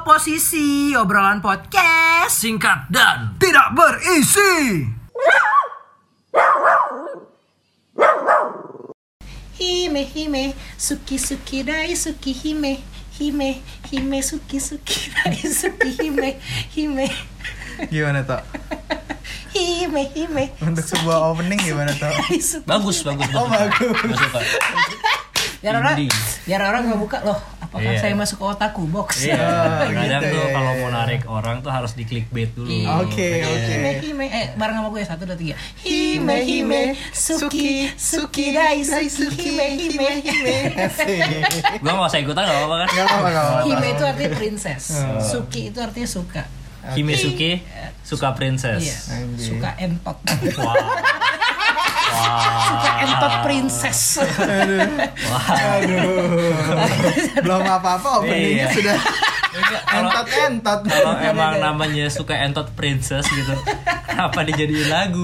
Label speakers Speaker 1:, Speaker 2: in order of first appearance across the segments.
Speaker 1: posisi obrolan podcast
Speaker 2: singkat dan
Speaker 3: Tidak berisi.
Speaker 4: Hime hime suki suki dai suki hime hime hime suki suki dai suki hime hime
Speaker 3: Gimana toh?
Speaker 4: hime hime
Speaker 3: Untuk sebuah opening gimana toh?
Speaker 4: dai suki
Speaker 2: bagus bagus
Speaker 3: Oh bagus.
Speaker 2: Gua suka.
Speaker 4: biar orang
Speaker 2: Indie.
Speaker 4: biar orang nggak buka loh apakah
Speaker 2: Iya.
Speaker 4: saya masuk ke otaku box
Speaker 2: Iya, kadang
Speaker 3: gitu,
Speaker 2: tuh
Speaker 3: iya,
Speaker 2: kalau
Speaker 3: iya.
Speaker 2: mau narik orang tuh harus di clickbait dulu.
Speaker 4: Iya.
Speaker 3: Oke oke.
Speaker 4: hime hime eh bareng sama gue ya satu dua tiga hime hime suki suki dai suki hime hime hime
Speaker 3: Asik.
Speaker 2: Gua nggak usah ikutan nggak apa-apa kan?
Speaker 3: Gak apa-apa gak apa-apa.
Speaker 4: hime itu artinya princess suki itu artinya suka
Speaker 2: Himesuke suka
Speaker 4: Iya,
Speaker 2: princess.
Speaker 3: Anjing.
Speaker 4: suka entot.
Speaker 2: Wow.
Speaker 4: Suka
Speaker 3: Ah.
Speaker 4: entot princess.
Speaker 3: Aduh. Belum apa-apa openingnya
Speaker 2: Iya.
Speaker 3: sudah
Speaker 2: Kalau-
Speaker 3: entot entot.
Speaker 2: Kalau emang namanya suka entot princess gitu, kenapa dijadiin lagu?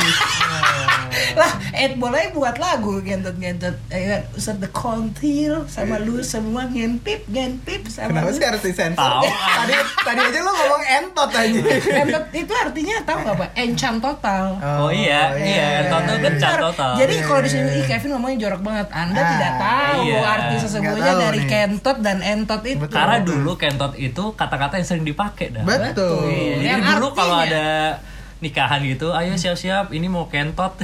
Speaker 4: lah, Ed boleh buat lagu gentot-gentot. Eh, Ustaz The Kontil sama lu semua ngentip, ngentip sama
Speaker 3: Eh. Kenapa
Speaker 4: lu.
Speaker 3: sih harus disensor?
Speaker 2: Tahu.
Speaker 3: Tadi tadi aja lo ngomong entot aja.
Speaker 4: Entot itu artinya tahu nggak pak? Encan total.
Speaker 2: Oh, iya, iya, entot tuh
Speaker 3: iya.
Speaker 2: encan total.
Speaker 4: Jadi kalau di
Speaker 3: Iya,
Speaker 4: sini
Speaker 3: iya.
Speaker 4: "Ih, Kevin ngomongnya jorok banget. Anda
Speaker 3: Ah,
Speaker 4: tidak tahu
Speaker 2: iya.
Speaker 4: arti sesungguhnya
Speaker 3: Nggak tahu
Speaker 4: dari
Speaker 3: nih.
Speaker 4: kentot dan entot itu.
Speaker 3: Betul.
Speaker 2: Karena dulu kentot itu kata-kata yang sering dipakai dah.
Speaker 3: Betul.
Speaker 2: Iya,
Speaker 4: Betul.
Speaker 2: Jadi
Speaker 4: Yang
Speaker 2: dulu kalau
Speaker 4: artinya-
Speaker 2: ada nikahan gitu, ayo siap-siap, ini mau kentot.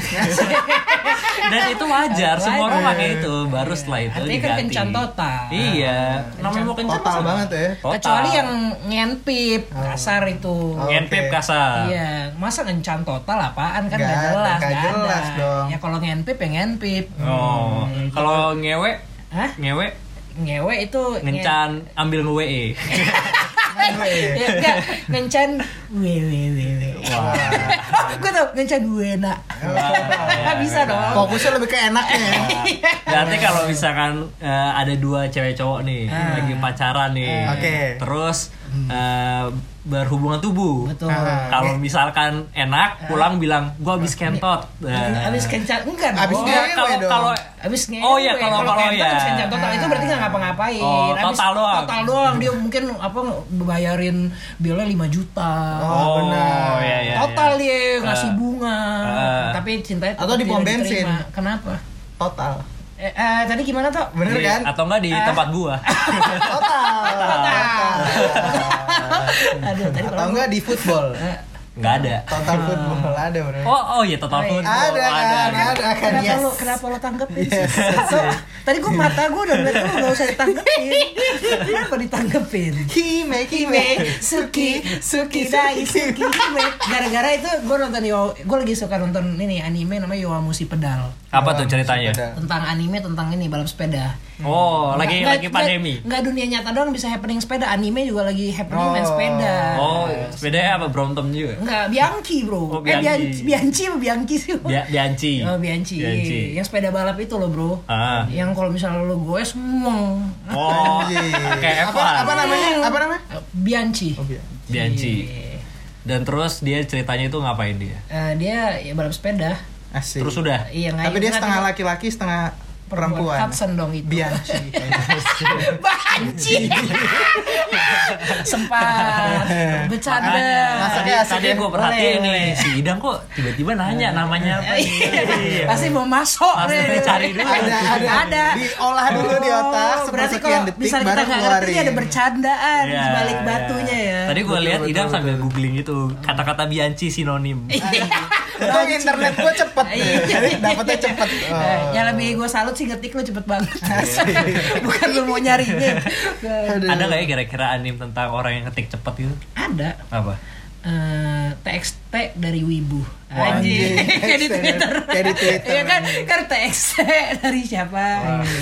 Speaker 2: Dan itu wajar, semua orang pakai itu. Baru setelah itu
Speaker 4: Artinya kan
Speaker 2: diganti.
Speaker 4: kencan total.
Speaker 2: Iya, namanya mau kencan
Speaker 3: Total
Speaker 2: masa-
Speaker 3: banget ya.
Speaker 2: Total.
Speaker 4: Kecuali yang ngentip kasar itu.
Speaker 3: Oh.
Speaker 2: ngentip
Speaker 3: Oke.
Speaker 2: kasar.
Speaker 4: Iya, masa ngencan total apaan kan
Speaker 3: Nggak
Speaker 4: nggak
Speaker 3: ada,
Speaker 4: jelas,
Speaker 3: nggak
Speaker 4: nggak
Speaker 3: jelas
Speaker 4: ada.
Speaker 3: dong.
Speaker 4: Ya kalau ngentip ya ngentip.
Speaker 2: Oh,
Speaker 4: Hmm,
Speaker 2: kalau
Speaker 4: gitu.
Speaker 2: ngewe,
Speaker 4: Hah?
Speaker 2: ngewe
Speaker 4: Ngewe itu
Speaker 2: ngencan ambil ngewe.
Speaker 4: nge- Ya, nggak, ngencan wewe wewe.
Speaker 2: Wah. Iya.
Speaker 4: Gue tau ngencan gue nak. Bisa dong.
Speaker 3: Fokusnya lebih ke enaknya. ya.
Speaker 2: Berarti kalau misalkan eh, ada dua cewek cowok nih lagi pacaran nih,
Speaker 3: Oke.
Speaker 2: terus eh, berhubungan tubuh.
Speaker 4: Betul.
Speaker 3: Ah.
Speaker 2: Kalau misalkan enak, pulang bilang gua habis kentot. Nah.
Speaker 4: Abis kencan enggak dong.
Speaker 3: Abis
Speaker 2: Oh, ya,
Speaker 3: Ngewe
Speaker 2: kalau
Speaker 3: dong.
Speaker 2: kalau
Speaker 4: Abis ngewe,
Speaker 2: Oh, iya, kalau- kalau
Speaker 4: kentot
Speaker 2: ya.
Speaker 4: abis kencan total itu berarti nggak ngapa-ngapain.
Speaker 2: Oh,
Speaker 4: Abis
Speaker 2: total doang.
Speaker 4: Total doang dia mungkin apa bayarin bilnya 5 juta.
Speaker 3: Oh, benar.
Speaker 2: iya, iya, iya.
Speaker 4: total dia ngasih
Speaker 2: Eh.
Speaker 4: bunga
Speaker 2: Eh.
Speaker 4: tapi cintanya tetap
Speaker 3: Atau di pom
Speaker 4: tidak
Speaker 3: bensin.
Speaker 4: diterima. kenapa
Speaker 3: Total.
Speaker 4: eh, eh, tadi gimana toh
Speaker 3: Bener
Speaker 2: Di-
Speaker 3: kan?
Speaker 2: Iya, Atau enggak di tempat gua?
Speaker 3: Total.
Speaker 4: aduh tadi
Speaker 3: Atau
Speaker 4: kalau
Speaker 3: enggak di football.
Speaker 2: Enggak ada.
Speaker 3: Total football ada bro.
Speaker 2: Oh, oh iya total
Speaker 4: Ada,
Speaker 2: football.
Speaker 3: ada kan?
Speaker 2: ada.
Speaker 3: Ada kan?
Speaker 4: Kenapa
Speaker 3: Yes.
Speaker 4: lo kenapa lo tanggepin?
Speaker 3: Yes, yes,
Speaker 4: Lo- tadi gue mata gue udah bilang lo gak usah ditanggepin. Kenapa ditanggepin?
Speaker 3: Kime, kime.
Speaker 4: Hime, Suki, Suki, Dai, Suki, Hime. Gara-gara itu gue nonton yo, gue lagi suka nonton ini anime namanya Yowamushi Pedal.
Speaker 2: Apa tuh ceritanya?
Speaker 4: Tentang anime tentang ini balap sepeda.
Speaker 2: Oh, lagi
Speaker 4: Nggak-
Speaker 2: lagi
Speaker 4: nggak-
Speaker 2: pandemi.
Speaker 4: Nggak dunia nyata doang bisa happening sepeda, anime juga lagi happening main
Speaker 3: Oh.
Speaker 4: sepeda.
Speaker 2: Oh, sepedanya apa Brompton juga?
Speaker 4: Enggak, Bianchi bro.
Speaker 2: Oh,
Speaker 4: Eh,
Speaker 2: Bianchi.
Speaker 4: Bianchi, Bianchi apa Bianchi sih?
Speaker 2: Bia Bianci.
Speaker 4: Oh, Bianchi. Iya.
Speaker 2: Bianci.
Speaker 4: Yang sepeda balap itu loh bro.
Speaker 2: Ah.
Speaker 4: Yang kalau misalnya lo goes, mong.
Speaker 2: Oh, kayak
Speaker 3: Apa,
Speaker 2: Evan.
Speaker 3: apa namanya? Apa namanya?
Speaker 4: Eh, Bianchi.
Speaker 3: Oh, iya.
Speaker 2: Bianci.
Speaker 4: Iya.
Speaker 2: Dan terus dia ceritanya itu ngapain dia?
Speaker 4: Eh, dia ya, balap sepeda.
Speaker 3: Asik.
Speaker 2: Terus udah.
Speaker 4: Iya, nggak-
Speaker 3: Tapi dia
Speaker 4: nggak-
Speaker 3: setengah laki-laki, setengah perempuan.
Speaker 4: Hudson dong itu.
Speaker 3: Bianchi.
Speaker 4: Banci. Sempat bercanda.
Speaker 3: Masaknya asik
Speaker 2: Tadi
Speaker 3: ya?
Speaker 2: gue perhatiin
Speaker 4: Boleh,
Speaker 2: nih si Idam kok tiba-tiba nanya namanya apa nih? Iya.
Speaker 4: Pasti mau masuk.
Speaker 2: Pasti dicari dulu.
Speaker 3: ada, ada,
Speaker 4: Ada.
Speaker 3: Diolah dulu di otak,
Speaker 4: Oh, berarti
Speaker 3: sepersekian
Speaker 4: kalau
Speaker 3: detik,
Speaker 4: misalnya kita
Speaker 3: baru
Speaker 4: nggak ngerti
Speaker 3: keluarin.
Speaker 4: ada bercandaan
Speaker 2: Iya,
Speaker 4: di balik
Speaker 2: iya.
Speaker 4: batunya ya.
Speaker 2: Tadi gue
Speaker 3: Betul,
Speaker 2: lihat
Speaker 3: betul,
Speaker 2: Idam
Speaker 3: betul.
Speaker 2: sambil googling itu kata-kata Bianci sinonim.
Speaker 3: Untung internet gue cepet,
Speaker 4: Iya.
Speaker 3: dapetnya cepet. Oh. Iya,
Speaker 4: Eh, yang lebih gue salut sih ngetik lo cepet banget Bukan lo mau nyarinya Eh,
Speaker 3: Aduh.
Speaker 2: Ada nggak ya kira-kira anim tentang orang yang ketik cepet gitu?
Speaker 4: Ada
Speaker 2: Apa?
Speaker 4: eh, TXT dari Wibu
Speaker 3: Anjing.
Speaker 4: Kayak di Twitter
Speaker 3: Kayak di Twitter.
Speaker 4: Iya kan, kan TXT dari siapa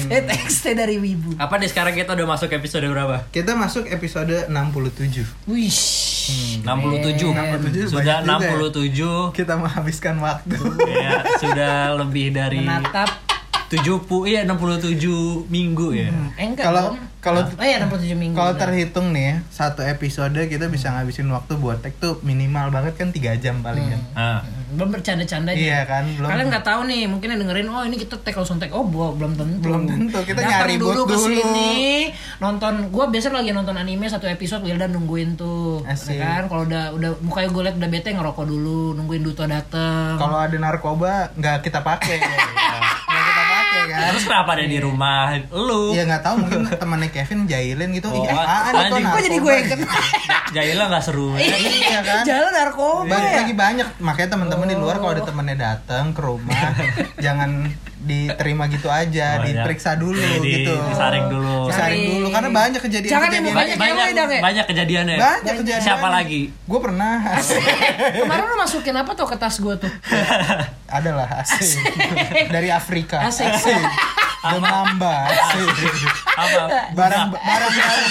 Speaker 4: Eh, TXT dari Wibu
Speaker 2: Apa nih sekarang kita udah masuk episode berapa?
Speaker 3: Kita masuk episode 67.
Speaker 4: Wih
Speaker 2: Hmm, 67.
Speaker 3: 67,
Speaker 2: Sudah
Speaker 3: banyak juga ya.
Speaker 2: 67.
Speaker 3: Kita menghabiskan waktu.
Speaker 2: Ya, sudah lebih dari
Speaker 4: Menatap
Speaker 2: 70 iya 67 minggu ya.
Speaker 4: Eh, enggak
Speaker 3: Kalau
Speaker 4: dong.
Speaker 3: Kalau
Speaker 4: Oh iya 67 minggu.
Speaker 3: kalau terhitung nih ya, satu episode kita bisa
Speaker 4: Hmm.
Speaker 3: ngabisin waktu buat tag tuh minimal banget kan 3 jam paling kan.
Speaker 4: Hmm.
Speaker 2: Ah.
Speaker 4: belum bercanda-canda
Speaker 3: Iya kan, belum.
Speaker 4: Kalian nggak tahu nih, mungkin yang dengerin, oh ini kita take langsung take. Oh, bu- belum tentu.
Speaker 3: Belum tentu, kita nyari
Speaker 4: dulu ke
Speaker 3: bot dulu.
Speaker 4: sini, nonton. Gua biasa lagi nonton anime satu episode, Wildan nungguin tuh.
Speaker 3: Asik.
Speaker 4: Ya kan, kalau udah udah mukanya gue liat udah bete ngerokok dulu, nungguin Duto dateng.
Speaker 3: Kalau ada narkoba nggak kita pakai. Nggak kita pakai kan.
Speaker 2: Terus kenapa ada di rumah lu?
Speaker 3: Ya nggak tahu mungkin temannya Kevin jahilin gitu.
Speaker 2: Oh,
Speaker 3: Ih, apaan
Speaker 2: anjing.
Speaker 3: itu
Speaker 2: Kok
Speaker 4: Kok jadi gue yang kena?
Speaker 2: Jaila nggak seru. ya?
Speaker 3: Iya kan?
Speaker 4: Jalan narkoba
Speaker 2: Iya.
Speaker 3: Banyak
Speaker 4: ya?
Speaker 3: lagi banyak makanya teman-teman di
Speaker 2: Oh.
Speaker 3: luar kalau ada temannya datang ke rumah jangan diterima gitu aja
Speaker 2: Oh, iya.
Speaker 3: diperiksa dulu
Speaker 2: Di- di-
Speaker 3: gitu
Speaker 2: disaring dulu.
Speaker 3: disaring dulu karena banyak kejadian
Speaker 4: Jangan yang
Speaker 3: kejadian
Speaker 4: mukanya
Speaker 2: Banyak
Speaker 4: Banyak yang
Speaker 2: banyak,
Speaker 4: lu, Dang, ya?
Speaker 2: banyak kejadiannya.
Speaker 3: banyak kejadian
Speaker 2: Siapa lagi?
Speaker 3: gue pernah
Speaker 4: Kemarin lu masukin apa tuh ke tas gue tuh?
Speaker 3: ada lah asik dari Afrika
Speaker 4: Asik.
Speaker 3: The Mamba asik.
Speaker 2: Apa?
Speaker 3: barang barang baru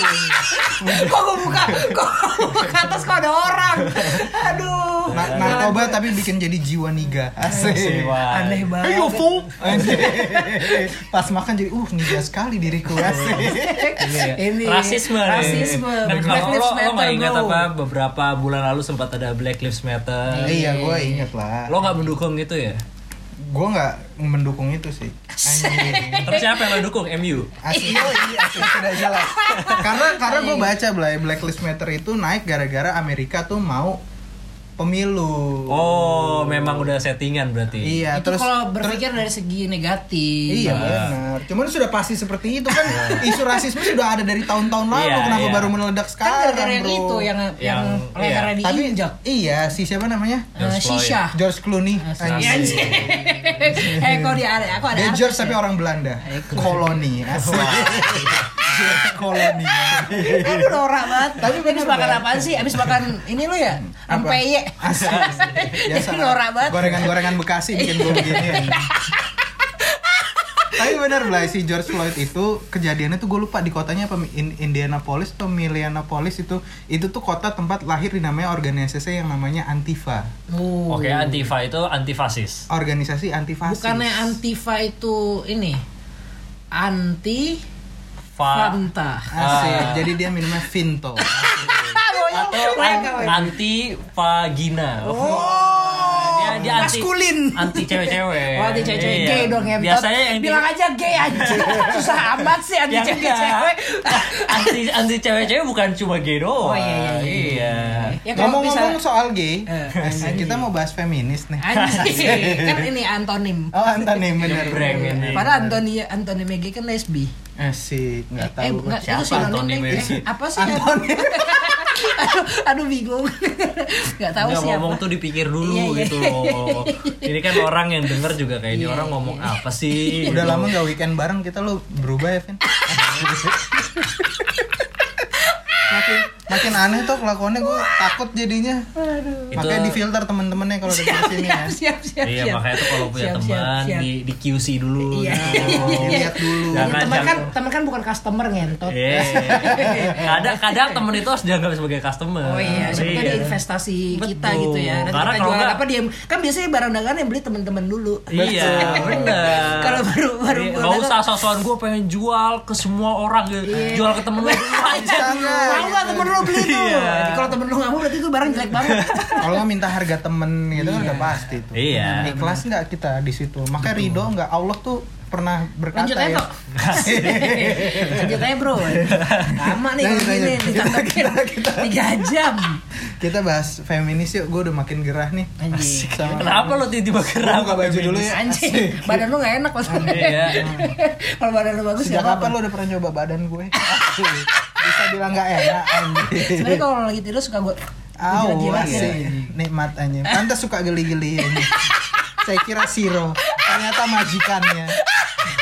Speaker 4: kok gue buka? Kok gua buka tas kok ada orang? Aduh.
Speaker 3: Na- narkoba tapi bikin jadi jiwa niga asik
Speaker 4: Aneh banget.
Speaker 3: full pas makan jadi uh niga sekali diriku ya asik
Speaker 4: Ini
Speaker 2: ya. rasisme nih.
Speaker 4: rasisme.
Speaker 2: Dan
Speaker 4: Black
Speaker 2: kalau
Speaker 4: Lives
Speaker 2: lo, lo
Speaker 4: Matter,
Speaker 2: nggak ingat
Speaker 4: bro.
Speaker 2: apa beberapa bulan lalu sempat ada Black Lives Matter.
Speaker 3: iya gue inget lah
Speaker 2: Lo nggak mendukung itu ya?
Speaker 3: gue nggak mendukung itu sih Anjing.
Speaker 2: Terus siapa yang lo dukung? MU?
Speaker 3: asli yoi, asli sudah jelas karena karena gue baca Blay, blacklist matter itu naik gara-gara Amerika tuh mau pemilu
Speaker 2: Oh, memang udah settingan berarti.
Speaker 3: iya
Speaker 4: itu
Speaker 3: terus
Speaker 4: kalau berpikir dari segi negatif.
Speaker 3: Iya benar. Cuman sudah pasti seperti itu kan isu rasisme sudah ada dari tahun-tahun lalu
Speaker 2: Iya,
Speaker 3: kenapa
Speaker 2: iya.
Speaker 3: baru meledak
Speaker 4: Kan
Speaker 3: sekarang
Speaker 4: gara-gara yang
Speaker 3: bro?
Speaker 4: itu yang yang,
Speaker 2: Yang-
Speaker 4: lehernya
Speaker 3: Tapi
Speaker 4: diinjak.
Speaker 3: iya si siapa namanya?
Speaker 4: Eh,
Speaker 2: George Floyd.
Speaker 4: Shisha.
Speaker 3: Ah. George Clooney.
Speaker 4: Asik.
Speaker 3: Anjing.
Speaker 4: Anjing. Eh kok dia ada? Aku ada.
Speaker 3: Dia
Speaker 4: artis
Speaker 3: George
Speaker 4: ya?
Speaker 3: tapi orang Belanda. Koloni. asli. George koloni.
Speaker 4: Eh lu norak banget. Tapi
Speaker 3: Tapi
Speaker 4: abis
Speaker 3: bener,
Speaker 4: makan
Speaker 3: Bang.
Speaker 4: apaan sih? Abis makan ini lu ya?
Speaker 3: Apa?
Speaker 4: Ampeye.
Speaker 3: Asli.
Speaker 4: Itu norak banget.
Speaker 3: Gorengan-gorengan Bekasi bikin gue begini. anjing. Tapi bener lah si George Floyd itu kejadiannya tuh gue lupa di kotanya apa In- Indianapolis atau Milianapolis itu itu tuh kota tempat lahir dinamanya organisasi yang namanya Antifa
Speaker 4: Oh.
Speaker 2: Oke, Antifa itu antifasis.
Speaker 3: organisasi antifasis
Speaker 4: Bukannya Antifa itu ini anti
Speaker 2: Fa
Speaker 4: Fanta.
Speaker 3: Asik.
Speaker 2: Ah.
Speaker 3: jadi dia minumnya Vinto
Speaker 4: Oh, iya.
Speaker 2: atau an- anti vagina. Dia, dia anti,
Speaker 4: Maskulin.
Speaker 2: anti cewek-cewek.
Speaker 4: Oh, anti cewek-cewek
Speaker 2: Iya.
Speaker 4: gay dong ya.
Speaker 2: Biasanya yang
Speaker 4: bilang aja gay aja. Susah amat sih anti
Speaker 2: yang
Speaker 4: cewek-cewek.
Speaker 2: enggak. anti anti cewek-cewek bukan cuma gay doang.
Speaker 4: Oh, iya, iya, iya. Ya kalau
Speaker 3: ngomong-ngomong
Speaker 4: bisa
Speaker 3: soal gay
Speaker 4: Eh,
Speaker 3: asik, kita mau bahas feminis nih
Speaker 4: anjing kan ini antonim.
Speaker 3: oh Antoni bener
Speaker 2: Jebreng ini.
Speaker 4: Padahal Antoni antonimnya gay kan lesbi.
Speaker 3: asik
Speaker 4: eh,
Speaker 3: nggak tahu gua
Speaker 4: enggak,
Speaker 3: siapa
Speaker 4: itu sinonim
Speaker 2: Antonim ya?
Speaker 4: deh. Eh, apa sih? aduh, aduh bingung. Enggak tahu
Speaker 2: Nggak,
Speaker 4: siapa.
Speaker 2: ngomong tuh dipikir dulu
Speaker 4: Iya, iya.
Speaker 2: gitu loh. Ini kan orang yang denger juga kayak ini orang ngomong apa sih?
Speaker 3: udah
Speaker 2: gitu.
Speaker 3: lama nggak weekend bareng kita lo berubah ya Vin makin makin aneh tuh kelakuannya gue takut jadinya makanya
Speaker 2: Itu-
Speaker 3: di filter temen-temennya kalau udah di sini ya
Speaker 4: Siap, siap, siap.
Speaker 2: Iya
Speaker 4: siap.
Speaker 2: makanya tuh kalau punya
Speaker 4: Siap, siap,
Speaker 2: teman
Speaker 4: siap.
Speaker 2: di di QC dulu.
Speaker 4: Iya.
Speaker 2: gitu.
Speaker 3: dilihat dulu
Speaker 2: Jangan
Speaker 4: teman
Speaker 2: jangan-
Speaker 4: kan teman kan bukan customer ngentot.
Speaker 2: Iya. kadang kadang temen itu harus dianggap sebagai customer.
Speaker 4: Oh iya, siapa tahu dia investasi kita
Speaker 2: Betul.
Speaker 4: gitu ya.
Speaker 2: Karena
Speaker 4: Nanti kita
Speaker 2: kalau
Speaker 4: jualan
Speaker 2: nggak-
Speaker 4: apa dia kan biasanya barang dagangan yang beli teman-teman dulu.
Speaker 2: Iya, benar.
Speaker 4: Kalau baru- baru-
Speaker 2: Iya,
Speaker 4: baru-
Speaker 2: nggak usah sosokan gue pengen jual ke semua orang gitu.
Speaker 4: Iya.
Speaker 2: Jual ke temen lu dulu aja.
Speaker 4: Mau nggak temen lu beli tuh?
Speaker 2: Iya.
Speaker 4: Jadi Kalau temen lu nggak mau berarti itu barang jelek banget.
Speaker 3: kalau nggak minta harga temen gitu kan udah pasti tuh
Speaker 2: Iya.
Speaker 3: ikhlas nggak kita di situ makanya ridho nggak Allah tuh pernah berkata
Speaker 4: Lanjut aja
Speaker 3: ya
Speaker 4: kok. Lanjut aja bro. Lama nih kalau
Speaker 3: Lanjut,
Speaker 4: gini
Speaker 3: lanjut.
Speaker 4: ditatekin tiga jam.
Speaker 3: kita bahas feminis yuk gue udah makin gerah nih
Speaker 4: Anjing.
Speaker 3: Sama-
Speaker 2: Kenapa lo tiba-tiba geram?
Speaker 3: buka baju dulu ya
Speaker 4: Anjing, badan lu gak enak maksudnya.
Speaker 2: Iya.
Speaker 4: Kalau badan lu bagus
Speaker 3: Sejak
Speaker 4: gak apa-apa.
Speaker 3: kapan lo udah pernah nyoba badan gue? Bisa bilang gak enak anjing.
Speaker 4: Sebenarnya kalau lagi tidur suka gue
Speaker 3: Au,
Speaker 4: jilat-jilat ya.
Speaker 3: asik. nikmat anjing. Pantas suka geli-geli anjing. Saya kira Siro, ternyata majikannya.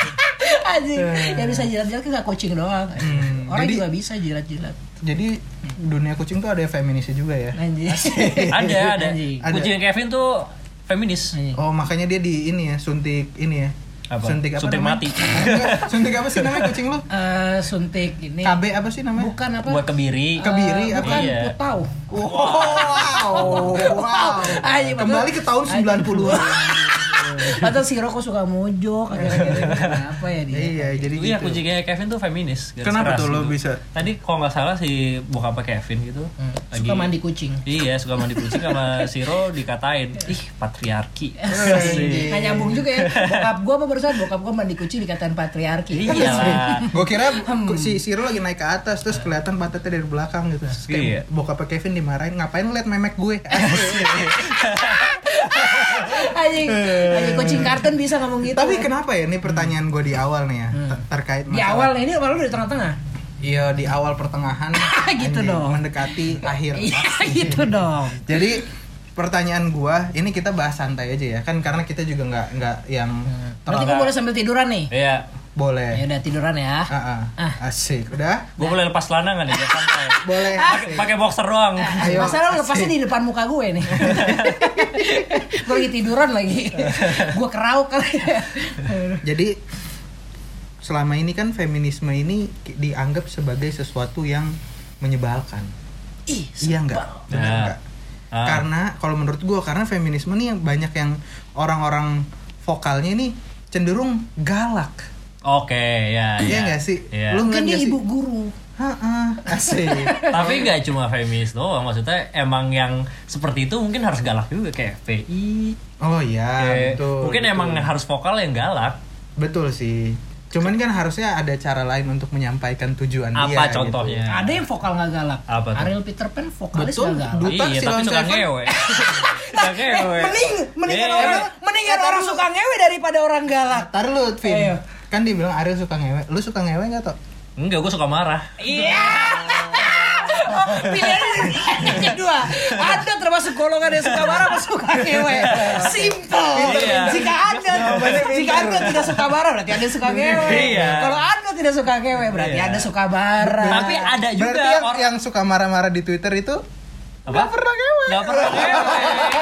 Speaker 4: Anjing,
Speaker 2: Eh.
Speaker 4: ya bisa jilat-jilat kan gak coaching doang.
Speaker 2: Hmm.
Speaker 4: Orang
Speaker 3: jadi-
Speaker 4: juga bisa jilat-jilat.
Speaker 3: Jadi dunia kucing tuh ada feminisnya juga ya.
Speaker 4: Anjing.
Speaker 2: Ada ada.
Speaker 4: Anjing.
Speaker 3: Iya, Ada.
Speaker 2: Kucing Kevin tuh feminis.
Speaker 4: Anjing.
Speaker 3: Oh makanya dia di ini ya suntik ini ya.
Speaker 2: Apa?
Speaker 3: Suntik apa?
Speaker 2: Suntik
Speaker 3: namanya?
Speaker 2: mati.
Speaker 3: Enggak, suntik apa sih namanya kucing lo?
Speaker 4: Eh, suntik ini
Speaker 3: KB apa sih namanya?
Speaker 4: bukan apa?
Speaker 2: Buat kebiri.
Speaker 3: Kebiri
Speaker 4: Eh,
Speaker 3: apa?
Speaker 4: bukan
Speaker 2: Iya.
Speaker 4: putau.
Speaker 3: Wow, wow.
Speaker 4: Anjing,
Speaker 3: Kembali ke tahun 90-an.
Speaker 4: Atau si Roko suka mojok akhir-akhir ini kenapa ya dia?
Speaker 3: Iya, jadi
Speaker 2: Iya
Speaker 3: gitu.
Speaker 2: kucingnya Kevin tuh feminis. garis
Speaker 3: Kenapa
Speaker 2: keras
Speaker 3: tuh lo
Speaker 2: gitu.
Speaker 3: bisa? Hmm.
Speaker 2: Tadi kalau nggak salah si bokapnya Kevin gitu.
Speaker 4: Suka mandi kucing.
Speaker 2: Iya, suka mandi kucing sama Siro dikatain, ih patriarki. Iya.
Speaker 4: Nah nyambung juga ya. Bokap gua apa barusan? Bokap gua mandi kucing dikatain patriarki.
Speaker 2: Iya lah.
Speaker 3: Gue kira
Speaker 4: Hmm.
Speaker 3: ku- si Siro lagi naik ke atas terus kelihatan pantatnya dari belakang gitu. Terus kayak
Speaker 2: Iya.
Speaker 3: bokapnya Kevin dimarahin, ngapain lu liat memek gue?
Speaker 4: Anjing, anjing kucing kartun bisa ngomong gitu. Hmm.
Speaker 3: Eh. Tapi kenapa ya ini pertanyaan gue di awal nih ya ter- terkait
Speaker 4: di
Speaker 3: masalah-
Speaker 4: awal ini malu di tengah-tengah.
Speaker 3: Iya di awal pertengahan
Speaker 4: Gitu
Speaker 3: anjing,
Speaker 4: dong.
Speaker 3: mendekati akhir.
Speaker 4: Iya gitu dong.
Speaker 3: Jadi pertanyaan gua ini kita bahas santai aja ya kan karena kita juga nggak nggak yang
Speaker 4: Hmm. Berarti
Speaker 3: terlalu
Speaker 4: gua boleh sambil tiduran nih.
Speaker 2: Iya,
Speaker 4: Ya
Speaker 3: boleh.
Speaker 4: udah tiduran ya.
Speaker 3: Eh. Ah, ah. Asik udah
Speaker 2: gue boleh lepas celana nggak nih? Biar santai.
Speaker 3: boleh.
Speaker 4: Ah.
Speaker 2: Pakai- Pakai boxer doang. Ah,
Speaker 3: Ayo,
Speaker 4: Masalah lu lepasnya di depan muka gue nih. gue lagi tiduran lagi. gue kerauk kali. ya.
Speaker 3: Jadi selama ini kan feminisme ini ki- dianggap sebagai sesuatu yang menyebalkan.
Speaker 4: Ih,
Speaker 3: Iya enggak? Benar
Speaker 2: Nah.
Speaker 3: enggak?
Speaker 2: Ah.
Speaker 3: Karena kalau menurut gua karena feminisme nih yang banyak yang orang-orang vokalnya ini cenderung galak.
Speaker 2: Oke, ya.
Speaker 3: Iya
Speaker 2: ya.
Speaker 3: enggak sih?
Speaker 2: Iya.
Speaker 3: Lu
Speaker 4: kan
Speaker 3: ngeliat
Speaker 4: dia
Speaker 3: nggak sih?
Speaker 4: ibu guru.
Speaker 3: Heeh. Asik.
Speaker 2: Tapi nggak cuma feminis doang, maksudnya emang yang seperti itu mungkin harus galak juga kayak VI.
Speaker 3: Oh iya,
Speaker 2: kayak-
Speaker 3: betul.
Speaker 2: mungkin
Speaker 3: betul.
Speaker 2: emang harus vokal yang galak.
Speaker 3: betul sih. Cuman kan harusnya ada cara lain untuk menyampaikan tujuan
Speaker 2: Apa
Speaker 3: dia. gitu.
Speaker 2: contohnya?
Speaker 4: Ada yang vokal nggak galak.
Speaker 2: Apa tuh?
Speaker 4: Ariel Peter Pan vokalis
Speaker 3: Betul.
Speaker 4: nggak galak.
Speaker 3: Buta
Speaker 2: iya, tapi
Speaker 3: si Lon Nah, eh,
Speaker 2: suka
Speaker 3: Steven.
Speaker 2: ngewe. Suka ngewe.
Speaker 4: Mending, mendingan
Speaker 2: Iya.
Speaker 4: orang,
Speaker 3: eh.
Speaker 4: mendingan orang suka ngewe daripada orang galak.
Speaker 3: Tar lu, Vin.
Speaker 4: Ayo.
Speaker 3: Kan dibilang Ariel suka ngewe. Lu suka ngewe nggak, Tok?
Speaker 2: Enggak, gue suka marah.
Speaker 4: Iya. Oh, pilihannya dua. Anda termasuk golongan yang suka marah atau suka ngewe. Simple.
Speaker 2: Iya.
Speaker 4: Jika Anda jika Anda tidak suka marah berarti Anda suka ngewe.
Speaker 2: Iya.
Speaker 4: Kalau Anda tidak suka ngewe berarti
Speaker 2: Iya.
Speaker 4: Anda suka marah.
Speaker 2: Tapi ada juga
Speaker 3: Nah, Berarti yang,
Speaker 2: orang
Speaker 3: yang suka marah-marah di Twitter itu
Speaker 2: Apa?
Speaker 3: nggak pernah ngewe.
Speaker 2: Gak pernah ngewe.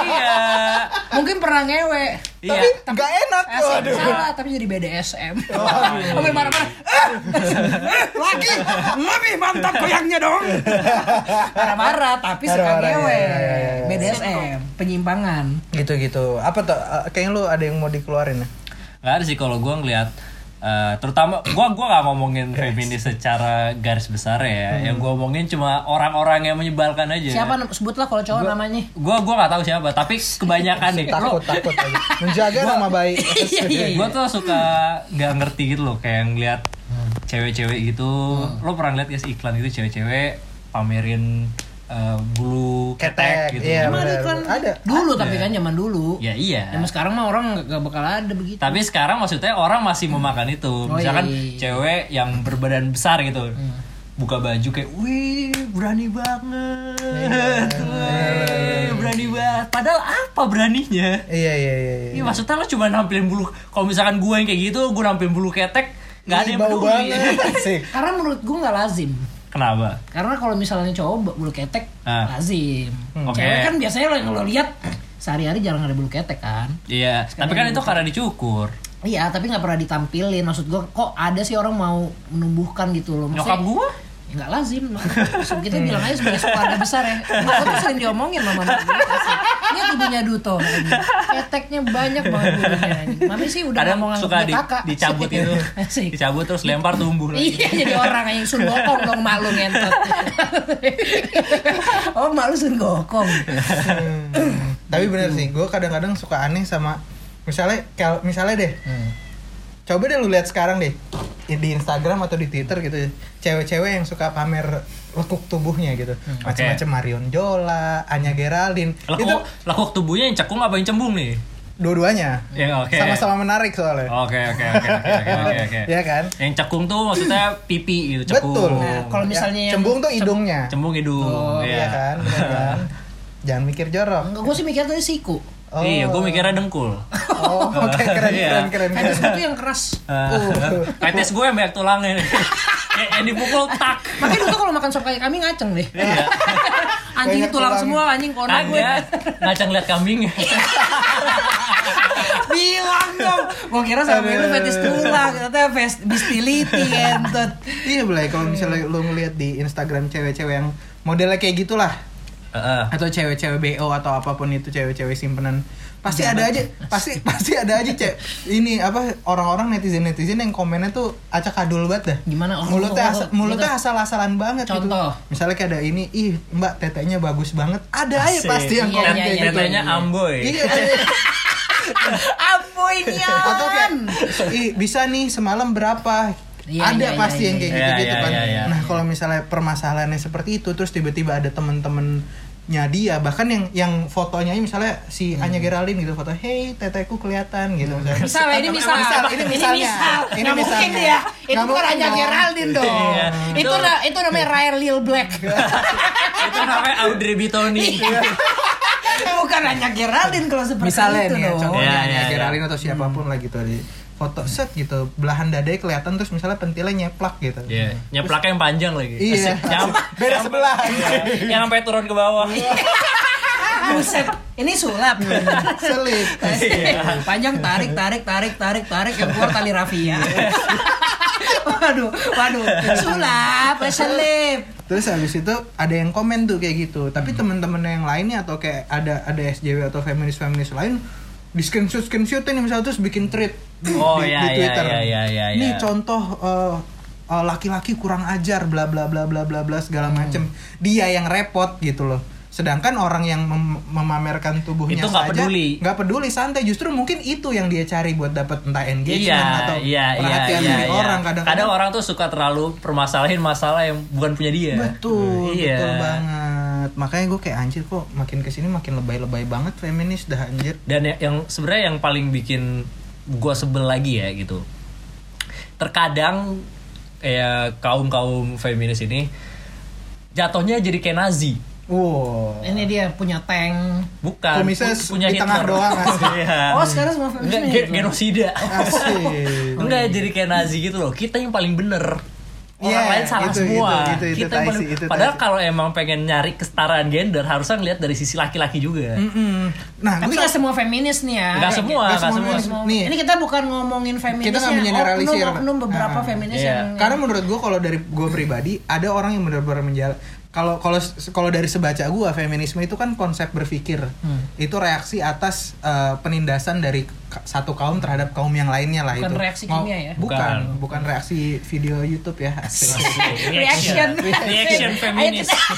Speaker 2: Iya.
Speaker 4: mungkin pernah ngewe.
Speaker 2: Iya.
Speaker 3: Tapi nggak enak.
Speaker 4: Eh,
Speaker 3: Waduh.
Speaker 4: salah tapi jadi BDSM. Sampai marah-marah. "Eh, Lagi lebih mantap goyangnya dong. Marah-marah tapi suka
Speaker 3: Marah-marah,
Speaker 4: ngewe.
Speaker 3: iya, iya, iya.
Speaker 4: BDSM, penyimpangan.
Speaker 3: Gitu-gitu. Apa tuh? Kayaknya lu ada yang mau dikeluarin ya?
Speaker 2: Gak ada sih kalau gue ngeliat eh, terutama gua gua gak ngomongin feminis secara garis besar
Speaker 3: Hmm.
Speaker 2: ya. Yang gua ngomongin cuma orang-orang yang menyebalkan aja.
Speaker 4: Siapa nam- sebutlah kalau cowok namanya?
Speaker 2: Gua gua nggak tahu siapa, tapi kebanyakan nih. Lo-
Speaker 3: Takut, takut aja. Menjaga nama baik.
Speaker 4: Iya iya iya.
Speaker 2: gue tuh suka nggak ngerti gitu loh kayak ngeliat
Speaker 3: Hmm.
Speaker 2: cewek-cewek gitu lo pernah lihat gak sih iklan gitu cewek-cewek pamerin eh, bulu ketek, gitu
Speaker 3: Iya,
Speaker 4: Emang ada
Speaker 3: benar.
Speaker 4: iklan?
Speaker 3: Ada.
Speaker 4: Dulu tapi kan zaman dulu.
Speaker 2: ya iya
Speaker 4: Zaman sekarang mah orang nggak- nggak bakal ada begitu.
Speaker 2: tapi sekarang maksudnya orang masih memakan itu misalkan
Speaker 4: iya, iya, Hmm. iya.
Speaker 2: cewek yang berbadan besar gitu buka baju kayak wih berani banget
Speaker 4: Iya,
Speaker 2: wih berani banget padahal apa beraninya
Speaker 3: Iya, iya, iya. iya.
Speaker 2: Iya maksudnya lo cuma nampilin bulu kalau misalkan gue yang kayak gitu gue nampilin bulu ketek nggak ada yang
Speaker 3: Bau
Speaker 2: peduli
Speaker 3: banget. Asik.
Speaker 4: Karena menurut gue nggak lazim.
Speaker 2: kenapa
Speaker 4: Karena kalau misalnya cowok bulu ketek
Speaker 2: Ah.
Speaker 4: lazim.
Speaker 2: Hmm.
Speaker 4: Cewek
Speaker 2: Oke.
Speaker 4: kan biasanya lo yang lo lihat sehari-hari jarang ada bulu ketek kan.
Speaker 2: Iya, tapi kan itu karena dicukur.
Speaker 4: Iya, tapi nggak pernah ditampilin. Maksud gue, kok ada sih orang mau menumbuhkan gitu loh.
Speaker 2: Nyokap
Speaker 4: Maksudnya-
Speaker 2: gua?
Speaker 4: Ya, nggak lazim. Maksud kita bilang aja sebagai keluarga besar ya. Aku tuh sering diomongin sama mama gue. Ini ibunya Duto. Keteknya banyak banget bulunya. iya, Mami sih udah
Speaker 2: Kadang
Speaker 4: ngomong
Speaker 2: suka di- dicabut itu,
Speaker 4: Asik.
Speaker 2: dicabut terus lempar tumbuh lagi.
Speaker 4: Iya jadi orang yang sun gokong dong mak lu ngentot. oh mak lu sun gokong.
Speaker 3: Hmm. Tapi bener sih, gue kadang-kadang suka aneh sama misalnya kal- misalnya deh.
Speaker 2: Hmm.
Speaker 3: Coba deh lu lihat sekarang deh di Instagram atau di Twitter gitu cewek-cewek yang suka pamer lekuk tubuhnya gitu macam-macam Marion Jola, Anya Geraldine itu
Speaker 2: Hmm, Lekuk, lekuk tubuhnya yang cekung apa yang cembung nih?
Speaker 3: dua-duanya
Speaker 2: Ya, oke. Oh,
Speaker 3: sama-sama menarik soalnya
Speaker 2: Oke oke oke oke oke oke, oke.
Speaker 3: Iya kan?
Speaker 2: Yang cekung tuh maksudnya pipi gitu, cekung.
Speaker 3: betul
Speaker 4: Nah, kalau
Speaker 3: Ya,
Speaker 4: misalnya yang-
Speaker 3: cembung tuh hidungnya
Speaker 2: Cembung hidung.
Speaker 3: Oh, iya kan, bener kan? Jangan mikir jorok.
Speaker 4: Enggak gue sih mikir tadi siku.
Speaker 3: Oh.
Speaker 2: Iya, gue mikirnya dengkul.
Speaker 3: Oh, oke keren,
Speaker 2: Iya.
Speaker 3: keren keren
Speaker 4: Kan
Speaker 3: keren.
Speaker 4: itu yang keras.
Speaker 3: Uh.
Speaker 2: Petis gue yang banyak tulangnya. nih. Kayak yang dipukul tak.
Speaker 4: Makanya Duto kalau makan sop kaki kambing ngaceng deh.
Speaker 2: Iya.
Speaker 4: Anjing
Speaker 3: Banyak
Speaker 4: Ya, tulang
Speaker 3: tulang.
Speaker 4: semua anjing kona gue.
Speaker 2: Kagak ngacang lihat kambing.
Speaker 4: Bilang dong. Gue kira sama lu fetis tulang, ternyata fest bistility entot.
Speaker 3: Iya, Blay, kalau misalnya lu ngeliat di Instagram cewek-cewek yang modelnya kayak gitulah.
Speaker 2: Heeh.
Speaker 3: atau cewek-cewek BO atau apapun itu cewek-cewek simpenan pasti ada aja pasti pasti ada aja cewek ini apa orang-orang netizen netizen yang komennya tuh acak adul banget dah
Speaker 4: Gimana? Oh, oh,
Speaker 3: mulutnya asa-
Speaker 4: oh,
Speaker 3: mulutnya
Speaker 4: gimana?
Speaker 3: asal-asalan banget
Speaker 4: Contoh.
Speaker 3: gitu misalnya kayak ada ini ih mbak tetenya bagus banget ada aja
Speaker 2: Asik.
Speaker 3: pasti yang
Speaker 4: Iya, iya,
Speaker 3: komen kayak
Speaker 4: iya,
Speaker 3: gitu.
Speaker 2: Tetenya
Speaker 4: iya.
Speaker 2: Amboy.
Speaker 3: Iya, ada.
Speaker 1: Ampun ya.
Speaker 3: atau kayak ih bisa nih semalam berapa
Speaker 4: Iya,
Speaker 3: ada
Speaker 4: iya, iya,
Speaker 3: pasti yang kayak
Speaker 2: iya.
Speaker 3: gitu-gitu
Speaker 2: Iya,
Speaker 3: kan.
Speaker 2: iya, iya, iya.
Speaker 3: Nah, kalau misalnya permasalahannya seperti itu terus tiba-tiba ada temen-temennya dia bahkan yang yang fotonya ini misalnya si
Speaker 4: Hmm.
Speaker 3: Anya Geraldine gitu foto hey teteku kelihatan gitu misalnya.
Speaker 4: Misalnya, ini misal.
Speaker 3: ini
Speaker 4: Ini misal.
Speaker 3: misalnya. Ini
Speaker 4: Nggak
Speaker 3: misalnya.
Speaker 4: mungkin dia. Itu
Speaker 3: Nggak
Speaker 4: bukan
Speaker 3: mungkin
Speaker 4: hanya
Speaker 3: dong.
Speaker 4: Geraldine dong.
Speaker 2: Iya.
Speaker 4: Itu
Speaker 2: Itu-
Speaker 4: na- itu namanya Rare Lil Black.
Speaker 2: Itu namanya Audrey Bitoni.
Speaker 3: Iya.
Speaker 4: Eh, bukan hanya Geraldine kalau seperti
Speaker 3: misalnya
Speaker 4: itu Gitu
Speaker 3: nih ya,
Speaker 4: dong. Hmm.
Speaker 3: contohnya
Speaker 2: Iya,
Speaker 3: Anya
Speaker 2: iya, iya.
Speaker 3: Geraldine atau siapapun lah gitu di foto set gitu belahan dadanya kelihatan terus misalnya pentilnya nyeplak gitu.
Speaker 2: Iya, nyeplaknya yang panjang lagi.
Speaker 3: Iya.
Speaker 2: Yang,
Speaker 3: Beda sebelah.
Speaker 2: yang sampai turun ke bawah.
Speaker 4: Ah, Buset, ini sulap. Iya.
Speaker 3: Selip. Iya.
Speaker 4: Panjang tarik, tarik, tarik, tarik, tarik yang keluar tali rafia. waduh, waduh, sulap, eh, selip.
Speaker 3: Terus habis itu ada yang komen tuh kayak gitu. Tapi
Speaker 2: Hmm.
Speaker 3: temen-temen yang lainnya atau kayak ada ada SJW atau feminis-feminis lain di screenshot screenshotin nih misalnya terus bikin tweet di,
Speaker 2: Oh,
Speaker 3: di-
Speaker 2: iya,
Speaker 3: di
Speaker 2: iya,
Speaker 3: Twitter.
Speaker 2: iya, iya, iya, iya.
Speaker 3: Nih contoh eh, eh, laki-laki kurang ajar bla bla bla bla bla bla segala
Speaker 2: Hmm.
Speaker 3: macem. Dia yang repot gitu loh. Sedangkan orang yang mem- memamerkan tubuhnya
Speaker 2: Itu nggak
Speaker 3: saja
Speaker 2: peduli.
Speaker 3: nggak peduli santai justru mungkin itu yang dia cari buat dapat entah
Speaker 2: Iya,
Speaker 3: engagement atau perhatian dari orang kadang-kadang
Speaker 2: Kadang orang tuh suka terlalu permasalahin masalah yang bukan punya dia.
Speaker 3: Betul,
Speaker 2: Iya.
Speaker 3: betul banget. Makanya gue kayak anjir kok makin kesini makin lebay-lebay banget feminis dah anjir.
Speaker 2: Dan ya, yang, yang sebenarnya yang paling bikin gua sebel lagi ya gitu. Terkadang ya kaum kaum feminis ini jatuhnya jadi kayak Nazi.
Speaker 3: Wow.
Speaker 4: Ini dia punya tank.
Speaker 2: Bukan.
Speaker 3: Kumisnya
Speaker 2: pu- punya
Speaker 3: di tengah
Speaker 2: Hitler.
Speaker 3: doang, asli.
Speaker 2: Iya.
Speaker 4: Oh, sekarang semua ya?
Speaker 2: Enggak,
Speaker 4: feminisme.
Speaker 2: gen- genosida.
Speaker 3: Asik.
Speaker 2: Enggak jadi kayak Nazi gitu loh. Kita yang paling bener. Orang
Speaker 3: Iya,
Speaker 2: lain salah
Speaker 3: itu,
Speaker 2: semua.
Speaker 3: itu, itu, itu,
Speaker 2: kita yang
Speaker 3: tai
Speaker 2: paling,
Speaker 3: sih, itu, tai
Speaker 2: padahal
Speaker 3: sih.
Speaker 2: kalau emang pengen nyari kesetaraan gender harusnya ngelihat dari sisi laki-laki juga.
Speaker 4: Mm.
Speaker 3: Mm-mm. Nah,
Speaker 4: Tapi
Speaker 3: gue
Speaker 4: nggak semua feminis nih ya.
Speaker 2: Enggak semua,
Speaker 3: nggak
Speaker 2: enggak
Speaker 3: semua
Speaker 2: semua.
Speaker 4: Nih.
Speaker 3: feminis. Nih.
Speaker 4: Ini kita bukan ngomongin feminis
Speaker 3: nggak mengeneralisir.
Speaker 4: oknum, beberapa
Speaker 3: Ah,
Speaker 4: feminis
Speaker 2: iya.
Speaker 4: yang
Speaker 3: karena menurut gue kalau dari gue pribadi ada orang yang benar-benar menjala kalau kalau kalau dari sebaca gue feminisme itu kan konsep berpikir itu reaksi atas eh, penindasan dari ka- satu kaum terhadap kaum yang lainnya lah
Speaker 4: Bukan
Speaker 3: itu
Speaker 4: reaksi
Speaker 3: Mau-
Speaker 4: kimia ya?
Speaker 2: Bukan.
Speaker 3: bukan bukan reaksi video YouTube ya
Speaker 4: Reaction.
Speaker 2: Reaction feminis.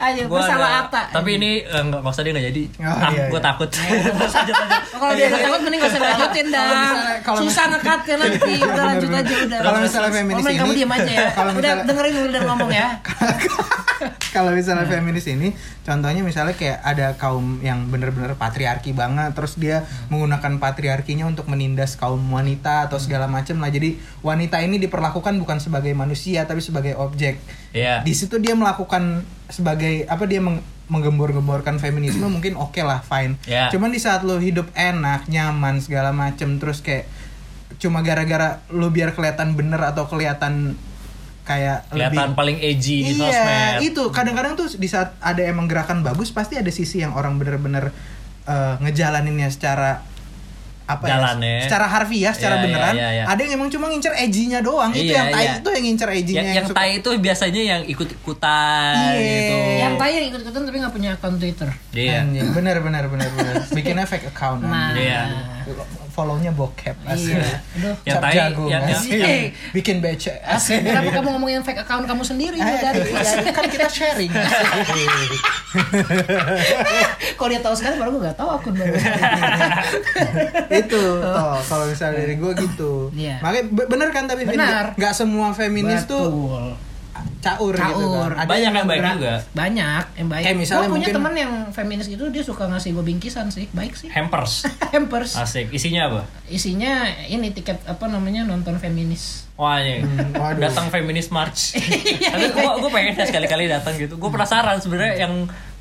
Speaker 4: Ayo,
Speaker 2: Gua ada-
Speaker 4: bersalah apa?
Speaker 2: Tapi ini eh, enggak maksudnya dia enggak jadi.
Speaker 3: Oh,
Speaker 2: Ah,
Speaker 3: iya,
Speaker 2: gua
Speaker 3: iya.
Speaker 2: takut.
Speaker 4: Oh, kalau dia udah takut mending gak usah lanjutin
Speaker 3: Kalau
Speaker 4: dah
Speaker 3: misalnya- kalau
Speaker 4: susah ngekat kan nanti udah lanjut
Speaker 3: bener.
Speaker 4: aja udah
Speaker 3: Kalau misalnya feminis
Speaker 4: Ngomong, kamu
Speaker 3: ini-
Speaker 4: diem aja ya
Speaker 3: kalau
Speaker 4: udah
Speaker 3: misalnya-
Speaker 4: dengerin udah ngomong ya
Speaker 3: kalau misalnya feminis ini contohnya misalnya kayak ada kaum yang bener-bener patriarki banget terus dia
Speaker 2: Hmm.
Speaker 3: menggunakan patriarkinya untuk menindas kaum wanita atau segala macem lah jadi wanita ini diperlakukan bukan sebagai manusia tapi sebagai objek
Speaker 2: Iya.
Speaker 3: di situ dia melakukan sebagai apa dia meng- menggembor-gemborkan feminisme mungkin oke lah fine
Speaker 2: Hmm. Ya.
Speaker 3: cuman di saat lo hidup enak nyaman segala macem terus kayak cuma gara-gara lo biar kelihatan bener atau kelihatan kayak
Speaker 2: Kelihatan
Speaker 3: lebih
Speaker 2: paling edgy di
Speaker 3: iya,
Speaker 2: sosmed.
Speaker 3: itu kadang-kadang tuh di saat ada emang gerakan bagus pasti ada sisi yang orang bener-bener eh, ngejalaninnya secara apa
Speaker 2: Jalannya.
Speaker 3: ya? Secara harfiah,
Speaker 2: Iya,
Speaker 3: secara
Speaker 2: iya,
Speaker 3: beneran.
Speaker 2: iya, iya.
Speaker 3: Ada yang emang cuma ngincer edgy-nya doang. itu
Speaker 2: Iya,
Speaker 3: yang tai
Speaker 2: iya.
Speaker 3: itu yang ngincer edgy-nya
Speaker 2: Yang, yang
Speaker 3: suka-
Speaker 2: tai itu biasanya yang ikut-ikutan
Speaker 3: Iya.
Speaker 2: gitu.
Speaker 4: yang tanya yang ikut-ikutan tapi gak punya akun Twitter
Speaker 2: Iya.
Speaker 3: Anjing, bener bener bener bener. Bikinnya fake account.
Speaker 4: nah
Speaker 3: anjing.
Speaker 2: Iya.
Speaker 3: Follow-nya bokep asli.
Speaker 4: iya aduh
Speaker 2: Yang
Speaker 3: Cap
Speaker 2: tai,
Speaker 3: jago,
Speaker 2: yang- yang-
Speaker 3: asik.
Speaker 4: yang-
Speaker 3: bikin BC asik.
Speaker 4: Kenapa kamu ngomongin fake account kamu sendiri Iya.
Speaker 3: Eh,
Speaker 4: dari
Speaker 3: dari- kan kita sharing.
Speaker 4: Kalau dia tahu sekarang baru gue gak tahu akun baru.
Speaker 3: itu toh kalau misalnya dari gue gitu
Speaker 4: Iya.
Speaker 3: makanya be- bener kan tapi Vin?
Speaker 4: Benar.
Speaker 3: nggak semua feminis tuh
Speaker 4: Betul.
Speaker 3: caur, gitu
Speaker 4: Caur.
Speaker 3: kan ada
Speaker 2: Banyak yang baik
Speaker 4: Berat.
Speaker 2: juga.
Speaker 4: Banyak yang baik.
Speaker 3: Kayak misalnya
Speaker 4: Gua punya
Speaker 3: mungkin-
Speaker 4: teman yang feminis gitu dia suka ngasih gue bingkisan sih, baik sih.
Speaker 2: Hampers.
Speaker 4: Hampers.
Speaker 2: Asik. Isinya apa?
Speaker 4: isinya ini tiket apa namanya nonton feminis
Speaker 2: Wah, anjing.
Speaker 3: Hmm, waduh. Iya,
Speaker 2: datang feminis march. Tapi gua gua pengen deh sekali-kali datang gitu. Gua penasaran sebenarnya yang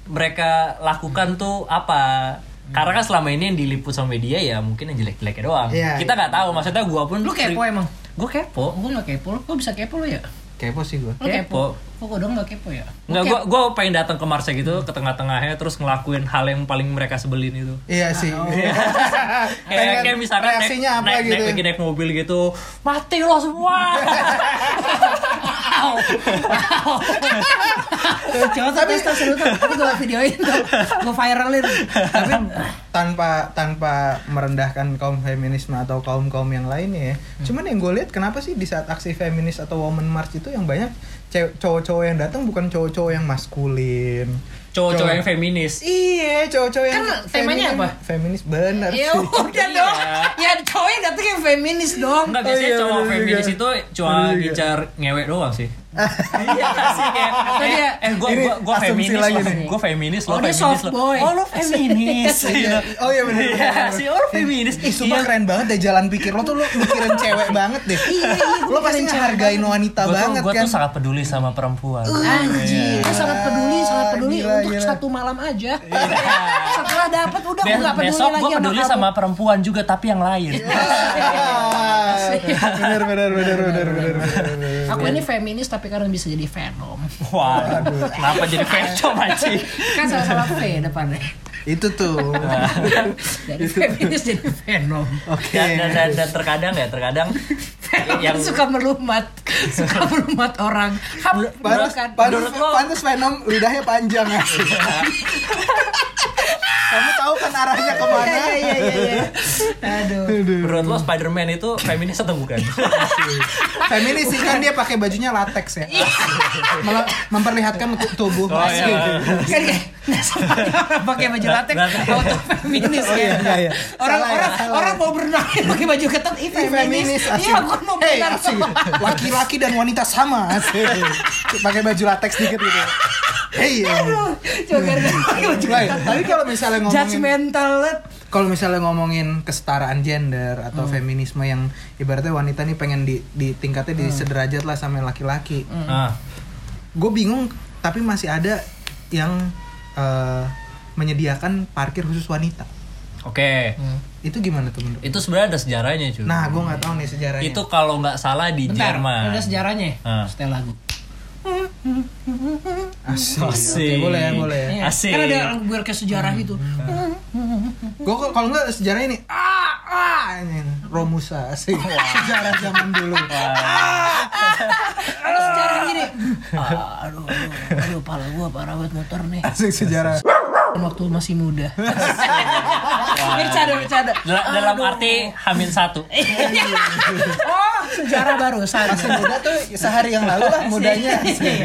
Speaker 2: mereka lakukan tuh apa. Karena kan selama ini yang diliput sama media ya mungkin yang jelek-jeleknya doang.
Speaker 3: Iya,
Speaker 2: Kita nggak tahu maksudnya gua pun
Speaker 4: lu kepo emang
Speaker 2: Gua kepo.
Speaker 4: gue gak kepo lu Gua bisa kepo lu ya
Speaker 3: kepo sih gue
Speaker 4: lu kepo, kok gue dong gak kepo ya
Speaker 2: Nggak, gua gua pengen datang ke Marsnya gitu, ke tengah-tengahnya terus ngelakuin hal yang paling mereka sebelin itu.
Speaker 3: iya sih
Speaker 4: Oh.
Speaker 2: Kayak,
Speaker 3: Pengen
Speaker 2: kayak misalkan naik,
Speaker 3: reaksinya apa
Speaker 2: naik,
Speaker 3: gitu
Speaker 2: naik, lagi naik mobil gitu, mati lo semua.
Speaker 4: Wow. Wow. Coba tapi terus seru tuh. Tapi gue videoin tuh. Gue viralin.
Speaker 3: tapi tanpa tanpa merendahkan kaum feminisme atau kaum kaum yang lainnya ya
Speaker 4: Hmm.
Speaker 3: cuman yang gue lihat kenapa sih di saat aksi feminis atau woman march itu yang banyak ce- cowok-cowok yang datang bukan cowok-cowok yang maskulin
Speaker 2: Cowok-cowok yang feminis.
Speaker 3: iya cowok-cowok yang
Speaker 4: Kan temanya
Speaker 3: feminin.
Speaker 4: apa?
Speaker 3: feminis bener
Speaker 4: Ya
Speaker 3: sih.
Speaker 4: udah dong. Ya cowoknya datengnya feminis dong.
Speaker 2: Enggak
Speaker 3: Oh
Speaker 2: biasanya
Speaker 3: iya,
Speaker 2: cowok
Speaker 3: bener
Speaker 2: feminis
Speaker 3: juga.
Speaker 2: itu cuma
Speaker 3: Bener juga.
Speaker 2: ngincar ngewek doang sih. Iya sih kayak eh, eh gua
Speaker 3: Ini
Speaker 2: gua gua
Speaker 3: asumsi
Speaker 2: feminis
Speaker 3: lagi
Speaker 2: loh,
Speaker 3: nih.
Speaker 2: gua feminis loh,
Speaker 4: Oh, dia
Speaker 2: feminis
Speaker 4: soft
Speaker 2: loh.
Speaker 4: boy.
Speaker 2: Oh, lo feminis. gitu.
Speaker 3: oh iya bener
Speaker 2: Iya, sih oh, lo feminis.
Speaker 3: Ih,
Speaker 2: Iya.
Speaker 3: sumpah keren banget deh jalan pikir lo tuh lo mikirin cewek banget deh.
Speaker 4: Iya, iya, gua
Speaker 3: Lo pasti
Speaker 4: mikirin cewek
Speaker 3: ngehargain wanita
Speaker 2: Gua tuh,
Speaker 3: banget
Speaker 2: gua
Speaker 3: kan.
Speaker 2: tuh sangat peduli sama perempuan.
Speaker 4: Anjir, dia sangat peduli, sangat peduli
Speaker 3: Gila,
Speaker 4: untuk
Speaker 3: gila.
Speaker 4: satu malam aja. Setelah dapat udah
Speaker 2: Be-
Speaker 4: nggak peduli
Speaker 2: besok
Speaker 4: lagi
Speaker 2: gue peduli
Speaker 4: kamu.
Speaker 2: sama perempuan juga tapi yang lain.
Speaker 3: Iya. Ah, bener bener bener bener bener. bener.
Speaker 4: Aku ini feminis tapi karena bisa jadi Venom.
Speaker 2: Wah, kenapa jadi pencom anjing?
Speaker 4: Kan salah-salah V depannya.
Speaker 3: Itu tuh.
Speaker 2: Iya.
Speaker 3: Kan.
Speaker 4: Dari feminis jadi Venom.
Speaker 3: Oke.
Speaker 2: Dan, dan, dan, dan terkadang ya, terkadang yang
Speaker 4: Yang suka melumat, suka melumat orang. Hap, kan.
Speaker 3: Pantes,
Speaker 4: bukan.
Speaker 3: pantes,
Speaker 2: Menurut lo-
Speaker 3: pantes Venom lidahnya panjang ya. Kamu tahu kan arahnya kemana?
Speaker 4: Iya, iya, iya, iya. Aduh.
Speaker 2: menurut lo Spider-Man itu feminis atau bukan?
Speaker 3: Feminis sih kan dia pakai bajunya latex ya. Mel- memperlihatkan bentuk tubuh.
Speaker 2: Oh, iya.
Speaker 4: kan kayak nggak sama orang pakai baju latex
Speaker 2: Latex.
Speaker 4: auto feminis
Speaker 3: Oh,
Speaker 4: ya
Speaker 3: iya, iya, iya.
Speaker 4: orang
Speaker 3: Salah ya,
Speaker 4: orang
Speaker 3: salah.
Speaker 4: orang mau berenang pakai baju ketat ih
Speaker 3: Ih,
Speaker 4: feminis iya aku mau
Speaker 3: Hey,
Speaker 4: berenang
Speaker 3: asik. Laki-laki dan wanita sama asik. Pakai baju latex dikit gitu. Hei.
Speaker 4: aduh coba gara-gara pakai baju
Speaker 3: Right. Hmm. Tapi kalau misalnya ngomongin
Speaker 4: judgmental
Speaker 3: kalau misalnya ngomongin kesetaraan gender atau
Speaker 4: Hmm.
Speaker 3: feminisme yang ibaratnya wanita nih pengen di, di tingkatnya di
Speaker 4: Hmm.
Speaker 3: sederajat lah sama laki-laki.
Speaker 2: Ah,
Speaker 3: Gue bingung tapi masih ada yang eh, menyediakan parkir khusus wanita.
Speaker 2: Oke,
Speaker 3: Itu gimana tuh menurut?
Speaker 2: itu sebenarnya ada sejarahnya cuy.
Speaker 3: Nah, gue nggak tahu nih sejarahnya.
Speaker 2: itu kalau nggak salah di
Speaker 4: bentar
Speaker 2: Jerman.
Speaker 4: ada sejarahnya
Speaker 2: Ah.
Speaker 4: setel lagu
Speaker 3: Asik.
Speaker 2: Asik.
Speaker 3: Oke, boleh, ya, boleh.
Speaker 2: Iya. Asik.
Speaker 4: kan ada lagu biar kayak sejarah gitu
Speaker 3: Hmm. Gue kalau nggak sejarah ini ah ah ini Romusa asik. Sejarah zaman dulu.
Speaker 4: ada sejarah gini Ah, aduh aduh aduh pala gua parah banget motor nih Kan
Speaker 3: Asik sejarah.
Speaker 4: waktu masih muda bercanda bercanda
Speaker 2: Dal- dalam arti Hamin satu.
Speaker 3: Eh,
Speaker 4: oh sejarah barusan
Speaker 3: Masih muda tuh sehari yang lalu lah mudanya. asik.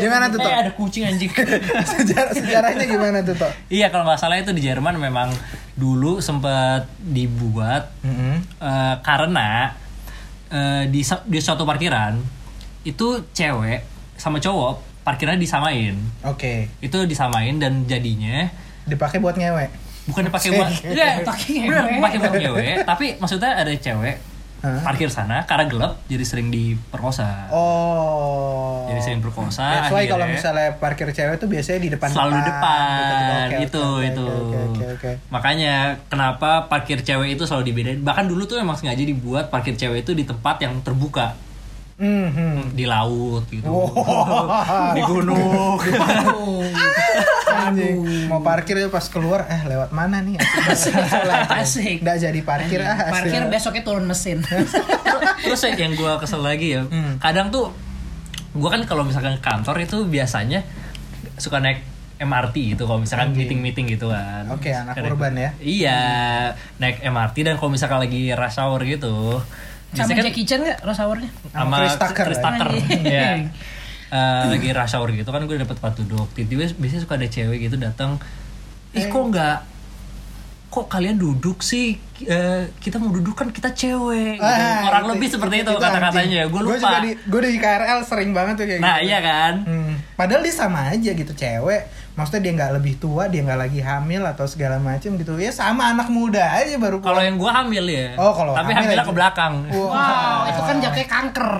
Speaker 3: Gimana tuh Tok?
Speaker 2: Eh ada kucing anjing.
Speaker 3: Sejarah sejarahnya gimana tuh Tok?
Speaker 2: iya kalau nggak salah itu di Jerman memang dulu sempat dibuat
Speaker 3: Mm-mm.
Speaker 2: eh, karena eh, di sa- di suatu parkiran itu cewek sama cowok parkirannya disamain.
Speaker 3: Oke.
Speaker 2: Itu disamain dan jadinya
Speaker 3: Dipakai buat ngewe.
Speaker 2: bukan dipakai buat Iya,
Speaker 4: pakai
Speaker 2: bener,
Speaker 4: ngewe.
Speaker 2: pakai buat ngewe, tapi maksudnya ada cewek
Speaker 3: Hah?
Speaker 2: parkir sana karena gelap jadi sering diperkosa.
Speaker 3: Oh.
Speaker 2: Jadi sering perkosa.
Speaker 3: That's why
Speaker 2: akhirnya
Speaker 3: kalau misalnya parkir cewek tuh biasanya di depan
Speaker 2: selalu depan
Speaker 3: Oke, oke,
Speaker 2: itu
Speaker 3: oke,
Speaker 2: itu.
Speaker 3: Oke oke oke.
Speaker 2: Makanya kenapa parkir cewek itu selalu dibedain. Bahkan dulu tuh emang sengaja dibuat parkir cewek itu di tempat yang terbuka,
Speaker 3: Mhm.
Speaker 2: di laut gitu.
Speaker 3: Oh. Wow.
Speaker 2: di gunung.
Speaker 3: Anjing. Mau parkir ya pas keluar eh lewat mana nih? Asik.
Speaker 4: Asik.
Speaker 3: Nggak jadi parkir ah. asik.
Speaker 4: parkir besoknya turun mesin
Speaker 2: Terus yang gua kesel lagi ya,
Speaker 3: Hmm.
Speaker 2: kadang tuh gua kan kalau misalkan ke kantor itu biasanya suka naik MRT gitu kalau misalkan meeting-meeting gitu kan.
Speaker 3: Oke, anak
Speaker 2: Karena-
Speaker 3: urban ya.
Speaker 2: Iya, naik MRT dan kalau misalkan lagi rush hour gitu.
Speaker 4: sama
Speaker 2: biasanya kan-
Speaker 4: Jackie Chan nggak rasa hournya
Speaker 3: Sama ya.
Speaker 2: sama
Speaker 3: Chris Tucker.
Speaker 2: Chris Tucker.
Speaker 4: Anjing.
Speaker 2: Iya. Eh, lagi rush hour gitu kan gue dapet tempat duduk tiba-tiba biasanya suka ada cewek gitu datang ih
Speaker 3: Eh.
Speaker 2: kok nggak kok kalian duduk sih Eh, kita mau duduk kan kita cewek gitu.
Speaker 3: Ah,
Speaker 2: orang
Speaker 3: itu-
Speaker 2: lebih seperti itu kata-katanya gue
Speaker 3: anjing. Gua juga
Speaker 2: lupa
Speaker 3: di gue di KRL sering banget tuh kayak
Speaker 2: nah
Speaker 3: gitu.
Speaker 2: iya kan
Speaker 3: Hmm, Padahal dia sama aja gitu cewek. Maksudnya dia nggak lebih tua, dia nggak lagi hamil atau segala macem gitu. Ya sama anak muda aja baru.
Speaker 2: kalau yang gue hamil ya
Speaker 3: Oh, kalau
Speaker 2: tapi
Speaker 3: hamil
Speaker 2: hamilnya
Speaker 3: aja. Oh.
Speaker 2: ke belakang
Speaker 3: Wow.
Speaker 4: wow itu kan jaknya kanker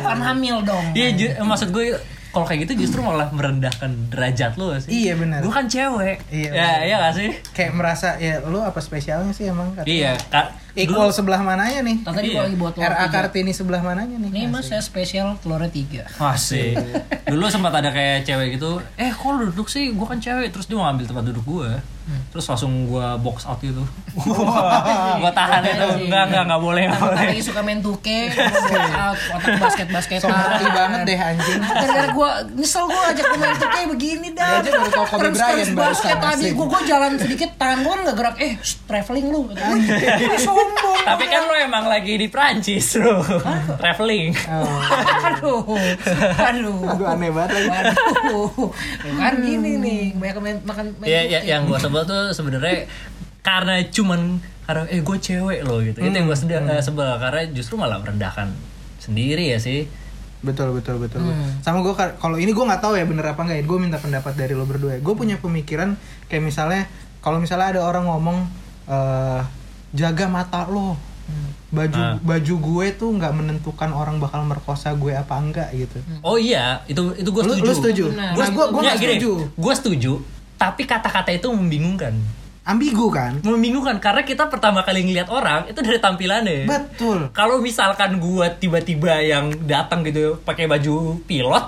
Speaker 4: bukan hamil dong
Speaker 2: iya ju- maksud gue kalau kayak gitu justru malah merendahkan derajat lo sih
Speaker 3: Iya, benar.
Speaker 2: gue kan cewek
Speaker 3: Iya,
Speaker 2: ya
Speaker 3: benar.
Speaker 2: iya gak sih
Speaker 3: Kayak merasa ya lu apa spesialnya sih emang? Kata.
Speaker 2: iya Kak.
Speaker 3: Equal sebelah mananya nih?
Speaker 4: Tadi
Speaker 2: Iya.
Speaker 4: gua lagi buat telur
Speaker 3: RA
Speaker 4: tiga.
Speaker 3: Kartini sebelah mananya nih?
Speaker 4: Nih mas saya spesial telurnya tiga
Speaker 2: Masih. Dulu sempat ada kayak cewek gitu, eh kok lu duduk sih? Gua kan cewek. Terus dia mau ngambil tempat duduk gua. Terus langsung gua box out gitu.
Speaker 4: Iya
Speaker 2: Gua tahan gitu. itu.
Speaker 4: Anjing.
Speaker 2: Enggak, enggak, enggak boleh, enggak
Speaker 4: Tambah
Speaker 2: boleh.
Speaker 4: lagi suka main 2K, workout, otak basket-basketan.
Speaker 3: Sok ngerti banget deh anjing.
Speaker 4: Gara-gara gue nyesel gue ajak gue main 2K begini dah.
Speaker 3: Iya, Dia aja baru tau Kobe
Speaker 4: Terus- terus
Speaker 3: Bryant
Speaker 4: basket
Speaker 3: barusan,
Speaker 4: tadi
Speaker 3: asli.
Speaker 4: gue gue jalan sedikit tangan gue nggak gerak. Eh, shh, traveling lu. Gue sombong.
Speaker 2: Tapi kan lo emang lagi di Prancis lo. Traveling.
Speaker 3: Oh.
Speaker 4: aduh, aduh.
Speaker 3: Aduh aneh banget lagi.
Speaker 4: Waduh, kan gini nih, banyak main makan main
Speaker 2: Ya, ya,
Speaker 4: cookie.
Speaker 2: yang gue sebel tuh sebenarnya karena cuman karena eh gue cewek loh gitu. Itu yang gue sedang sebel karena justru malah merendahkan sendiri ya sih.
Speaker 3: Betul betul betul.
Speaker 4: Hmm.
Speaker 3: Sama gue kalau ini gue nggak tahu ya bener apa nggak ya. Gue minta pendapat dari lo berdua. Gue punya pemikiran kayak misalnya kalau misalnya ada orang ngomong eh, jaga mata lo.
Speaker 4: Hmm.
Speaker 3: Baju
Speaker 2: Ah.
Speaker 3: baju gue tuh nggak menentukan orang bakal merkosa gue apa enggak gitu.
Speaker 4: Hmm.
Speaker 2: Oh iya, itu itu gue
Speaker 3: Lu-
Speaker 2: setuju.
Speaker 3: lu setuju? Benar.
Speaker 2: Gue
Speaker 3: Nah, gua- gua
Speaker 2: nggak,
Speaker 3: nggak
Speaker 2: gini,
Speaker 3: setuju.
Speaker 2: Gue setuju, tapi kata-kata itu membingungkan.
Speaker 3: Ambigu kan?
Speaker 2: Membingungkan karena kita pertama kali ngelihat orang itu dari tampilannya.
Speaker 3: Betul.
Speaker 2: Kalau misalkan gue tiba-tiba yang datang gitu pakai baju pilot,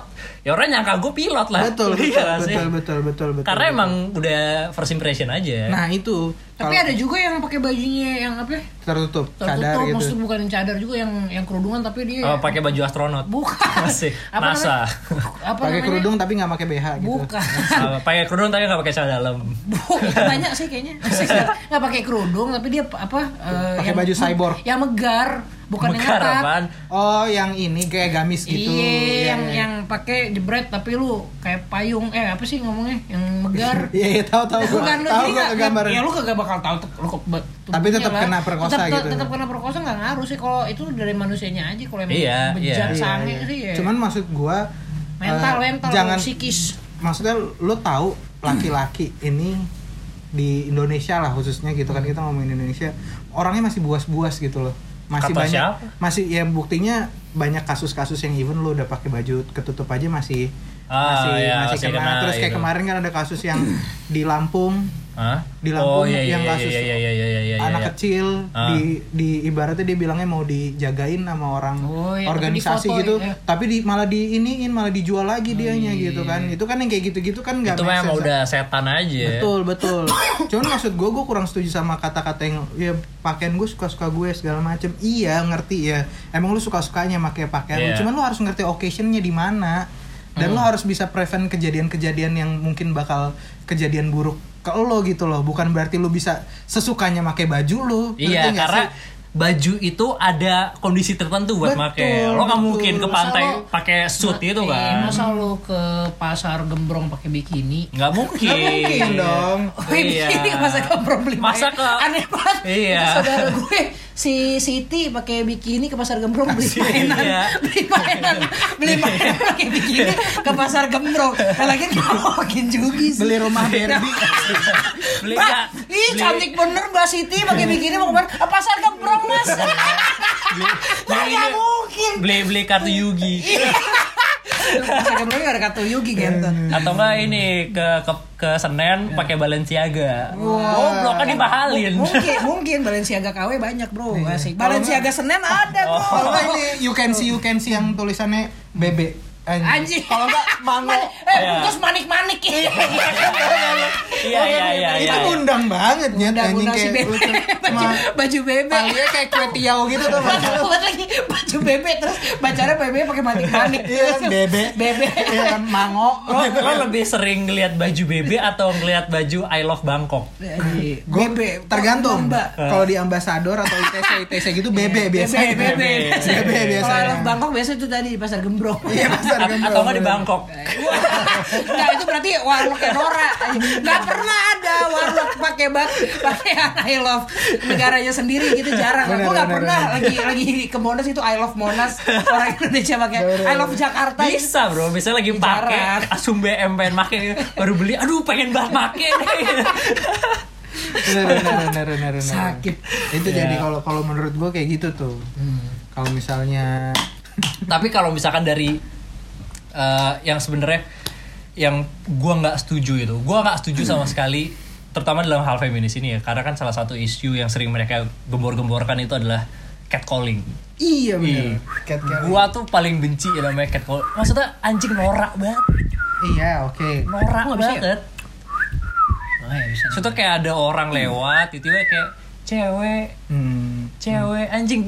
Speaker 2: ya orang nyangka gue pilot lah.
Speaker 3: Betul, betul,
Speaker 2: Iya nggak sih?
Speaker 3: betul, betul, betul, betul,
Speaker 2: Karena
Speaker 3: betul.
Speaker 2: emang udah first impression aja.
Speaker 3: Nah itu
Speaker 4: Tapi
Speaker 3: kalau
Speaker 4: ada juga yang pakai bajunya yang apa? ya,
Speaker 3: tertutup, cadar
Speaker 4: Tertutup,
Speaker 3: gitu.
Speaker 4: maksudnya bukan yang cadar juga yang yang kerudungan tapi dia
Speaker 2: Oh, pakai baju astronot.
Speaker 4: iya. bukan
Speaker 2: Masih.
Speaker 4: Apa
Speaker 2: NASA.
Speaker 4: namanya? Apa
Speaker 3: Pakai
Speaker 4: namanya?
Speaker 3: kerudung tapi nggak pakai BH gitu.
Speaker 4: Bukan.
Speaker 2: Ah, pakai kerudung tapi nggak pakai celana dalam.
Speaker 4: Bu, itu banyak sih kayaknya. Saya nggak- Nggak pakai kerudung tapi dia apa? eh,
Speaker 3: Pakai
Speaker 4: yang-
Speaker 3: baju cyborg.
Speaker 4: Yang megar, bukan
Speaker 2: Mekar
Speaker 4: yang ketat.
Speaker 2: apaan?
Speaker 3: Oh, yang ini kayak gamis gitu.
Speaker 4: Iya,
Speaker 3: Iya,
Speaker 4: yang
Speaker 3: iya.
Speaker 4: yang pakai jebret tapi lu kayak payung. Eh, apa sih ngomongnya? Yang megar.
Speaker 3: Iya, iya, tahu tahu gua.
Speaker 4: Bukan lu
Speaker 3: Tahu
Speaker 4: jadi
Speaker 3: gua
Speaker 4: nggak-
Speaker 3: kegambaran.
Speaker 4: Ya lu kagak bakal tahu tuh lu kok- ba- tubuhnya
Speaker 3: Tapi tetap kena perkosa
Speaker 4: tetap,
Speaker 3: gitu.
Speaker 4: Tetap kena perkosa nggak ngaruh sih kalau itu dari manusianya aja kalau emang
Speaker 2: Iya,
Speaker 4: bejat
Speaker 2: iya.
Speaker 4: sange sih ya.
Speaker 3: Cuman maksud gua
Speaker 4: mental
Speaker 3: eh,
Speaker 4: mental
Speaker 3: jangan
Speaker 4: psikis.
Speaker 3: maksudnya lu tahu laki-laki ini di Indonesia lah khususnya gitu kan kita ngomongin Indonesia orangnya masih buas-buas gitu loh masih
Speaker 2: Kata
Speaker 3: banyak
Speaker 2: siapa?
Speaker 3: masih ya buktinya banyak kasus-kasus yang even lu udah pakai baju ketutup aja masih
Speaker 2: Ah,
Speaker 3: masih
Speaker 2: iya,
Speaker 3: masih
Speaker 2: masih
Speaker 3: kena.
Speaker 2: kena,
Speaker 3: terus kayak
Speaker 2: gitu.
Speaker 3: kemarin kan ada kasus yang di Lampung
Speaker 2: Hah?
Speaker 3: di
Speaker 2: oh,
Speaker 3: Lampung
Speaker 2: iya, iya,
Speaker 3: yang
Speaker 2: iya,
Speaker 3: kasus
Speaker 2: iya, iya, iya, iya, iya, iya,
Speaker 3: anak
Speaker 2: iya.
Speaker 3: kecil
Speaker 2: Ah.
Speaker 3: di di ibaratnya dia bilangnya mau dijagain sama orang
Speaker 4: Oh, iya, tapi di
Speaker 3: organisasi
Speaker 4: foto,
Speaker 3: gitu
Speaker 4: iya. Oh,
Speaker 3: tapi di malah diiniin malah dijual lagi dianya gitu kan
Speaker 4: iya.
Speaker 3: itu kan yang kayak gitu-gitu kan nggak
Speaker 2: Itu
Speaker 3: make
Speaker 2: mah emang
Speaker 3: sense.
Speaker 2: udah setan aja. Iya,
Speaker 3: betul betul cuman maksud gue gue kurang setuju sama kata-kata yang ya pakaian gue suka-suka gue segala macem iya ngerti ya emang lu suka-sukanya pakai pakaian lu.
Speaker 2: Iya. Hmm.
Speaker 3: cuman lu harus ngerti occasionnya di mana dan lu harus bisa prevent kejadian-kejadian yang mungkin bakal kejadian buruk ke lo gitu loh bukan berarti lu bisa sesukanya pakai baju lu Ngerti
Speaker 2: Iya,
Speaker 3: nggak
Speaker 2: karena
Speaker 3: sih?
Speaker 2: baju itu ada kondisi tertentu buat
Speaker 3: Betul,
Speaker 2: make.
Speaker 3: Iya,
Speaker 2: Lo nggak
Speaker 3: betul.
Speaker 2: mungkin ke
Speaker 4: Masa
Speaker 2: pantai
Speaker 4: lo-
Speaker 2: pakai suit gitu
Speaker 4: Eh,
Speaker 2: kan?
Speaker 4: Masa lu ke pasar gembrong pakai bikini?
Speaker 2: Nggak mungkin. iya.
Speaker 3: Nggak mungkin dong. Iya,
Speaker 4: Oh, bikini masa ke problem
Speaker 2: Masa
Speaker 4: aja.
Speaker 2: ke
Speaker 4: aneh banget.
Speaker 2: Iya.
Speaker 4: Itu saudara gue si Siti pakai bikini ke pasar Gembrong beli
Speaker 2: Asik,
Speaker 4: mainan,
Speaker 2: iya.
Speaker 4: beli mainan, beli mainan pakai bikini ke pasar Gembrong. Nah, lagi ngomongin Jugi sih. Nah,
Speaker 3: beli rumah Barbie
Speaker 2: Beli
Speaker 4: Mbak,
Speaker 2: nggak?
Speaker 4: ih cantik bener Mbak Siti pakai bikini mau kemana? Ke pasar Gembrong mas. Lah,
Speaker 2: beli-
Speaker 4: nggak mungkin.
Speaker 2: Beli beli kartu Yugi
Speaker 4: Pasar Gembrong nggak ada kartu Yugi gitu.
Speaker 2: atau enggak ini ke ke, ke Senen pakai Balenciaga. Goblok kan dipahalin.
Speaker 4: Mungkin, mungkin Balenciaga KW banyak bro,
Speaker 2: Iya.
Speaker 4: asik.
Speaker 3: Kalau
Speaker 4: Balenciaga Senen ada
Speaker 2: Oh.
Speaker 4: bro.
Speaker 3: kalau nggak ini you can see you can see yang tulisannya bebek
Speaker 4: Anjing.
Speaker 3: kalau nggak mango
Speaker 4: Mani- eh, terus manik-manik.
Speaker 2: Iya iya iya iya.
Speaker 3: itu undang banget ya
Speaker 4: Undang-undang si bebek. Baju, baju bebek.
Speaker 3: Palingnya kayak kue tiaw gitu tuh Mas.
Speaker 4: Buat lagi baju bebek terus bacanya bebek pakai manik-manik.
Speaker 3: Iya kan bebek
Speaker 4: Bebek.
Speaker 3: Iya kan mango
Speaker 2: Lo, lo lebih sering ngeliat baju BB atau ngeliat baju I Love Bangkok?
Speaker 3: Gua
Speaker 4: Bebek.
Speaker 3: tergantung
Speaker 4: Mbak.
Speaker 3: kalau di ambasador atau ITC ITC gitu bebek biasanya
Speaker 4: Bebek, bebek.
Speaker 3: Bebek
Speaker 4: Kalau
Speaker 3: biasanya.
Speaker 4: anak Bangkok biasa itu tadi di pasar gembrong.
Speaker 3: Iya, pasar
Speaker 2: A-
Speaker 3: gembrong.
Speaker 2: atau enggak di Bangkok?
Speaker 4: Nah itu berarti warlock yang Nora Gak pernah ada warlock pakai bak pakai I love negaranya sendiri gitu jarang
Speaker 3: Bener,
Speaker 4: Aku gak
Speaker 3: bener,
Speaker 4: pernah
Speaker 3: bener.
Speaker 4: lagi lagi ke Monas itu I love Monas Orang Indonesia pakai
Speaker 3: Bener,
Speaker 4: I love Jakarta gitu.
Speaker 2: Bisa bro, bisa lagi
Speaker 4: Jarang.
Speaker 2: pakai asum BM pengen make baru beli, aduh pengen banget make nih.
Speaker 3: Bener, bener, bener, bener, bener.
Speaker 4: Sakit.
Speaker 3: itu
Speaker 2: Iya.
Speaker 3: jadi kalau kalau menurut gue kayak gitu tuh kalau misalnya
Speaker 2: Tapi kalau misalkan dari eh, yang sebenarnya yang gua nggak setuju itu, gua nggak setuju sama
Speaker 3: Hmm.
Speaker 2: sekali, terutama dalam hal feminis ini ya, karena kan salah satu isu yang sering mereka gembor-gemborkan itu adalah catcalling.
Speaker 3: iya
Speaker 2: Iya.
Speaker 3: bener Cat Kelly.
Speaker 2: Gua tuh paling benci ya namanya catcalling. Maksudnya anjing norak banget,
Speaker 3: iya oke
Speaker 2: norak
Speaker 4: Gua nggak bisa ya?
Speaker 2: banget.
Speaker 4: Oh, ya bisa.
Speaker 3: iya,
Speaker 2: Maksudnya kayak ada orang lewat, tiba-tiba kayak cewek
Speaker 3: Hmm.
Speaker 2: cewek anjing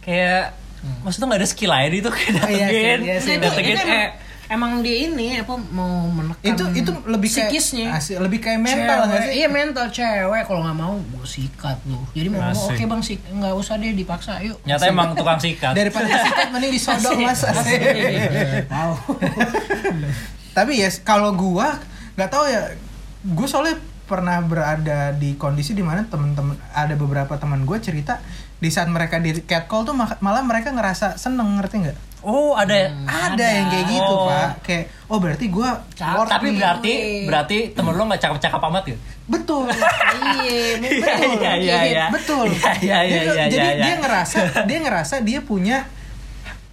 Speaker 2: kayak maksudnya nggak ada skill lain itu kayak
Speaker 3: Oh, iya sih,
Speaker 2: datengin
Speaker 3: iya sih,
Speaker 4: Nah, itu,
Speaker 2: datengin
Speaker 4: itu emang,
Speaker 2: eh
Speaker 4: emang dia ini apa mau menekan
Speaker 3: Itu itu lebih kayak
Speaker 4: psikisnya.
Speaker 3: asli- lebih kayak mental nggak
Speaker 4: Cewek.
Speaker 3: sih?
Speaker 4: Iya mental cewek kalau nggak mau gue sikat lu. Jadi mau ngomong
Speaker 2: Asik.
Speaker 4: oke bang sik nggak usah deh dipaksa yuk.
Speaker 2: nyata emang tukang sikat
Speaker 3: Daripada disikat mending disodok mas. Asik.
Speaker 4: Wow.
Speaker 3: Tapi ya kalau gua nggak tahu ya gua soalnya pernah berada di kondisi dimana temen-temen ada beberapa teman gue cerita di saat mereka di catcall tuh ma- malah mereka ngerasa seneng ngerti nggak?
Speaker 2: oh ada ya?
Speaker 3: Ada, yang kayak gitu
Speaker 2: Oh.
Speaker 3: pak, kayak oh berarti gue
Speaker 4: Cakep.
Speaker 3: worth
Speaker 2: Ah, tapi
Speaker 3: nih.
Speaker 2: berarti
Speaker 4: Wih.
Speaker 2: berarti temen lo nggak cakep-cakep amat ya
Speaker 3: betul,
Speaker 4: Iya.
Speaker 2: Iya,
Speaker 4: betul.
Speaker 2: iya, iya, iya.
Speaker 3: betul.
Speaker 2: Iya, iya, iya,
Speaker 3: Dia-
Speaker 2: iya,
Speaker 3: jadi
Speaker 2: iya.
Speaker 3: dia ngerasa dia ngerasa dia punya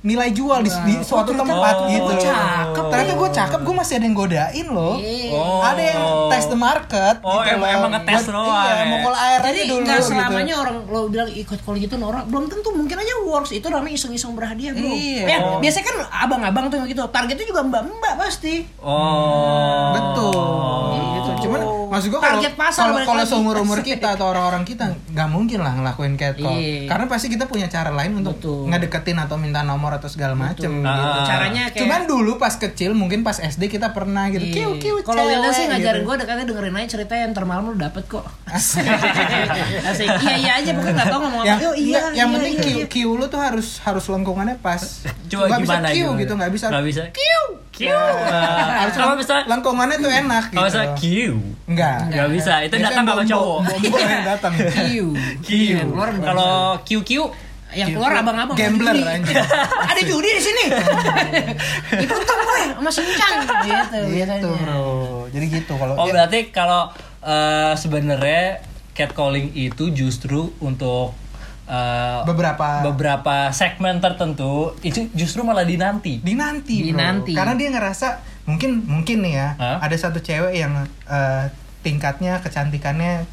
Speaker 3: nilai jual di,
Speaker 4: Wow.
Speaker 3: di suatu
Speaker 4: Oh, ternyata
Speaker 3: tempat
Speaker 2: gua
Speaker 3: gitu.
Speaker 2: cakep.
Speaker 3: Ternyata gue cakep, gue masih ada yang godain loh.
Speaker 4: Iya.
Speaker 2: Oh.
Speaker 3: Ada yang test the market. gitu
Speaker 2: Oh, emang- emang ngetes
Speaker 3: Buat-
Speaker 2: doang
Speaker 3: Iya,
Speaker 2: ya.
Speaker 3: mau call air aja
Speaker 4: Jadi
Speaker 3: dulu.
Speaker 4: nggak
Speaker 3: gitu.
Speaker 4: selamanya orang lo bilang ikut kalau gitu orang belum tentu mungkin aja works itu namanya iseng-iseng berhadiah bro.
Speaker 3: Iya.
Speaker 4: Eh, biasanya kan abang-abang tuh yang gitu targetnya juga mbak-mbak pasti.
Speaker 2: oh
Speaker 3: Hmm, Betul. Gitu. Cuman maksud gua kalau
Speaker 4: Target pasar
Speaker 3: kalau
Speaker 4: balik
Speaker 3: kalau
Speaker 4: lagi.
Speaker 3: seumur umur kita atau orang-orang kita nggak mungkin lah ngelakuin catcall.
Speaker 4: Iya.
Speaker 3: Karena pasti kita punya cara lain untuk
Speaker 4: Betul.
Speaker 3: ngedeketin atau minta nomor atau segala macem gitu.
Speaker 2: Ah.
Speaker 4: Caranya kayak
Speaker 3: Cuman dulu pas kecil mungkin pas SD kita pernah gitu.
Speaker 4: Iya.
Speaker 3: Kiu gitu. kiu.
Speaker 4: Kalau Wilda sih ngajarin
Speaker 3: gue
Speaker 4: gue katanya dengerin aja cerita yang termalam lu dapet kok. Asik. Iya iya aja bukan nggak tahu ngomong apa.
Speaker 3: yang,
Speaker 4: Yo, iya,
Speaker 3: nggak, yang
Speaker 4: iya,
Speaker 3: penting
Speaker 4: iya,
Speaker 3: kiu
Speaker 4: iya.
Speaker 3: kiu lu tuh harus harus lengkungannya pas.
Speaker 2: coba
Speaker 3: Nggak
Speaker 2: gimana
Speaker 3: bisa kiu
Speaker 2: gimana?
Speaker 3: gitu nggak bisa.
Speaker 2: nggak bisa kiu kiu
Speaker 3: Harus
Speaker 2: kalau bisa
Speaker 3: lengkungannya tuh enak gitu.
Speaker 2: kalau bisa kiu
Speaker 3: Enggak.
Speaker 4: Iya,
Speaker 2: nggak bisa itu
Speaker 3: Iya. Biasanya Iya,
Speaker 2: datang sama
Speaker 3: bom-
Speaker 2: cowok
Speaker 3: bom- bom- bom yang datang.
Speaker 4: Kiu.
Speaker 2: kiu
Speaker 4: Yang keluar mbak.
Speaker 2: kalau oh, kiu kiu
Speaker 4: yang keluar abang-abang.
Speaker 3: Gambler
Speaker 4: Ada judi.
Speaker 3: anjing.
Speaker 4: Ada judi di sini. Ikutan gue sama Sincang gitu
Speaker 3: Gitu
Speaker 4: biasanya.
Speaker 3: bro. Jadi gitu kalau
Speaker 2: Oh
Speaker 3: ya,
Speaker 2: berarti kalau eh, sebenarnya catcalling itu justru untuk eh,
Speaker 3: beberapa
Speaker 2: beberapa segmen tertentu itu justru malah dinanti.
Speaker 3: di nanti bro.
Speaker 4: Dinanti.
Speaker 3: karena dia ngerasa mungkin mungkin nih ya
Speaker 2: Hah?
Speaker 3: ada satu cewek yang eh, tingkatnya kecantikannya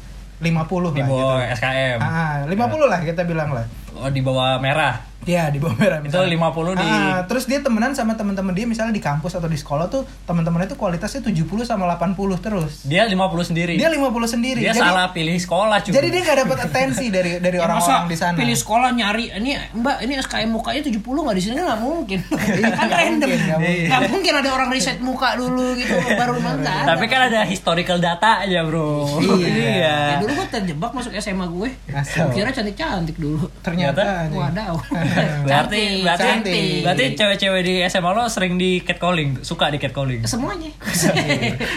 Speaker 2: Di
Speaker 3: 50 lah gitu
Speaker 2: bawah SKM.
Speaker 3: ah, 50 lah kita bilang lah
Speaker 2: Oh di bawah merah.
Speaker 3: ya di bawah merah
Speaker 2: Itu 50 di-
Speaker 3: Ah, terus dia temenan sama teman-teman dia misalnya di kampus atau di sekolah tuh teman-temannya tuh kualitasnya 70 sama 80 terus
Speaker 2: Dia 50 sendiri.
Speaker 3: dia 50 sendiri
Speaker 2: Dia
Speaker 3: jadi,
Speaker 2: salah pilih sekolah cuy.
Speaker 3: jadi dia nggak dapat atensi dari dari
Speaker 4: Ya, masa
Speaker 3: orang-orang di sana
Speaker 4: Pilih sekolah nyari ini Mbak ini SKM mukanya 70 nggak di sini kan nggak mungkin. kan
Speaker 3: nggak
Speaker 4: random.
Speaker 3: mungkin, nggak mungkin.
Speaker 4: Nggak mungkin ada orang riset muka dulu gitu baru nggak.
Speaker 2: Tapi kan ada historical data aja bro.
Speaker 3: Iya.
Speaker 2: eh,
Speaker 4: Ya, dulu gue terjebak masuk SMA gue.
Speaker 3: Asal.
Speaker 4: Kira cantik-cantik dulu.
Speaker 3: ternyata anjing.
Speaker 4: Wadaw.
Speaker 2: Berarti berarti
Speaker 3: Cantik.
Speaker 2: berarti cewek-cewek di SMA lo sering di catcalling, suka di catcalling.
Speaker 4: semuanya.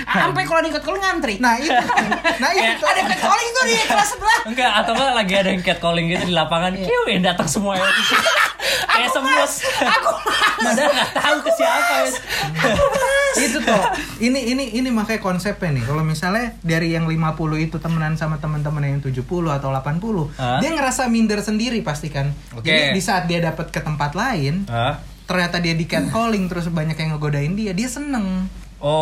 Speaker 4: Sampai kalau diikut kalau ngantri.
Speaker 3: nah itu nah itu
Speaker 4: ada catcalling tuh di kelas sebelah.
Speaker 2: Enggak, atau enggak lagi ada yang catcalling gitu di lapangan.
Speaker 3: Iya.
Speaker 2: Kiu yang datang semua ya. Kayak sembus.
Speaker 4: Aku
Speaker 2: Padahal enggak tahu ke siapa. ya.
Speaker 3: itu tuh ini ini ini makanya konsepnya nih kalau misalnya dari yang 50 itu temenan sama teman-teman yang 70 atau 80
Speaker 2: Hah?
Speaker 3: dia ngerasa minder sendiri pasti kan
Speaker 2: Oke.
Speaker 3: jadi di saat dia dapat ke tempat lain
Speaker 2: Hah?
Speaker 3: ternyata dia di catcalling terus banyak yang ngegodain dia dia seneng
Speaker 4: Iya,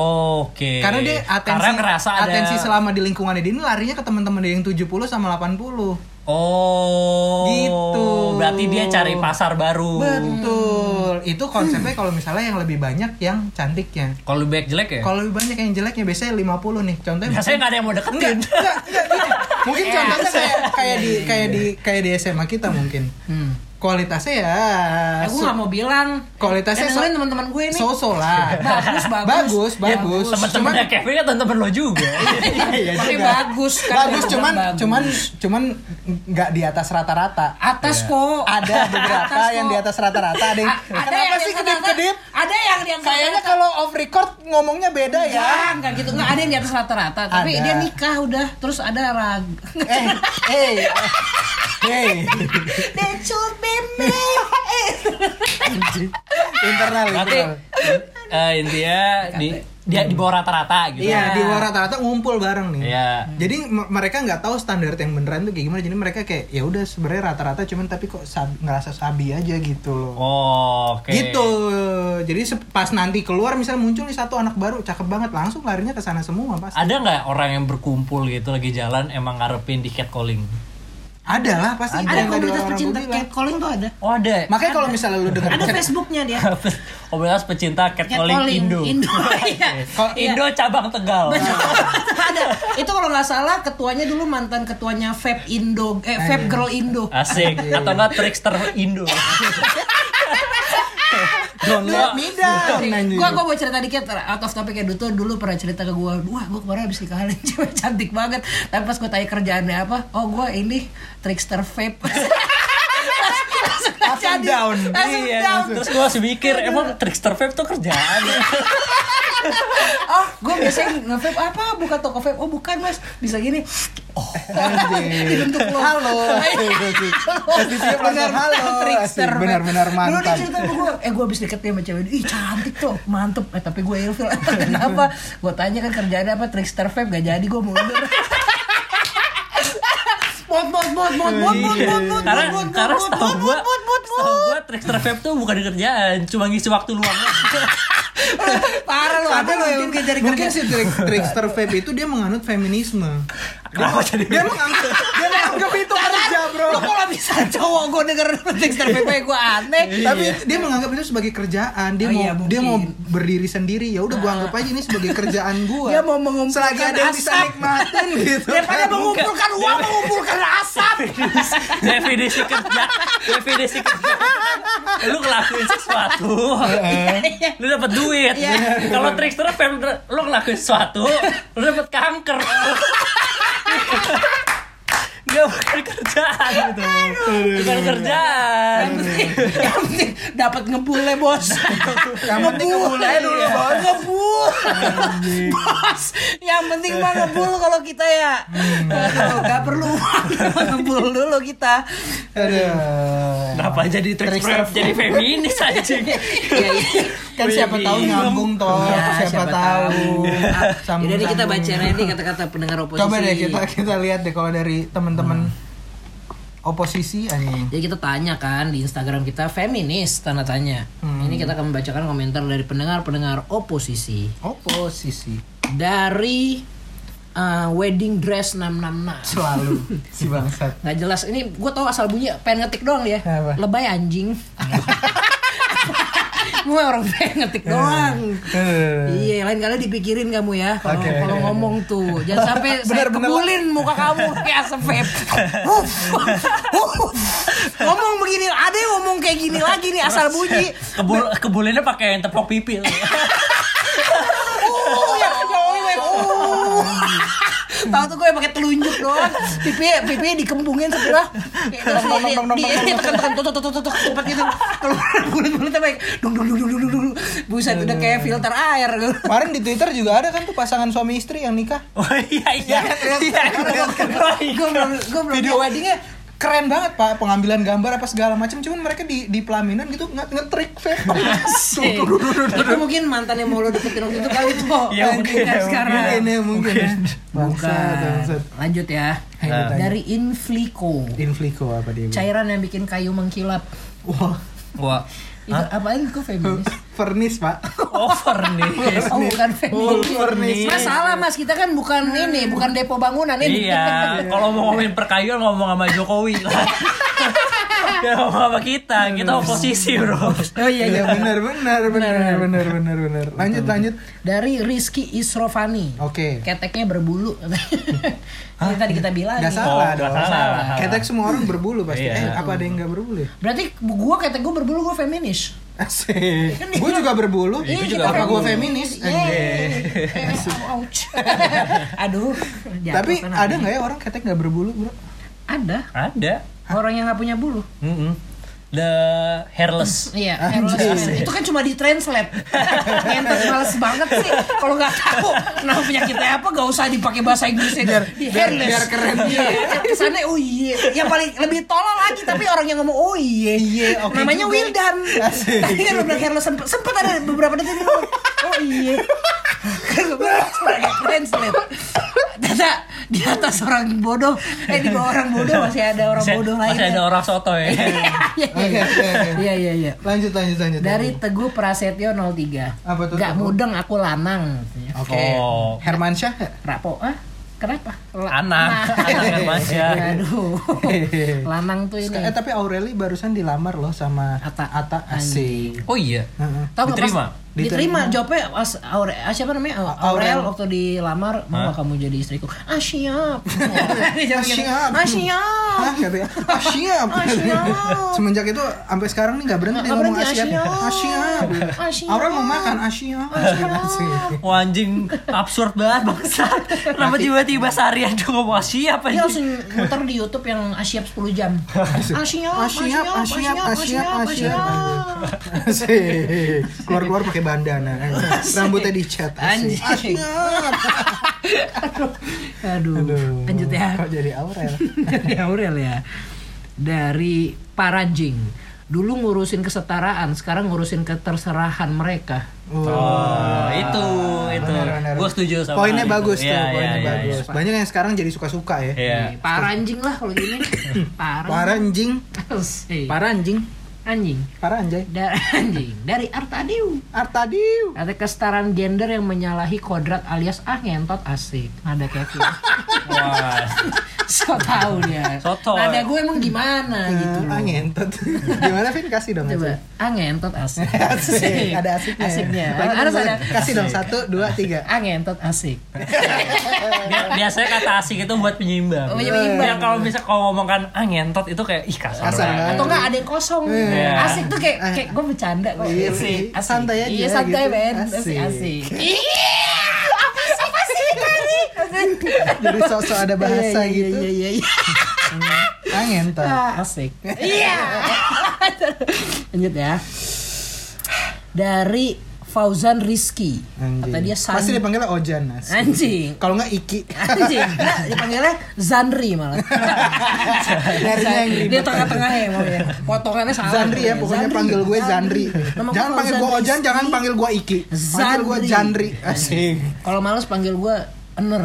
Speaker 2: Oke.
Speaker 3: karena dia atensi
Speaker 2: Karena ngerasa ada
Speaker 3: atensi selama di lingkungannya dia ini larinya ke teman-teman dia yang 70 sama 80
Speaker 2: Oh.
Speaker 3: Gitu.
Speaker 2: Berarti dia cari pasar baru.
Speaker 3: betul itu konsepnya kalau misalnya yang lebih banyak yang cantiknya
Speaker 2: Kalau lebih baik
Speaker 4: Iya.
Speaker 2: jelek ya?
Speaker 3: kalau lebih banyak yang jeleknya biasanya 50 nih contohnya
Speaker 2: Biasanya enggak ada yang mau deketin. Ya,
Speaker 3: Enggak, enggak, gini. mungkin
Speaker 4: Iya.
Speaker 3: contohnya kayak kayak di kayak di kayak di SMA kita mungkin kualitasnya ya
Speaker 4: aku Hmm. Eh, nggak mau bilang.
Speaker 3: Kualitasnya
Speaker 4: Dengerin
Speaker 3: so-
Speaker 4: teman-teman gue nih.
Speaker 3: so-so lah
Speaker 4: Bagus, Iya, bagus.
Speaker 3: bagus bagus cuman Oh, iya.
Speaker 2: Temen-temennya Kevin kan temen lo juga.
Speaker 4: Tapi bagus kan.
Speaker 3: bagus
Speaker 4: Dia
Speaker 3: cuman
Speaker 4: bilang bagus.
Speaker 3: cuman cuman nggak di atas rata-rata
Speaker 4: atas kok.
Speaker 3: Iya. ada beberapa
Speaker 4: Atas
Speaker 3: yang
Speaker 4: kok.
Speaker 3: di atas rata-rata ada yang
Speaker 4: A- ada
Speaker 3: kenapa
Speaker 4: yang
Speaker 3: sih
Speaker 4: di atas
Speaker 3: kedip-kedip
Speaker 4: rata-rata, Ada yang di atas
Speaker 3: kayaknya
Speaker 4: rata-rata.
Speaker 3: kalau off record ngomongnya beda ya
Speaker 4: Enggak, enggak gitu. Enggak ada yang di atas rata-rata, tapi
Speaker 3: Ada.
Speaker 4: dia nikah udah. Terus ada rag.
Speaker 3: eh eh eh
Speaker 4: They should be me.
Speaker 3: internal
Speaker 2: Berarti
Speaker 3: internal
Speaker 2: eh, intinya di dia di bawah rata-rata gitu.
Speaker 3: Iya, di luar rata-rata ngumpul bareng nih.
Speaker 2: Iya.
Speaker 3: Jadi m- mereka nggak tahu standar yang beneran tuh kayak gimana. Jadi mereka kayak ya udah sebenarnya rata-rata cuman tapi kok sab- ngerasa sabi aja gitu loh.
Speaker 2: Oh, Oke.
Speaker 3: Gitu. Jadi se- pas nanti keluar misalnya muncul nih satu anak baru cakep banget langsung larinya ke sana semua pasti.
Speaker 2: Ada nggak orang yang berkumpul gitu lagi jalan emang ngarepin di catcalling?
Speaker 3: Ada lah pasti.
Speaker 4: Ada
Speaker 3: yang tadi
Speaker 4: komunitas
Speaker 3: orang-orang
Speaker 4: pecinta
Speaker 3: gua bilang.
Speaker 4: catcalling tuh ada.
Speaker 2: Oh ada.
Speaker 3: Makanya kalau misalnya lu denger
Speaker 4: Ada Facebooknya dia.
Speaker 2: Komunitas pecinta catcalling Indo.
Speaker 4: Indo. iya.
Speaker 3: Kalau-
Speaker 4: Iya.
Speaker 2: Indo cabang Tegal.
Speaker 4: Betul. ada. Itu kalau nggak salah ketuanya dulu mantan ketuanya Vape Indo, eh Vape Girl Indo.
Speaker 2: Asik.
Speaker 3: Iya,
Speaker 2: Atau enggak trickster Indo.
Speaker 3: Don't let me down. anjing.
Speaker 4: Gua gua mau cerita dikit out of topic ya Duto dulu pernah cerita ke gua, wah gua kemarin habis dikalahin cewek cantik banget. Tapi pas gua tanya kerjaannya apa, oh gua ini trickster vape. Langsung nggak
Speaker 3: Langsung
Speaker 4: jadi.
Speaker 3: down.
Speaker 4: Langsung
Speaker 2: Iya,
Speaker 3: Ya,
Speaker 4: down.
Speaker 2: Terus gue masih mikir, emang trickster vape tuh kerjaan. ya?"
Speaker 4: Oh, gua biasanya nge-vape Ah, apa? Buka toko vape. Oh, bukan, Mas. Bisa gini. Oh, dibentuk lo.
Speaker 3: Halo. Pasti
Speaker 4: benar
Speaker 3: dia pelanggan halo.
Speaker 4: trickster
Speaker 3: Asik, benar-benar
Speaker 4: man. dulu dia
Speaker 3: mantan.
Speaker 4: cerita sama gue eh gue abis deket sama cewek ih cantik tuh mantep eh tapi gue ilfil kenapa gue tanya kan kerjaannya apa trickster vape gak jadi gue mundur Mut, mut, mut, mut, mut, mut,
Speaker 3: Iya.
Speaker 4: mut, mut,
Speaker 2: Iya. karena
Speaker 4: mut, mut,
Speaker 2: karena
Speaker 4: mut,
Speaker 2: setahu
Speaker 4: mut,
Speaker 2: gue,
Speaker 4: mut, mut, mut,
Speaker 2: setahu gue trickster vape tuh bukan kerjaan, cuma ngisi waktu luang.
Speaker 4: parah lo ada lo
Speaker 3: Tapi
Speaker 4: yang
Speaker 3: mungkin,
Speaker 4: mungkin jadi
Speaker 3: mungkin
Speaker 4: kerjaan
Speaker 3: si trick- trickster vape itu dia menganut feminisme.
Speaker 2: Kenapa jadi?
Speaker 3: Dia menganggap dia menganggap itu kerja, Bro.
Speaker 4: lo kalau bisa cowok gue denger trickster vape gue aneh
Speaker 3: Tapi dia menganggap itu sebagai kerjaan. Dia
Speaker 4: Iya. Oh, iya,
Speaker 3: mau dia mau
Speaker 4: mungkin. Nah.
Speaker 3: berdiri sendiri. Ya udah gua anggap aja ini sebagai kerjaan gua.
Speaker 4: Dia mau mengumpulkan
Speaker 3: selagi ada yang bisa
Speaker 4: asap.
Speaker 3: nikmatin gitu.
Speaker 4: daripada
Speaker 3: kan.
Speaker 4: mengumpulkan uang mengumpulkan asap
Speaker 2: definisi kerja definisi kerja Eh, lu ngelakuin sesuatu lu dapat duit
Speaker 4: Iya.
Speaker 2: kalau trickster fam lu ngelakuin sesuatu lu dapat kanker Gak bukan kerjaan gitu bukan kerjaan
Speaker 4: yang penting dapat ngebule bos
Speaker 3: Yang penting ngebul aja dulu, Bos.
Speaker 4: ngebul bos yang penting mah ngebul kalau kita ya
Speaker 3: Hmm.
Speaker 4: Aduh, nggak perlu uang ngebul dulu kita
Speaker 3: Aduh.
Speaker 2: kenapa jadi trickster
Speaker 3: Trickster.
Speaker 2: jadi feminis anjing
Speaker 4: Iya,
Speaker 3: Kan siapa tahu
Speaker 2: Iya.
Speaker 3: nyambung toh.
Speaker 4: Ya,
Speaker 3: Oh, siapa, tahu.
Speaker 4: Ah, jadi kita
Speaker 3: Sambung-sambung.
Speaker 4: baca nanti kata-kata pendengar oposisi
Speaker 3: Coba deh kita kita lihat deh kalau dari teman-teman oposisi anjing.
Speaker 4: Jadi kita tanya kan di Instagram kita feminis tanda tanya.
Speaker 3: Hmm.
Speaker 4: Ini kita akan membacakan komentar dari pendengar-pendengar oposisi.
Speaker 3: Oposisi
Speaker 4: Dari eh, wedding dress 666.
Speaker 3: selalu si bangsat.
Speaker 4: nggak jelas ini gue tau asal bunyi pengen ngetik doang dia
Speaker 3: Apa?
Speaker 4: lebay anjing gue orang pengen
Speaker 3: Iya.
Speaker 4: ngetik doang
Speaker 3: Eh.
Speaker 4: Iya, lain kali dipikirin kamu ya kalau
Speaker 3: Oke.
Speaker 4: kalau ngomong tuh. Jangan sampai saya
Speaker 3: Benar-benar.
Speaker 4: kebulin muka kamu kayak asap vape. Wuff, wuff. ngomong begini, ada yang ngomong kayak gini lagi nih asal bunyi.
Speaker 2: kebul kebulinnya pakai yang tepok pipi lu.
Speaker 4: Uh, ya Jokowi, weh. Uh. Tahu tuh gue pakai telunjuk doang. Pipi pipi dikembungin sebelah. Terus
Speaker 3: Dong, dong, dong,
Speaker 4: di-
Speaker 3: dong, dong,
Speaker 4: di- tekan-tekan tuh tuh tuh tuh tuh cepat gitu. Keluar bulat-bulat baik. Dung dung dung dung dung dung. Buset udah kayak filter air.
Speaker 3: Kemarin di Twitter juga ada kan tuh pasangan suami istri yang nikah.
Speaker 2: oh iya iya iya Oh, iya.
Speaker 4: Gue belum gue belum
Speaker 3: Video weddingnya keren banget pak pengambilan gambar apa segala macam cuman mereka di di pelaminan gitu nge ngetrik vape
Speaker 4: Asik. Itu mungkin mantan yang mau lo deketin waktu itu kali tuh.
Speaker 2: Iya, mungkin,
Speaker 4: Kan
Speaker 2: ya,
Speaker 4: sekarang.
Speaker 3: mungkin ya mungkin ya. bangsat
Speaker 4: Bukan.
Speaker 3: bangsat
Speaker 4: Lanjut ya.
Speaker 2: Nah.
Speaker 3: Ayo,
Speaker 4: Dari Inflico.
Speaker 3: Inflico apa dia
Speaker 4: Cairan yang bikin kayu mengkilap.
Speaker 3: wah
Speaker 2: Wah,
Speaker 4: Itu apaan kok feminis?
Speaker 3: furnace pak
Speaker 2: over nih.
Speaker 4: Oh bukan feminis.
Speaker 3: furnace
Speaker 4: Mas salah mas, kita kan bukan
Speaker 3: Hmm.
Speaker 4: ini, bukan depo bangunan ini.
Speaker 2: iya, kalau mau ngomongin perkayuan ngomong sama Jokowi lah. ya ngomong sama kita, kita oposisi bro.
Speaker 4: Oh iya iya.
Speaker 3: Iya benar benar benar benar benar benar. Lanjut lanjut.
Speaker 4: Dari Rizky Isrofani.
Speaker 3: Oke.
Speaker 4: Keteknya berbulu. Ini tadi kita bilang.
Speaker 3: Gak salah
Speaker 2: Oh, nggak
Speaker 3: dong.
Speaker 2: salah.
Speaker 3: Ketek semua orang berbulu pasti.
Speaker 2: Iya.
Speaker 3: Eh, apa ada yang gak berbulu ya?
Speaker 4: Berarti gua ketek gua berbulu gua feminis.
Speaker 3: Asik. Gue juga berbulu.
Speaker 4: Iya,
Speaker 2: juga
Speaker 4: kita Iya.
Speaker 3: apa gue
Speaker 2: berbulu.
Speaker 3: feminis? Anjay.
Speaker 4: Yeay. Ouch. Aduh. jatuh
Speaker 3: Tapi
Speaker 4: kan
Speaker 3: ada
Speaker 4: aku.
Speaker 3: nggak ya orang ketek nggak berbulu bro?
Speaker 4: Ada.
Speaker 2: Ada.
Speaker 4: Orang yang nggak punya bulu.
Speaker 2: Mm-mm. The hairless.
Speaker 4: Iya, Eros Smith. itu kan cuma di translate. Ngentot males banget sih. Kalau nggak tahu kenapa penyakitnya apa, gak usah dipakai bahasa Inggrisnya. Biar, di
Speaker 3: biar-
Speaker 4: hairless.
Speaker 3: biar keren.
Speaker 4: Iya, kesannya oh iya. Yang paling lebih tolol lagi tapi orang yang ngomong oh iya.
Speaker 3: Iya, oke
Speaker 4: Namanya
Speaker 3: juga.
Speaker 4: Wildan.
Speaker 3: Asik.
Speaker 4: Tadi kan lo bilang hairless sempet, sempet ada beberapa detik dia ngomong, oh iya. Kan gue bilang, cuma nggak translate. Ternyata di atas orang bodoh, eh di bawah orang bodoh masih ada orang
Speaker 2: Masih-
Speaker 4: bodoh lain.
Speaker 2: Masih ada orang soto ya.
Speaker 4: Iya, iya,
Speaker 3: Oke, oke, oke.
Speaker 4: iya. Iya, iya, iya.
Speaker 3: Lanjut lanjut lanjut.
Speaker 4: Dari Teguh Prasetyo 03.
Speaker 3: Apa tuh,
Speaker 4: Gak
Speaker 3: Teguh?
Speaker 4: mudeng aku lanang. katanya.
Speaker 3: Oke.
Speaker 2: Oh.
Speaker 3: Hermansyah ya?
Speaker 4: Rapo ah? Kenapa? La-
Speaker 2: Anak, anak yang masih.
Speaker 4: Aduh. Lanang tuh ini.
Speaker 3: Eh tapi Aureli barusan dilamar loh sama
Speaker 4: Ata.
Speaker 3: Ata Asik.
Speaker 2: Oh iya.
Speaker 3: Heeh.
Speaker 4: Tahu nggak pas-
Speaker 2: Diterima?
Speaker 4: Diterima. Jawabnya as, Aure- ah, siapa namanya? Aurel,
Speaker 3: Aurel.
Speaker 4: waktu dilamar, mau nggak kamu jadi istriku? Ah siap. Dia jawab gitu.
Speaker 3: siap.
Speaker 4: Ah siap.
Speaker 3: Hah, kata dia, "Ah, siap.
Speaker 4: Ah, siap.
Speaker 3: Semenjak itu sampai sekarang nih nggak berhenti
Speaker 4: Nggak
Speaker 3: ngomong
Speaker 4: berhenti,
Speaker 3: Asia.
Speaker 4: "Ah, siap." "Ah, siap."
Speaker 3: Asia. Aurel mau makan Asia.
Speaker 2: Wah anjing absurd banget bangsa. Kenapa tiba-tiba seharian tuh ngomong siapa anjing?
Speaker 4: Dia langsung muter di YouTube yang Asyap 10 jam.
Speaker 3: Ah,
Speaker 4: "Ah, Asyap,
Speaker 3: Asyap, asyap,
Speaker 4: ah,
Speaker 3: asyap, asyap.
Speaker 4: asyap.
Speaker 3: Keluar-keluar pakai bandana. Rambutnya dicat. Asyik.
Speaker 4: Anjing.
Speaker 3: Asyap.
Speaker 4: Aduh.
Speaker 3: Aduh.
Speaker 4: Lanjut ya.
Speaker 3: Kok jadi Aurel?
Speaker 4: Dari Aurel ya. Dari Paranjing. Dulu ngurusin kesetaraan, sekarang ngurusin keterserahan mereka.
Speaker 2: Oh, itu itu.
Speaker 3: Benar, benar.
Speaker 2: Gue setuju sama.
Speaker 3: Poinnya
Speaker 2: itu.
Speaker 3: bagus tuh,
Speaker 2: Iya,
Speaker 3: poinnya
Speaker 2: iya, iya,
Speaker 3: bagus. Banyak yang sekarang jadi suka-suka ya.
Speaker 2: Iya.
Speaker 4: Paranjing lah kalau gini. Paran.
Speaker 3: Para anjing,
Speaker 4: Eh,
Speaker 3: para anjing,
Speaker 4: Anjing.
Speaker 3: para anjay.
Speaker 4: Dari anjing. Dari Artadiu.
Speaker 3: Artadiu.
Speaker 4: Ada kesetaraan gender yang menyalahi kodrat alias ah ngentot asik. Nada Kevin.
Speaker 2: Wah.
Speaker 4: so tau dia.
Speaker 2: Sotoy.
Speaker 4: Nada gue emang gimana gitu.
Speaker 3: Ah, ngentot. Gimana Vin kasih dong
Speaker 4: Coba,
Speaker 3: asik.
Speaker 4: ah ngentot asik.
Speaker 3: Asik.
Speaker 1: Iya,
Speaker 3: Ada asiknya.
Speaker 4: Asiknya.
Speaker 3: Lagi
Speaker 4: Harus
Speaker 3: dong,
Speaker 4: ada.
Speaker 3: Kasih dong satu, dua, tiga.
Speaker 4: Ah ngentot asik.
Speaker 2: Bi- Biasanya kata asik itu buat penyimbang.
Speaker 4: Oh, penyimbang.
Speaker 2: Yang kalau bisa kalau ngomong kan ah ngentot itu kayak ih kasar.
Speaker 3: Kasar kan?
Speaker 2: banget."
Speaker 3: banget.
Speaker 4: Atau enggak ada yang kosong.
Speaker 2: Iya.
Speaker 4: Asik tuh kayak kayak gue bercanda kok.
Speaker 3: Eh. Iya sih.
Speaker 4: Oh, Asik. Asik.
Speaker 3: Santai aja
Speaker 4: Iya santai
Speaker 3: gitu.
Speaker 4: men.
Speaker 3: Asik.
Speaker 4: Asik. Asik.
Speaker 3: Jadi sosok ada
Speaker 4: Iya, iya,
Speaker 3: bahasa gitu.
Speaker 4: Iya iya iya.
Speaker 3: Ah ngentot.
Speaker 4: Asik. Iya. Lanjut ya. Dari Fauzan Rizky.
Speaker 3: Anjing.
Speaker 4: Kata dia San.
Speaker 3: Pasti dipanggilnya Ojan, Nas.
Speaker 4: Anjing.
Speaker 3: Kalau nggak Iki.
Speaker 4: Anjing. Nah, dipanggilnya Zanri malah.
Speaker 3: Nyarinya yang
Speaker 4: Dia
Speaker 3: ribet.
Speaker 4: tengah-tengah ya mau ya. Potongannya salah.
Speaker 3: Zandri ya, pokoknya
Speaker 4: Zandri.
Speaker 3: panggil gue Zandri.
Speaker 4: Nama gue
Speaker 3: Jangan panggil gue
Speaker 4: Fauzan
Speaker 3: Ojan,
Speaker 4: Rizky.
Speaker 3: jangan panggil gue Iki. Panggil gue
Speaker 4: Zandri.
Speaker 3: Jandri. Asik.
Speaker 4: Kalau males panggil gue Ener.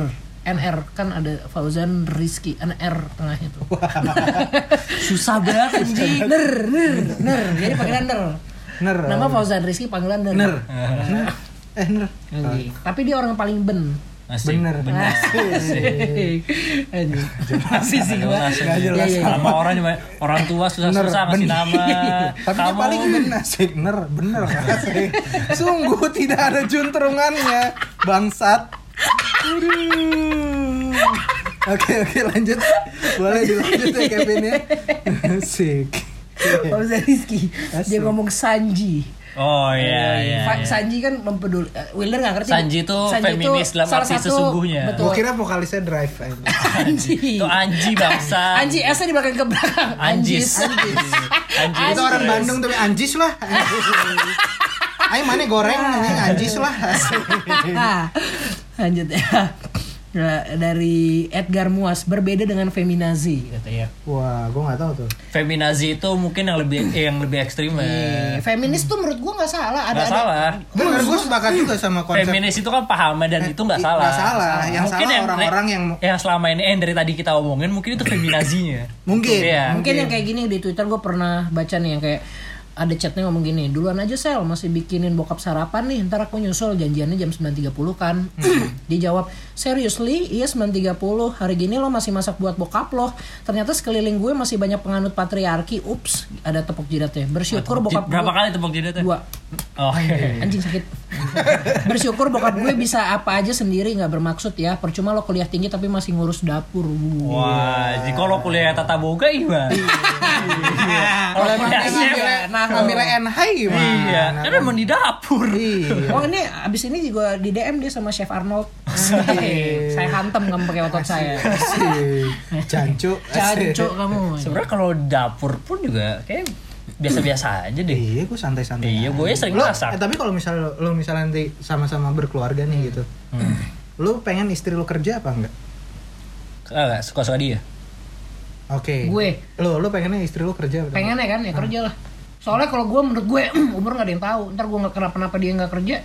Speaker 4: NR kan ada Fauzan Rizky NR tengahnya tuh.
Speaker 2: Susah banget anjing.
Speaker 4: Ner, ner, ner. Jadi panggilan ner.
Speaker 3: Ner.
Speaker 4: Nama Fauzan Rizky panggilan ner.
Speaker 3: Ner. Eh, ner.
Speaker 4: Anjing. Tapi dia orang paling ben.
Speaker 2: Asik,
Speaker 3: Bener.
Speaker 2: bener.
Speaker 4: Anjing. Masih sih gua.
Speaker 2: Jelas,
Speaker 3: Nggak jelas.
Speaker 4: Iya, iya.
Speaker 2: Sama orang cuma orang tua susah-susah
Speaker 3: Bener,
Speaker 2: kasih
Speaker 3: bener.
Speaker 2: nama.
Speaker 3: Tapi dia
Speaker 2: Kamu
Speaker 3: paling bener, asik. Ner, bener. Asik. Sungguh tidak ada juntrungannya, bangsat. Aduh. Oke, oke, lanjut. Boleh dilanjut ya Kevin ya. Asik.
Speaker 4: Fauzan Rizky. Dia
Speaker 3: Asik.
Speaker 4: ngomong Sanji.
Speaker 2: Oh iya iya.
Speaker 4: Fa-
Speaker 2: iya.
Speaker 4: Sanji kan mempeduli. eh, Wheeler nggak ngerti.
Speaker 2: Sanji tuh feminis dalam arti sesungguhnya.
Speaker 4: Betul.
Speaker 3: Gue kira vokalisnya drive aja.
Speaker 4: Anji.
Speaker 2: Itu anji bangsa.
Speaker 4: Anji S di belakang ke belakang.
Speaker 2: Anjis.
Speaker 4: Anjis.
Speaker 2: Anjis.
Speaker 3: Itu orang Bandung tapi anjis lah. Ayo mana goreng ini anjis lah.
Speaker 4: Lanjut ya. Nah, Dari Edgar Muas berbeda dengan feminazi
Speaker 2: Gitu, iya.
Speaker 4: katanya.
Speaker 3: Wah, gue nggak tahu tuh.
Speaker 2: Feminazi itu mungkin yang lebih yang lebih ekstrim ya.
Speaker 3: Iya.
Speaker 4: Feminis tuh menurut gua nggak salah. Ada
Speaker 2: Gak
Speaker 4: ada.
Speaker 2: salah.
Speaker 3: Bener, gue sepakat juga sama konsep. Eh,
Speaker 2: Feminis itu kan pahamnya dan itu nggak
Speaker 3: Nggak
Speaker 2: salah.
Speaker 3: salah. Yang
Speaker 2: Mungkin
Speaker 3: salah orang-orang yang
Speaker 2: yang selama ini eh, yang dari tadi kita omongin mungkin itu feminazinya.
Speaker 3: Mungkin.
Speaker 2: Iya.
Speaker 4: Mungkin yang kayak gini di Twitter gue pernah baca nih yang kayak ada chatnya ngomong gini, duluan aja sel masih bikinin bokap sarapan nih, ntar aku nyusul janjiannya jam 9.30 kan.
Speaker 2: Hmm.
Speaker 4: Dijawab, seriously? Iya 9.30, hari gini lo masih masak buat bokap lo. Ternyata sekeliling gue masih banyak penganut patriarki, ups, ada tepuk jidatnya.
Speaker 2: J-
Speaker 4: Bersyukur bokap
Speaker 2: Berapa
Speaker 4: gue-
Speaker 2: kali tepuk jidatnya?
Speaker 4: Dua.
Speaker 2: Oh,
Speaker 3: Iya.
Speaker 2: Oke.
Speaker 4: Anjing sakit. Bersyukur bokap gue bisa apa aja sendiri nggak bermaksud ya. Percuma lo kuliah tinggi tapi masih ngurus dapur. Wuh.
Speaker 2: Wah, jika kalau kuliah tata boga gimana?
Speaker 3: Iya,
Speaker 2: Kalau kuliah
Speaker 4: gitu ya.
Speaker 3: ngambilnya
Speaker 2: chef,
Speaker 3: nah, ngambilnya
Speaker 2: Oh.
Speaker 3: NH gimana?
Speaker 2: Iya, kan emang di dapur.
Speaker 3: Iya.
Speaker 4: Oh ini abis ini juga di DM dia sama Chef Arnold.
Speaker 3: Asik.
Speaker 4: saya hantem kamu pakai otot saya.
Speaker 3: Asik. Jancu. asik.
Speaker 4: Cancuk kamu.
Speaker 2: Sebenarnya kalau dapur pun juga kayak biasa-biasa aja deh.
Speaker 3: Iya, gue santai-santai.
Speaker 2: Iya, gue sering
Speaker 3: Lo-
Speaker 2: masak.
Speaker 3: eh, tapi kalau misalnya lo, lo misalnya nanti sama-sama berkeluarga nih gitu,
Speaker 2: Hmm.
Speaker 3: lo pengen istri lo kerja apa enggak?
Speaker 2: Enggak, suka-suka dia.
Speaker 3: Oke.
Speaker 4: Gue.
Speaker 3: Lo, lo pengennya istri lo kerja apa?
Speaker 4: Pengen ya kan ya kerja lah. Soalnya kalau gue menurut gue umur nggak ada yang tahu. Ntar gue nggak kenapa-napa dia nggak kerja.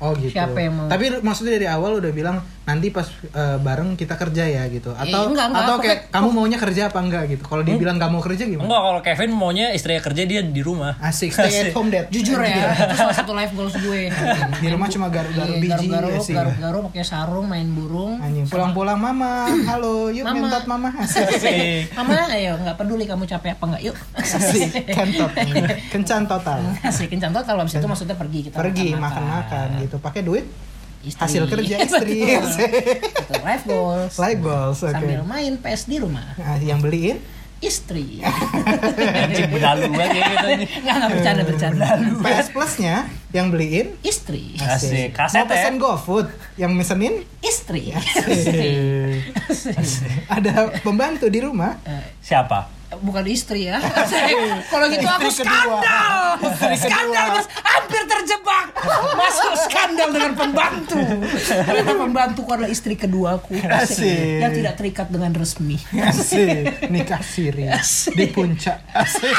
Speaker 3: Oh gitu.
Speaker 4: Siapa yang mau?
Speaker 3: Tapi maksudnya dari awal udah bilang nanti pas eh, bareng kita kerja ya gitu
Speaker 4: Eh,
Speaker 3: atau
Speaker 4: enggak, enggak,
Speaker 3: atau
Speaker 4: pakai-
Speaker 3: kayak kamu maunya kerja apa enggak gitu kalau dibilang nggak mau kerja gimana
Speaker 2: Hmm? Enggak, kalau Kevin maunya istrinya kerja dia di rumah.
Speaker 3: asik stay at home dad
Speaker 4: Jujur ya, itu salah satu life goals gue.
Speaker 3: Iya. di rumah cuma garu-garu
Speaker 4: Iya,
Speaker 3: biji
Speaker 4: Garuk-garuk,
Speaker 3: asik.
Speaker 4: garuk-garuk pakai sarung, main burung.
Speaker 3: anjing pulang-pulang mama halo yuk
Speaker 4: Mama.
Speaker 3: mintot mama
Speaker 2: Asik.
Speaker 4: Mama, ayo nggak peduli kamu capek apa nggak, yuk.
Speaker 3: asik kan? kentot kencan total
Speaker 4: Asik, kencan total kalau habis itu maksudnya pergi Hmm. kita
Speaker 3: Kan? pergi makan-makan gitu pakai duit hasil kerja istri
Speaker 4: Itu life goals.
Speaker 3: like goals oke
Speaker 4: Sambil main PS di rumah,
Speaker 3: Ah, yang beliin
Speaker 4: istri.
Speaker 2: Anjing bedalu banget ya gitu. anjing.
Speaker 4: Nggak nggak bercanda Kan bercanda.
Speaker 3: PS Plusnya yang beliin
Speaker 4: Istri,
Speaker 2: Asik. Kaset
Speaker 3: mau pesen
Speaker 2: ya.
Speaker 3: GoFood yang mesenin
Speaker 4: istri.
Speaker 3: ada pembantu di rumah
Speaker 2: Siapa?
Speaker 4: Bukan istri ya. Kalau gitu aku
Speaker 3: Istri kedua.
Speaker 4: skandal. Skandal mas, hampir terjebak. Masuk skandal dengan pembantu. Ternyata pembantuku adalah istri keduaku.
Speaker 3: Asik.
Speaker 4: Yang tidak terikat dengan resmi.
Speaker 3: Asik. nikah siri
Speaker 4: Asik.
Speaker 3: di puncak Asik.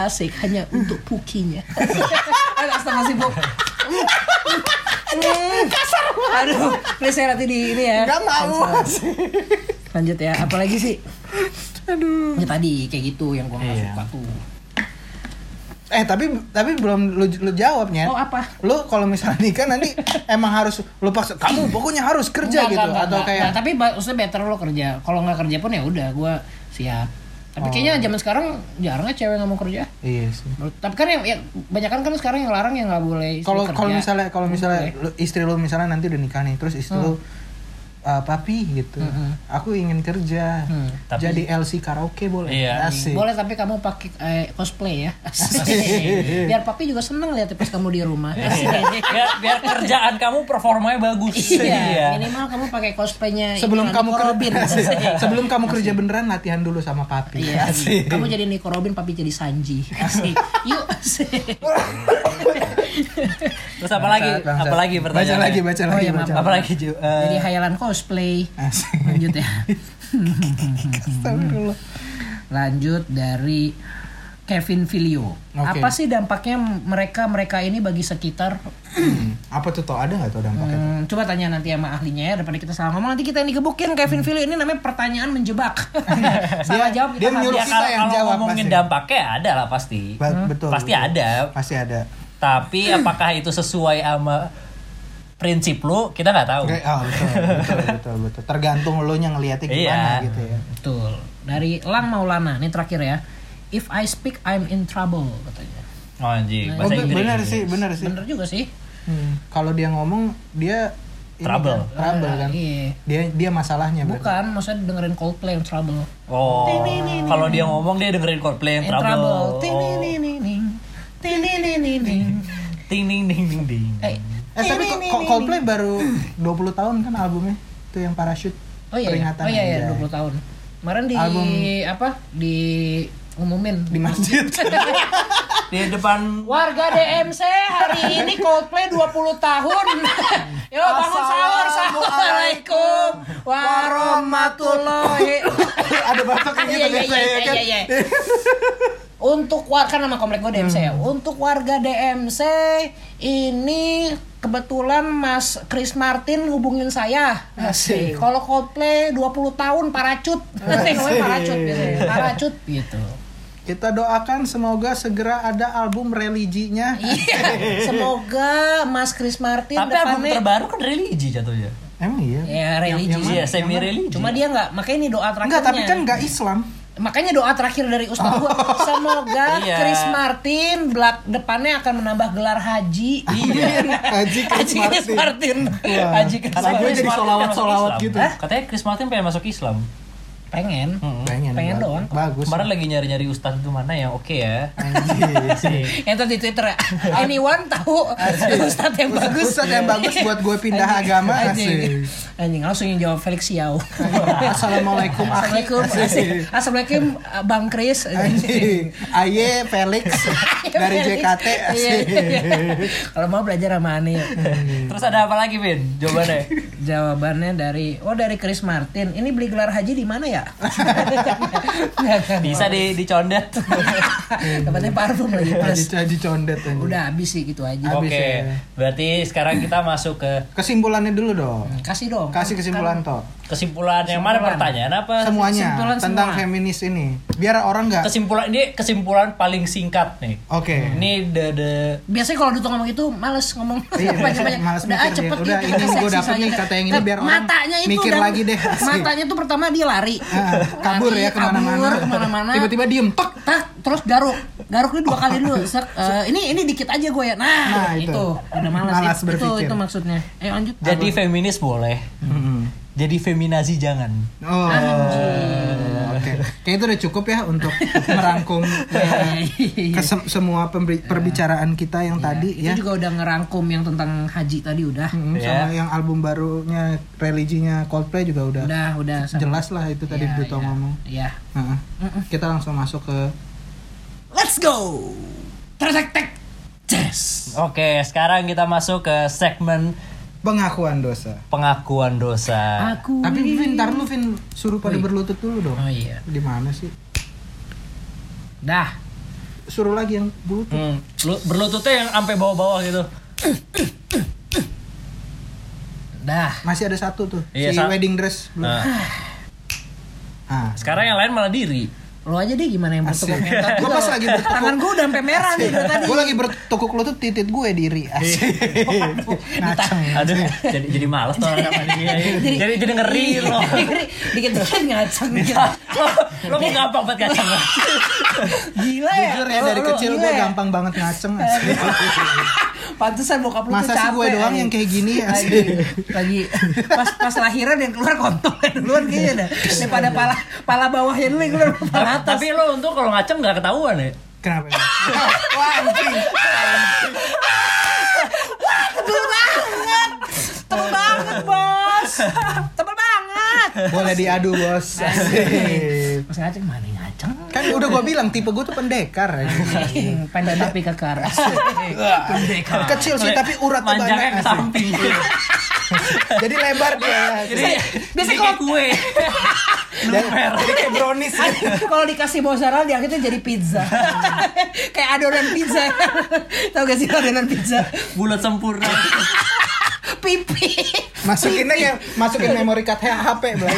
Speaker 4: asik hanya untuk pukinya agak setengah sibuk kasar banget aduh please saya nanti di ini ya
Speaker 3: nggak mau Asik.
Speaker 4: lanjut ya apalagi sih aduh ya tadi kayak gitu yang gua nggak
Speaker 2: Iya.
Speaker 4: suka tuh
Speaker 3: eh tapi tapi belum lu, lu jawabnya
Speaker 4: oh apa
Speaker 3: lu kalau misalnya nikah nanti emang harus lu paksa kamu pokoknya harus kerja
Speaker 4: Nggak,
Speaker 3: gitu
Speaker 4: nggak, nggak,
Speaker 3: atau
Speaker 4: nggak.
Speaker 3: kayak
Speaker 4: Nggak, Nah, tapi ba- maksudnya better lo kerja kalau nggak kerja pun ya udah gua siap tapi kayaknya zaman sekarang jarangnya cewek nggak mau kerja
Speaker 3: iya sih
Speaker 4: tapi kan yang ya, banyak kan sekarang yang larang yang nggak boleh istri
Speaker 3: kalau
Speaker 4: kerja. Hmm,
Speaker 3: kalau misalnya kalau misalnya
Speaker 4: Boleh.
Speaker 3: lu- istri lu misalnya nanti udah nikah nih terus istri lu "Eh, papi gitu aku ingin kerja
Speaker 4: Hmm.
Speaker 2: Tapi-
Speaker 3: jadi LC karaoke boleh
Speaker 2: Iya.
Speaker 3: asik
Speaker 4: Boleh tapi kamu pakai eh, cosplay ya. Biar papi juga seneng lihat pas kamu di rumah.
Speaker 2: Biar, biar kerjaan kamu performanya bagus.
Speaker 4: Iya, minimal kamu pakai cosplaynya
Speaker 3: sebelum
Speaker 4: inilah,
Speaker 3: kamu
Speaker 4: Nico Robin.
Speaker 3: kerja Asik. sebelum kamu kerja beneran latihan dulu sama papi
Speaker 4: Iya.
Speaker 3: Asik.
Speaker 4: Kamu jadi Nico Robin, papi jadi Sanji. Asik. Yuk. Asik.
Speaker 2: Terus apa lagi?
Speaker 3: Bangsat, bangsat.
Speaker 2: Apa lagi
Speaker 3: baca
Speaker 2: pertanyaannya?
Speaker 3: lagi baca lagi
Speaker 4: iya, maaf.
Speaker 3: baca
Speaker 2: Apa lagi Ju? Eh,
Speaker 4: Jadi hayalan cosplay.
Speaker 3: Asik.
Speaker 4: Lanjut ya.
Speaker 3: Astagfirullah.
Speaker 4: Lanjut dari Kevin Filio.
Speaker 3: Oke.
Speaker 4: Apa sih dampaknya mereka-mereka ini bagi sekitar
Speaker 3: Hmm, apa tuh toh ada nggak tuh dampaknya tuh?
Speaker 4: Hmm, coba tanya nanti sama ahlinya ya daripada kita salah ngomong nanti kita yang digebukin Kevin Filio ini namanya pertanyaan menjebak. salah
Speaker 3: Hmm. Dia-
Speaker 4: jawab
Speaker 3: dia
Speaker 4: kita mati.
Speaker 3: menyuruh
Speaker 2: ya
Speaker 3: kita
Speaker 2: kalau,
Speaker 3: yang
Speaker 2: kalau
Speaker 3: jawab
Speaker 2: ngomongin
Speaker 3: pasti.
Speaker 2: dampaknya ada lah pasti.
Speaker 3: Ba-
Speaker 4: Hmm.
Speaker 3: betul
Speaker 2: Pasti
Speaker 3: betul.
Speaker 2: ada.
Speaker 3: pasti ada
Speaker 2: Tapi apakah itu sesuai sama prinsip lu? Kita nggak
Speaker 4: Oh.
Speaker 2: tahu.
Speaker 3: Oke, ah, betul, betul, betul, betul. Tergantung lo yang ngeliatnya gimana
Speaker 2: Iya.
Speaker 3: gitu ya.
Speaker 4: Betul. Dari Lang Maulana, ini terakhir ya. If I speak I'm in trouble katanya.
Speaker 2: Oh, anjing,
Speaker 3: Oh,
Speaker 2: bahasa
Speaker 3: be-
Speaker 2: Inggris.
Speaker 3: benar sih, benar sih.
Speaker 4: Bener juga sih.
Speaker 3: Hmm. Kalau dia ngomong dia ini
Speaker 2: Trouble.
Speaker 3: kan, trouble kan.
Speaker 4: Iya.
Speaker 3: Dia dia masalahnya berarti.
Speaker 4: Bukan, maksudnya dengerin Coldplay in trouble. Eh,
Speaker 2: Oh, kalau dia ngomong dia dengerin Coldplay yang
Speaker 4: In
Speaker 2: trouble. Oh.
Speaker 4: Ting, ning, ning, ning, ning. Ting, ning, ning, ning, ning.
Speaker 2: Oh. Ting ding ding ding ding.
Speaker 4: Eh,
Speaker 3: Eh
Speaker 4: ting,
Speaker 3: tapi
Speaker 4: ning,
Speaker 3: kok
Speaker 4: ning,
Speaker 3: kok
Speaker 4: ning.
Speaker 3: Coldplay baru 20 tahun kan albumnya. Itu yang parachute.
Speaker 4: Oh iya, iya.
Speaker 3: peringatan
Speaker 4: oh iya, iya,
Speaker 3: aja.
Speaker 4: 20 tahun. Kemarin di
Speaker 3: Album-
Speaker 4: apa? Di umumin
Speaker 3: Di masjid.
Speaker 2: Di depan
Speaker 4: Warga DMC hari ini Coldplay 20 tahun. Yo bangun sahur, assalamualaikum warahmatullahi.
Speaker 3: ada batok kayak gitu
Speaker 4: Iya iya
Speaker 3: deh saya
Speaker 4: iya
Speaker 3: kan.
Speaker 4: iya. iya. Untuk warga kan nama komplek gue DMC ya. Untuk warga DMC ini kebetulan Mas Chris Martin hubungin saya. Asik.
Speaker 3: Asik.
Speaker 4: Kalau Coldplay 20 tahun paracut. Asik. namanya Paracut biasanya. Paracut gitu.
Speaker 3: Kita doakan semoga segera ada album religinya.
Speaker 4: Iya, semoga Mas Chris Martin
Speaker 2: Tapi album
Speaker 4: depannya-
Speaker 2: terbaru kan religi jatuhnya.
Speaker 3: Emang iya.
Speaker 4: ya religi
Speaker 3: Yang-
Speaker 4: sih.
Speaker 2: Iya, semi religi.
Speaker 4: Cuma dia nggak, makanya ini doa terakhirnya.
Speaker 3: Enggak, tapi kan enggak Islam.
Speaker 4: makanya doa terakhir dari Ustaz gua,
Speaker 3: Oh.
Speaker 4: semoga
Speaker 2: Iya.
Speaker 4: Chris Martin belak depannya akan menambah gelar haji.
Speaker 3: Iya. Haji Chris
Speaker 4: Haji Chris
Speaker 3: Martin.
Speaker 4: Martin.
Speaker 3: Wah.
Speaker 4: Haji Chris
Speaker 3: Lagunya
Speaker 4: Martin.
Speaker 2: Chris
Speaker 3: jadi
Speaker 2: Martin
Speaker 3: solawat-
Speaker 2: pengen masuk
Speaker 3: solawat
Speaker 2: Islam.
Speaker 3: gitu.
Speaker 2: Hah? Katanya Chris Martin pengen masuk Islam.
Speaker 4: Pengen.
Speaker 3: Pengen,
Speaker 4: Pengen
Speaker 3: bagus.
Speaker 4: doang.
Speaker 3: Bagus.
Speaker 2: Kemarin lagi nyari-nyari ustaz itu mana yang oke ya.
Speaker 3: Anjir.
Speaker 4: Enter di Twitter ya. Anyone tahu Ustaz yang bagus?
Speaker 3: Ustaz yang bagus buat gue pindah agama
Speaker 4: Anjing.
Speaker 3: asik.
Speaker 4: Anjing langsung yang jawab Felix Yao.
Speaker 3: Assalamualaikum akhi.
Speaker 4: Assalamualaikum.
Speaker 3: Asik.
Speaker 4: Assalamualaikum Bang Chris.
Speaker 3: Anjing. Aye Felix dari JKT
Speaker 4: Iya,
Speaker 3: asik.
Speaker 4: iya, iya. Kalau mau belajar sama Ani.
Speaker 3: Hmm.
Speaker 2: Terus ada apa lagi, Vin? Jawabannya.
Speaker 4: Jawabannya dari oh dari Chris Martin. Ini beli gelar haji di mana ya?
Speaker 2: Bisa di dicondet.
Speaker 1: Dapatnya parfum lagi plus.
Speaker 3: Aji, aji condet aja.
Speaker 1: Udah habis sih gitu aja.
Speaker 3: Habis
Speaker 2: Oke.
Speaker 3: ya.
Speaker 2: Berarti sekarang kita masuk ke
Speaker 3: Kesimpulannya dulu dong.
Speaker 1: Kasih dong.
Speaker 3: Kasih kesimpulan toh.
Speaker 2: kesimpulan yang mana pertanyaan apa?
Speaker 3: Semuanya
Speaker 1: kesimpulan
Speaker 3: tentang
Speaker 1: semua.
Speaker 3: feminis ini. Biar orang nggak.
Speaker 2: Kesimpulan ini kesimpulan paling singkat nih.
Speaker 3: Oke.
Speaker 2: Ini the the
Speaker 1: Biasanya kalau Duto ngomong itu males ngomong
Speaker 3: Iya,
Speaker 1: banyak-banyak.
Speaker 3: males
Speaker 1: Udah ah,
Speaker 3: mikir dia.
Speaker 1: cepet
Speaker 3: Udah,
Speaker 1: gitu.
Speaker 3: ini
Speaker 1: seksi
Speaker 3: gua dapet
Speaker 1: saja.
Speaker 3: nih kata yang ini
Speaker 1: Nah,
Speaker 3: biar orang
Speaker 1: matanya itu
Speaker 3: mikir
Speaker 1: udah-
Speaker 3: lagi deh, asli.
Speaker 1: Matanya tuh pertama dia lari.
Speaker 3: Ah, kabur
Speaker 1: Lari,
Speaker 3: ya
Speaker 1: kabur,
Speaker 3: kemana-mana.
Speaker 1: kemana-mana.
Speaker 3: Tiba-tiba diem tek.
Speaker 1: Tak, terus garuk. Garuknya dua kali dulu. Sek, eh, ini ini dikit aja gue ya. Nah,
Speaker 3: Nah, itu.
Speaker 1: itu. Udah males, ya.
Speaker 3: Malas
Speaker 1: itu, itu,
Speaker 3: berpikir.
Speaker 1: itu maksudnya. Ayo lanjut.
Speaker 2: jadi feminis boleh. Jadi feminazi jangan.
Speaker 3: Oh. Oke. Kayaknya itu udah cukup ya untuk merangkum eh, ke sem- semua pemberi- perbicaraan kita yang tadi
Speaker 1: Itu
Speaker 3: ya.
Speaker 1: juga udah ngerangkum yang tentang haji tadi udah.
Speaker 3: Mm,
Speaker 2: Ya.
Speaker 3: Sama yang album barunya religinya Coldplay juga udah
Speaker 1: Udah, udah. sama.
Speaker 3: jelas lah itu tadi
Speaker 1: Iya,
Speaker 3: Duto
Speaker 1: iya.
Speaker 3: ngomong.
Speaker 1: Iya.
Speaker 3: Nah, Kita langsung masuk ke
Speaker 1: Let's go. Tertek tek. Yes.
Speaker 2: Oke, sekarang kita masuk ke segmen
Speaker 3: pengakuan dosa.
Speaker 2: pengakuan dosa.
Speaker 1: Aku.
Speaker 3: Tapi Vin, ntar lu Vin suruh pada berlutut dulu dong.
Speaker 1: Oh iya.
Speaker 3: Di mana sih?
Speaker 1: Dah.
Speaker 3: Suruh lagi yang berlutut.
Speaker 2: Hmm, lu berlututnya yang sampai bawah-bawah gitu.
Speaker 1: Dah.
Speaker 3: Masih ada satu tuh,
Speaker 2: Iya,
Speaker 3: si
Speaker 2: sa-
Speaker 3: wedding dress belum.
Speaker 2: Nah,
Speaker 3: Ah.
Speaker 2: sekarang yang lain malah diri.
Speaker 1: Lo aja deh gimana yang bertukar
Speaker 3: Asik.
Speaker 1: mental.
Speaker 3: Gua pas lagi bertukar-
Speaker 1: Tangan gue udah sampai merah nih dari tadi.
Speaker 3: gue lagi bertukuk lutut titit ya gue diri asik
Speaker 1: Iya.
Speaker 3: ngaceng
Speaker 2: Aduh, jadi jadi malas tuh orang sama dia. Jadi jadi ngeri
Speaker 3: Iya.
Speaker 2: loh.
Speaker 1: Dikit-dikit ngaceng gila.
Speaker 2: lo mau gampang banget kacang
Speaker 1: Gila ya.
Speaker 3: jujur ya
Speaker 1: Lo-
Speaker 3: dari
Speaker 1: lo
Speaker 3: kecil
Speaker 1: gila
Speaker 3: gue
Speaker 1: ya?
Speaker 3: gampang banget ngaceng asik.
Speaker 1: Pantesan bokap lu tuh
Speaker 3: masa sih
Speaker 1: capek.
Speaker 3: gue doang yang kayak gini
Speaker 1: lagi,
Speaker 3: asik
Speaker 1: lagi pas pas lahiran yang keluar kontol duluan kayaknya dah daripada pala pala bawahnya dulu yang keluar pala atas
Speaker 2: tapi lo untuk kalau ngaceng nggak ketahuan ya
Speaker 3: kenapa ya? wah anjing
Speaker 1: tebel banget tebel banget bos tebel banget
Speaker 3: boleh diadu bos asik
Speaker 1: Mas ngaceng mana yang ngaceng
Speaker 3: kan udah gue bilang tipe gue tuh pendekar ya. anjing.
Speaker 4: Pendek tapi kekar.
Speaker 3: kecil sih tapi urat tuh
Speaker 2: Nah, manjangnya ke
Speaker 3: banyak Iya. asik.
Speaker 2: samping
Speaker 3: jadi lebar dia asik.
Speaker 2: jadi biasa kayak kue
Speaker 3: dan jadi kayak brownies
Speaker 1: kalau dikasih mozzarella dia akhirnya jadi pizza kayak adonan pizza tau gak sih adonan pizza
Speaker 2: bulat sempurna
Speaker 1: pipi
Speaker 3: masukinnya yang masukin memori card HP belai.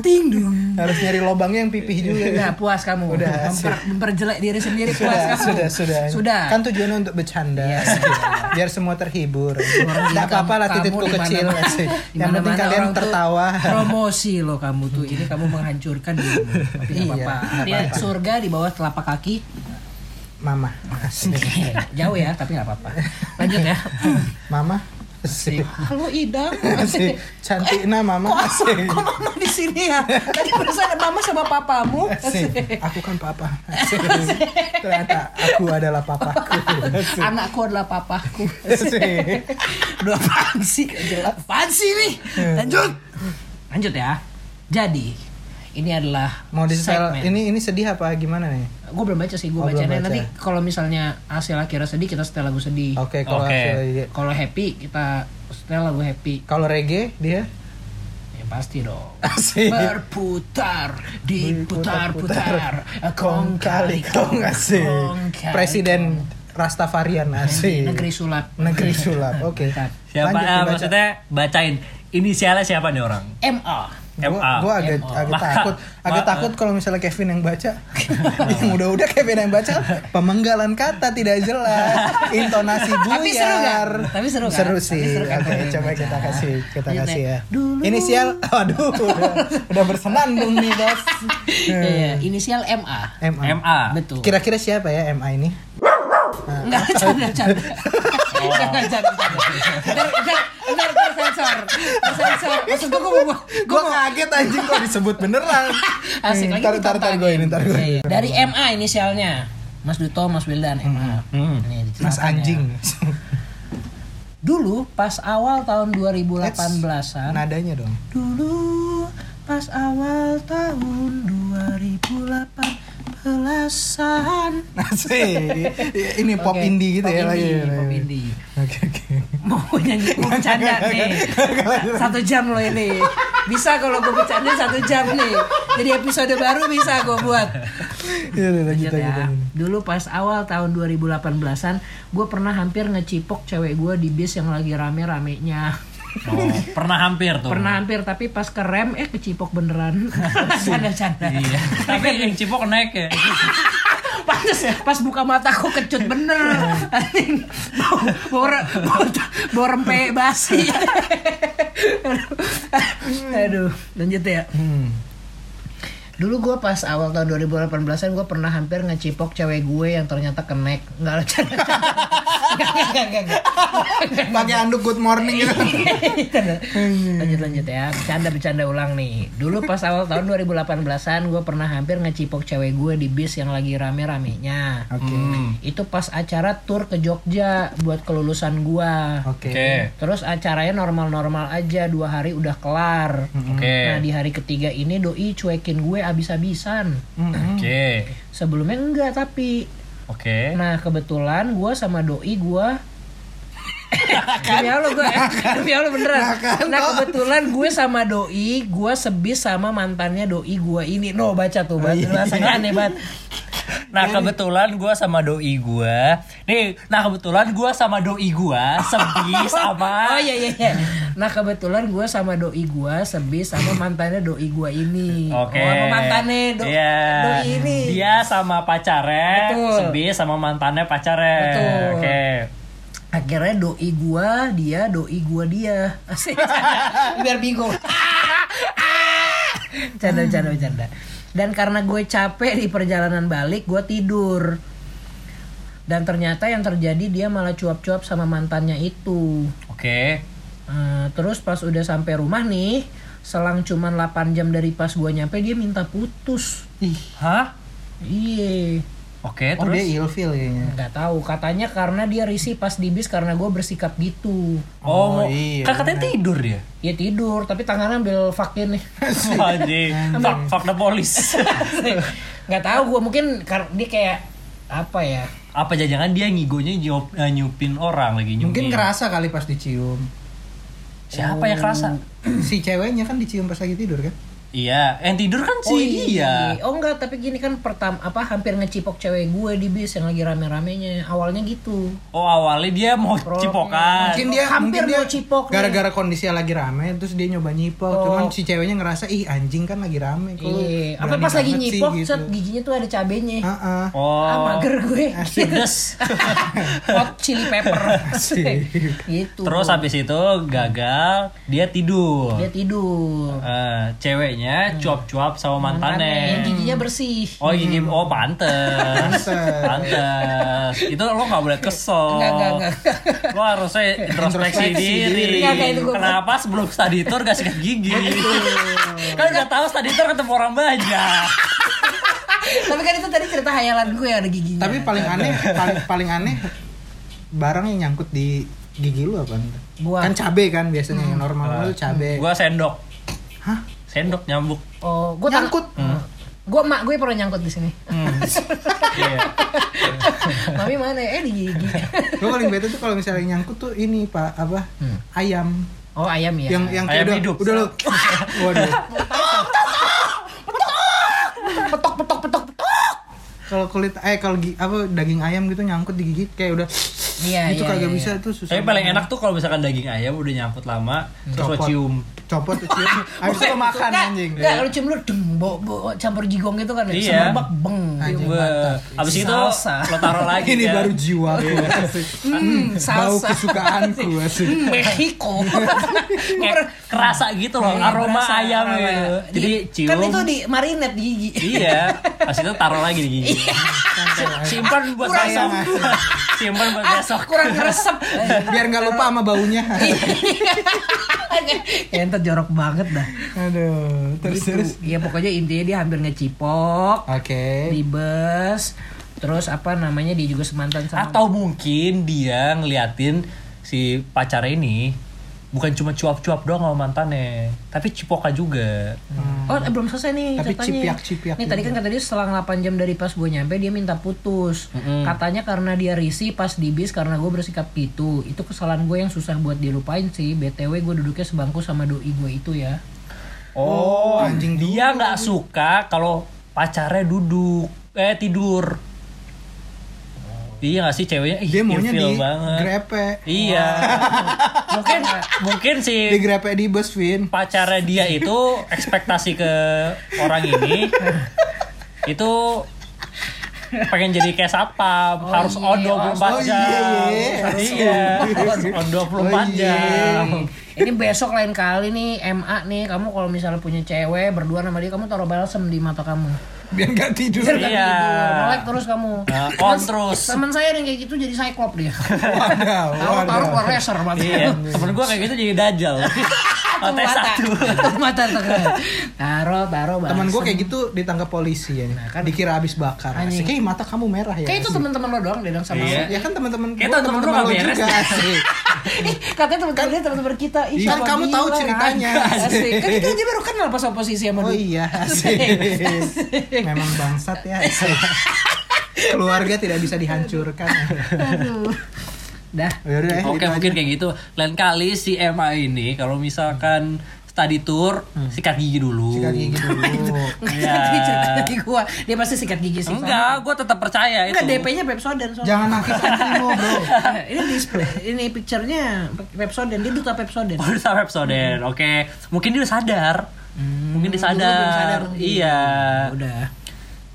Speaker 1: ting dong
Speaker 3: harus nyari lubangnya yang pipih juga
Speaker 1: Udah puas kamu
Speaker 3: Udah,
Speaker 1: Memper,
Speaker 3: asik.
Speaker 1: memperjelek diri sendiri puas
Speaker 3: sudah,
Speaker 1: kamu
Speaker 3: sudah, sudah,
Speaker 1: Sudah. Iya.
Speaker 3: Kan tujuannya untuk bercanda. Biar semua terhibur. Enggak apa-apa lah
Speaker 1: Kamu
Speaker 3: tititku
Speaker 1: dimana-
Speaker 3: kecil. sih. Yang
Speaker 1: dimana-mana
Speaker 3: penting kalian
Speaker 1: orang tuh
Speaker 3: tertawa.
Speaker 1: Promosi loh kamu tuh. Ini kamu menghancurkan dirimu. Tapi nggak
Speaker 3: Iya,
Speaker 1: apa-apa.
Speaker 3: nggak
Speaker 1: Dia
Speaker 3: apa-apa.
Speaker 1: Surga di bawah telapak kaki.
Speaker 3: Mama.
Speaker 1: Jauh ya, tapi nggak apa-apa. Lanjut ya.
Speaker 3: Mama. Asik.
Speaker 1: Halo Idang.
Speaker 3: Asik. Cantikna mama.
Speaker 1: Kok aku,
Speaker 3: Asik.
Speaker 1: kok mama di sini ya? Tadi perasaan ada mama sama papamu.
Speaker 3: Asik. Aku kan papa. Asik. Ternyata aku adalah papaku. Asik.
Speaker 1: Anakku adalah papaku.
Speaker 3: Asik.
Speaker 1: Aduh apaan sih? Apaan sih nih? Lanjut. Lanjut ya. Jadi, ini adalah
Speaker 3: Mau di
Speaker 1: segmen.
Speaker 3: ini ini sedih apa gimana nih?
Speaker 1: gue belum baca sih gue
Speaker 3: Oh, belum
Speaker 1: bacanya
Speaker 3: baca.
Speaker 1: nanti kalau misalnya hasil akhirnya sedih kita setel lagu sedih
Speaker 3: Oke, kalau
Speaker 2: Oke.
Speaker 3: hasil-
Speaker 1: kalau happy kita setel lagu happy
Speaker 3: kalau reggae dia
Speaker 1: ya pasti dong
Speaker 3: Asik.
Speaker 1: berputar diputar-putar
Speaker 3: Kong kali kong asik. Presiden Rastafarian asik.
Speaker 1: negeri sulap
Speaker 3: Negeri sulap. Oke.
Speaker 2: siapa eh,
Speaker 3: Lanjut, dibaca.
Speaker 2: maksudnya bacain inisialnya siapa nih orang
Speaker 1: MA
Speaker 3: Gua,
Speaker 2: MA.
Speaker 3: gua agak agak
Speaker 2: Maka-
Speaker 3: takut, agak
Speaker 2: ma-
Speaker 3: takut kalau misalnya Kevin yang baca, yang udah-udah Kevin yang baca, pemenggalan kata tidak jelas, intonasi buyar.
Speaker 1: Tapi seru nggak? Tapi seru nggak?
Speaker 3: Seru
Speaker 1: Tapi
Speaker 3: sih.
Speaker 1: seru kan
Speaker 3: Oke,
Speaker 1: Kevin
Speaker 3: coba
Speaker 1: baca.
Speaker 3: kita kasih, kita
Speaker 1: Lanjut,
Speaker 3: kasih
Speaker 1: Nek.
Speaker 3: ya.
Speaker 1: Dulu.
Speaker 3: Inisial, aduh, udah, udah bersenandung nih bos.
Speaker 1: Iya, iya.
Speaker 3: Hmm.
Speaker 1: inisial MA
Speaker 3: MA.
Speaker 2: MA
Speaker 1: betul
Speaker 3: Kira-kira siapa ya MA ini?
Speaker 1: Enggak, canda, canda.
Speaker 3: Oh.
Speaker 1: Jangan, jangan, canda. Ntar, ntar, ntar tersensor. Tersensor. Maksud gue, gue, mau- gue
Speaker 3: Gue
Speaker 1: mau
Speaker 3: kaget anjing kok disebut beneran. Hmm,
Speaker 1: Asik lagi
Speaker 3: Ntar, ntar, ntar gue ini, ntar gue.
Speaker 1: Iya, iya. Dari MA inisialnya. Mas Duto, Mas Wildan, MA.
Speaker 2: Hmm.
Speaker 1: Nih, diceritakan
Speaker 3: Mas
Speaker 1: ya.
Speaker 3: anjing.
Speaker 1: Dulu pas awal tahun 2018-an.
Speaker 3: Nadanya dong.
Speaker 1: Dulu pas awal tahun 2018-an.
Speaker 3: Asik. Ini pop
Speaker 1: Oke,
Speaker 3: indie gitu
Speaker 1: pop
Speaker 3: ya
Speaker 1: indie,
Speaker 3: lagi.
Speaker 1: Pop indie.
Speaker 3: Oke oke.
Speaker 1: mau nyanyi mau bercanda nih satu jam loh ini bisa kalau gue bercanda satu jam nih
Speaker 4: Jadi episode baru bisa gue buat.
Speaker 3: Iya, udah, lanjut
Speaker 4: Lanjut
Speaker 3: lanjut,
Speaker 4: ya.
Speaker 3: lanjut.
Speaker 4: Dulu pas awal tahun 2018-an, gue pernah hampir ngecipok cewek gue di bis yang lagi rame-ramenya.
Speaker 2: Oh, pernah hampir tuh.
Speaker 4: Pernah hampir, tapi pas kerem, eh kecipok beneran. Canda-canda.
Speaker 2: Iya. Tapi yang cipok naik ya.
Speaker 4: Pantes ya, pas buka mata kok kecut bener. Anjing. Bau, bau, re- bau, bau rempe basi. Aduh, lanjut ya.
Speaker 3: Hmm.
Speaker 4: Dulu gue pas awal tahun 2018-an gue pernah hampir ngecipok cewek gue yang ternyata kenek. Enggak lah, canda. Enggak, enggak, enggak, enggak.
Speaker 3: Pakai anduk good morning gitu.
Speaker 4: lanjut lanjut ya bercanda bercanda ulang nih dulu pas awal tahun 2018an gue pernah hampir ngecipok cewek gue di bis yang lagi rame ramenya
Speaker 3: Oke.
Speaker 4: itu pas acara tour ke Jogja buat kelulusan gue
Speaker 3: Oke.
Speaker 4: terus acaranya normal normal aja dua hari udah kelar
Speaker 2: Oke.
Speaker 4: nah di hari ketiga ini doi cuekin gue abis abisan
Speaker 3: Hmm,
Speaker 2: Oke.
Speaker 4: sebelumnya enggak tapi
Speaker 2: Oke.
Speaker 4: Nah kebetulan gue sama doi gue Demi Allah gue Demi Allah beneran kan? Nah, kebetulan gue sama doi Gue sebis sama mantannya doi gue ini No baca tuh kan baca Rasanya aneh banget
Speaker 2: Nah kebetulan gue sama doi gue Nih Nah kebetulan gue sama doi gue Sebis sama
Speaker 4: Oh iya iya iya Nah kebetulan gue sama doi gue Sebis sama mantannya doi gue ini
Speaker 2: Oke
Speaker 4: Oh, sama mantannya do-
Speaker 2: Iya.
Speaker 4: doi ini
Speaker 2: Dia sama pacarnya
Speaker 4: Betul.
Speaker 2: Sebis sama mantannya pacarnya
Speaker 4: Betul.
Speaker 2: Oke
Speaker 4: Akhirnya doi gue dia Doi gue dia Asik Biar bingung Canda, canda, canda. Dan karena gue capek di perjalanan balik, gue tidur. Dan ternyata yang terjadi dia malah cuap-cuap sama mantannya itu.
Speaker 2: Oke
Speaker 4: Eh, terus pas udah sampai rumah nih, selang cuman 8 jam dari pas gue nyampe dia minta putus.
Speaker 2: Hah?
Speaker 4: Iye,
Speaker 2: Oke
Speaker 3: Oh
Speaker 2: terus
Speaker 3: dia ilfil kayaknya.
Speaker 4: nggak tahu. Katanya karena dia risih pas di bis karena gue bersikap gitu.
Speaker 2: Oh,
Speaker 3: Oh,
Speaker 2: mau
Speaker 3: iya,
Speaker 2: Kan katanya tidur dia
Speaker 4: Ya tidur, tapi tangannya ambil vakin nih.
Speaker 2: Anjing Fuck, fuck the police
Speaker 4: nggak tahu gue mungkin kar- dia kayak apa ya?
Speaker 2: Apa jangan dia ngigonya nyup- eh, nyupin orang lagi nyupin
Speaker 3: Mungkin kerasa kali pas dicium.
Speaker 2: Siapa yang kerasa?
Speaker 3: si ceweknya kan dicium pas lagi tidur kan?
Speaker 2: Iya, yang tidur kan si dia.
Speaker 4: iya. Oh enggak, tapi gini kan pertama apa hampir ngecipok cewek gue di bis yang lagi rame-ramenya. Awalnya gitu.
Speaker 2: Oh awalnya dia mau cipokan.
Speaker 3: Mungkin dia
Speaker 4: hampir
Speaker 3: mungkin dia
Speaker 4: mau cipok nih.
Speaker 3: gara-gara kondisi lagi rame terus dia nyoba nyipok. Cuman si ceweknya ngerasa ih anjing kan lagi rame kok. lu
Speaker 4: Iya. Apa
Speaker 3: berani
Speaker 4: pas lagi
Speaker 3: banget sih,"
Speaker 4: nyipok,
Speaker 3: gitu.
Speaker 4: set giginya tuh ada cabenya.
Speaker 3: Ah, ah.
Speaker 4: Ah,
Speaker 2: Oh.
Speaker 4: mager gue.
Speaker 2: Pedes.
Speaker 4: Hot chili pepper.
Speaker 3: Asik.
Speaker 4: gitu.
Speaker 2: Terus habis itu gagal, dia tidur.
Speaker 4: dia tidur.
Speaker 2: Eh, ceweknya cuap-cuap sama
Speaker 4: Yang
Speaker 2: mantannya.
Speaker 4: giginya bersih.
Speaker 2: Oh gigi, oh pantes,
Speaker 3: Pantes.
Speaker 2: pantes. Itu lo nggak boleh kesel.
Speaker 4: Enggak, enggak, enggak.
Speaker 2: Lo harusnya introspeksi
Speaker 3: Introspeksi
Speaker 2: diri.
Speaker 4: diri. Enggak, enggak, itu gua-
Speaker 2: Kenapa sebelum study tour gak sikat gigi? kan udah tahu study tour ketemu orang banyak.
Speaker 4: tapi kan itu tadi cerita hayalan gue ada giginya.
Speaker 3: Tapi
Speaker 2: Iya,
Speaker 3: paling aneh paling, paling aneh barang yang nyangkut di gigi lu apa?
Speaker 4: Buah.
Speaker 3: Kan cabe kan biasanya yang
Speaker 4: Hmm.
Speaker 3: normal lu cabe.
Speaker 2: Gua sendok,
Speaker 3: Hah?
Speaker 2: sendok nyambuk.
Speaker 4: Oh, gue
Speaker 3: Nyangkut.
Speaker 4: Gue mak gue pernah nyangkut di sini.
Speaker 2: Hmm. Iya.
Speaker 4: Mami mana? ya? Eh di gigi.
Speaker 3: Gue paling bete tuh kalau misalnya nyangkut tuh ini Pak apa?
Speaker 4: Hmm.
Speaker 3: Ayam.
Speaker 4: Oh ayam ya.
Speaker 3: Yang yang kayak
Speaker 2: Ayam
Speaker 3: udah,
Speaker 2: hidup.
Speaker 3: udah lu. Waduh.
Speaker 4: petok petok petok petok.
Speaker 3: Kalau kulit eh kalau gi- apa daging ayam gitu nyangkut di gigi kayak udah
Speaker 4: Iya
Speaker 3: itu
Speaker 4: iya,
Speaker 3: kagak
Speaker 4: iya,
Speaker 3: bisa
Speaker 4: iya.
Speaker 3: tuh susah.
Speaker 2: Tapi paling
Speaker 3: banget.
Speaker 2: enak tuh kalau misalkan daging ayam udah nyangkut lama, terus lo
Speaker 3: Copot.
Speaker 2: cium.
Speaker 3: Copot tuh cium. Habis itu lo makan
Speaker 4: Nggak,
Speaker 3: anjing. Iya.
Speaker 4: Nggak, kalau cium lu deng, bo, bo, campur jigong gitu kan. ya,
Speaker 2: Iya.
Speaker 4: Semerbak beng.
Speaker 3: Anjing.
Speaker 2: Be-
Speaker 3: mantap.
Speaker 2: Abis itu
Speaker 4: Salsa.
Speaker 2: lo taruh lagi
Speaker 3: Ini
Speaker 2: kan.
Speaker 3: baru jiwa
Speaker 4: Hmm,
Speaker 3: Iya Bau
Speaker 4: salsa.
Speaker 3: kesukaanku asik.
Speaker 4: Hmm, Mexico.
Speaker 2: Kayak kerasa gitu loh
Speaker 4: Iya,
Speaker 2: aroma
Speaker 4: berasa,
Speaker 2: ayam
Speaker 4: aroma.
Speaker 2: gitu. Jadi
Speaker 4: Di-
Speaker 2: cium.
Speaker 4: Kan itu di marinet di gigi.
Speaker 2: Iya, abis itu taruh lagi di gigi. Simpan buat
Speaker 4: Kurang
Speaker 2: besok.
Speaker 3: sayang.
Speaker 2: Simpan buat
Speaker 3: Iya,
Speaker 4: Ah,
Speaker 2: besok.
Speaker 4: kurang resep.
Speaker 3: Biar nggak lupa sama baunya.
Speaker 4: ya entar jorok banget dah.
Speaker 3: Aduh, terus
Speaker 1: Gitu.
Speaker 3: terus.
Speaker 4: Iya pokoknya intinya dia hampir ngecipok
Speaker 3: Oke.
Speaker 4: di bus. Terus apa namanya dia juga semantan sama
Speaker 2: Atau mungkin dia ngeliatin si pacar ini bukan cuma cuap-cuap doang sama mantannya, tapi cipokan juga.
Speaker 4: Oh, eh, belum selesai nih
Speaker 3: Tapi
Speaker 4: ceritanya.
Speaker 3: cipiak-cipiak
Speaker 4: Nih tadi kan kata dia selang 8 jam dari pas gue nyampe dia minta putus. Katanya karena dia risih pas di bis karena gue bersikap gitu. Itu kesalahan gue yang susah buat dilupain sih. BTW gue duduknya sebangku sama doi gue itu ya.
Speaker 2: Oh,
Speaker 3: anjing
Speaker 2: dia nggak suka kalau pacarnya duduk eh tidur. Iya nggak sih ceweknya? Ih,
Speaker 3: Dia maunya
Speaker 2: ilfil
Speaker 3: di
Speaker 2: banget.
Speaker 3: grepe.
Speaker 2: Iya. mungkin mungkin si
Speaker 3: Di grepe di bus, Vin.
Speaker 2: pacarnya dia itu ekspektasi ke orang ini itu pengen jadi kayak satpam harus on 24
Speaker 3: Oh, iya,
Speaker 2: jam
Speaker 3: iya. Harus on.
Speaker 2: harus on 24
Speaker 3: Oh, iya.
Speaker 2: jam
Speaker 4: Ini besok lain kali nih MA nih kamu kalau misalnya punya cewek berdua sama dia kamu taruh balsem di mata kamu.
Speaker 3: Biar nggak tidur.
Speaker 2: Iya.
Speaker 4: Tidur, Melek
Speaker 3: gitu.
Speaker 4: terus kamu.
Speaker 2: Nah, on terus
Speaker 4: Teman saya yang kayak gitu jadi cyclop dia.
Speaker 3: Wadaw,
Speaker 4: Taruh taruh keluar
Speaker 3: wadaw.
Speaker 4: laser mata.
Speaker 2: iya temen gue kayak gitu jadi dajal mata Oh, satu
Speaker 4: Mata terkena. Taruh taruh balsem.
Speaker 3: Teman gue kayak gitu ditangkap polisi ya. Nah, Dikira habis bakar.
Speaker 4: Anjing.
Speaker 3: Asik, "Ih, mata kamu merah ya.
Speaker 4: Kayak itu
Speaker 3: asik.
Speaker 4: teman-teman lo doang deh dong sama
Speaker 2: Iya.
Speaker 4: lo.
Speaker 3: Ya kan teman-teman
Speaker 2: Kayak
Speaker 3: gua,
Speaker 2: teman-teman
Speaker 3: teman-teman
Speaker 2: lu nggak beres.
Speaker 3: asik.
Speaker 4: Ih, katanya teman-teman dia teman-teman kita. Ih,
Speaker 3: Kan
Speaker 4: siapa
Speaker 3: kamu
Speaker 4: dia
Speaker 3: tahu
Speaker 4: lah,
Speaker 3: ceritanya.
Speaker 4: kan? Asik. Kan kita aja baru kenal pas oposisi sama
Speaker 3: Oh
Speaker 4: dia.
Speaker 3: iya, asik. Memang bangsat ya. asik. Keluarga tidak bisa dihancurkan.
Speaker 4: Dah.
Speaker 3: Yaudah, eh,
Speaker 2: Oke
Speaker 3: gitu
Speaker 2: mungkin kayak gitu. Lain kali si MA ini kalau misalkan study tour sikat gigi dulu.
Speaker 3: Hmm. sikat gigi dulu.
Speaker 2: Iya.
Speaker 4: Tadi cerita tadi gua, dia pasti sikat gigi sih.
Speaker 2: Enggak, gue tetap percaya itu.
Speaker 4: Enggak DP-nya Pepsodent soalnya.
Speaker 3: Jangan nangis anjingmu, Bro.
Speaker 4: Eh, ini display, ini picture-nya Pepsodent, dia duta Pepsodent.
Speaker 2: Baru sama episode.
Speaker 4: Mm-hmm.
Speaker 2: Oke, mungkin dia udah sadar.
Speaker 4: Hmm,
Speaker 2: mungkin dia sadar. Iya.
Speaker 4: Udah.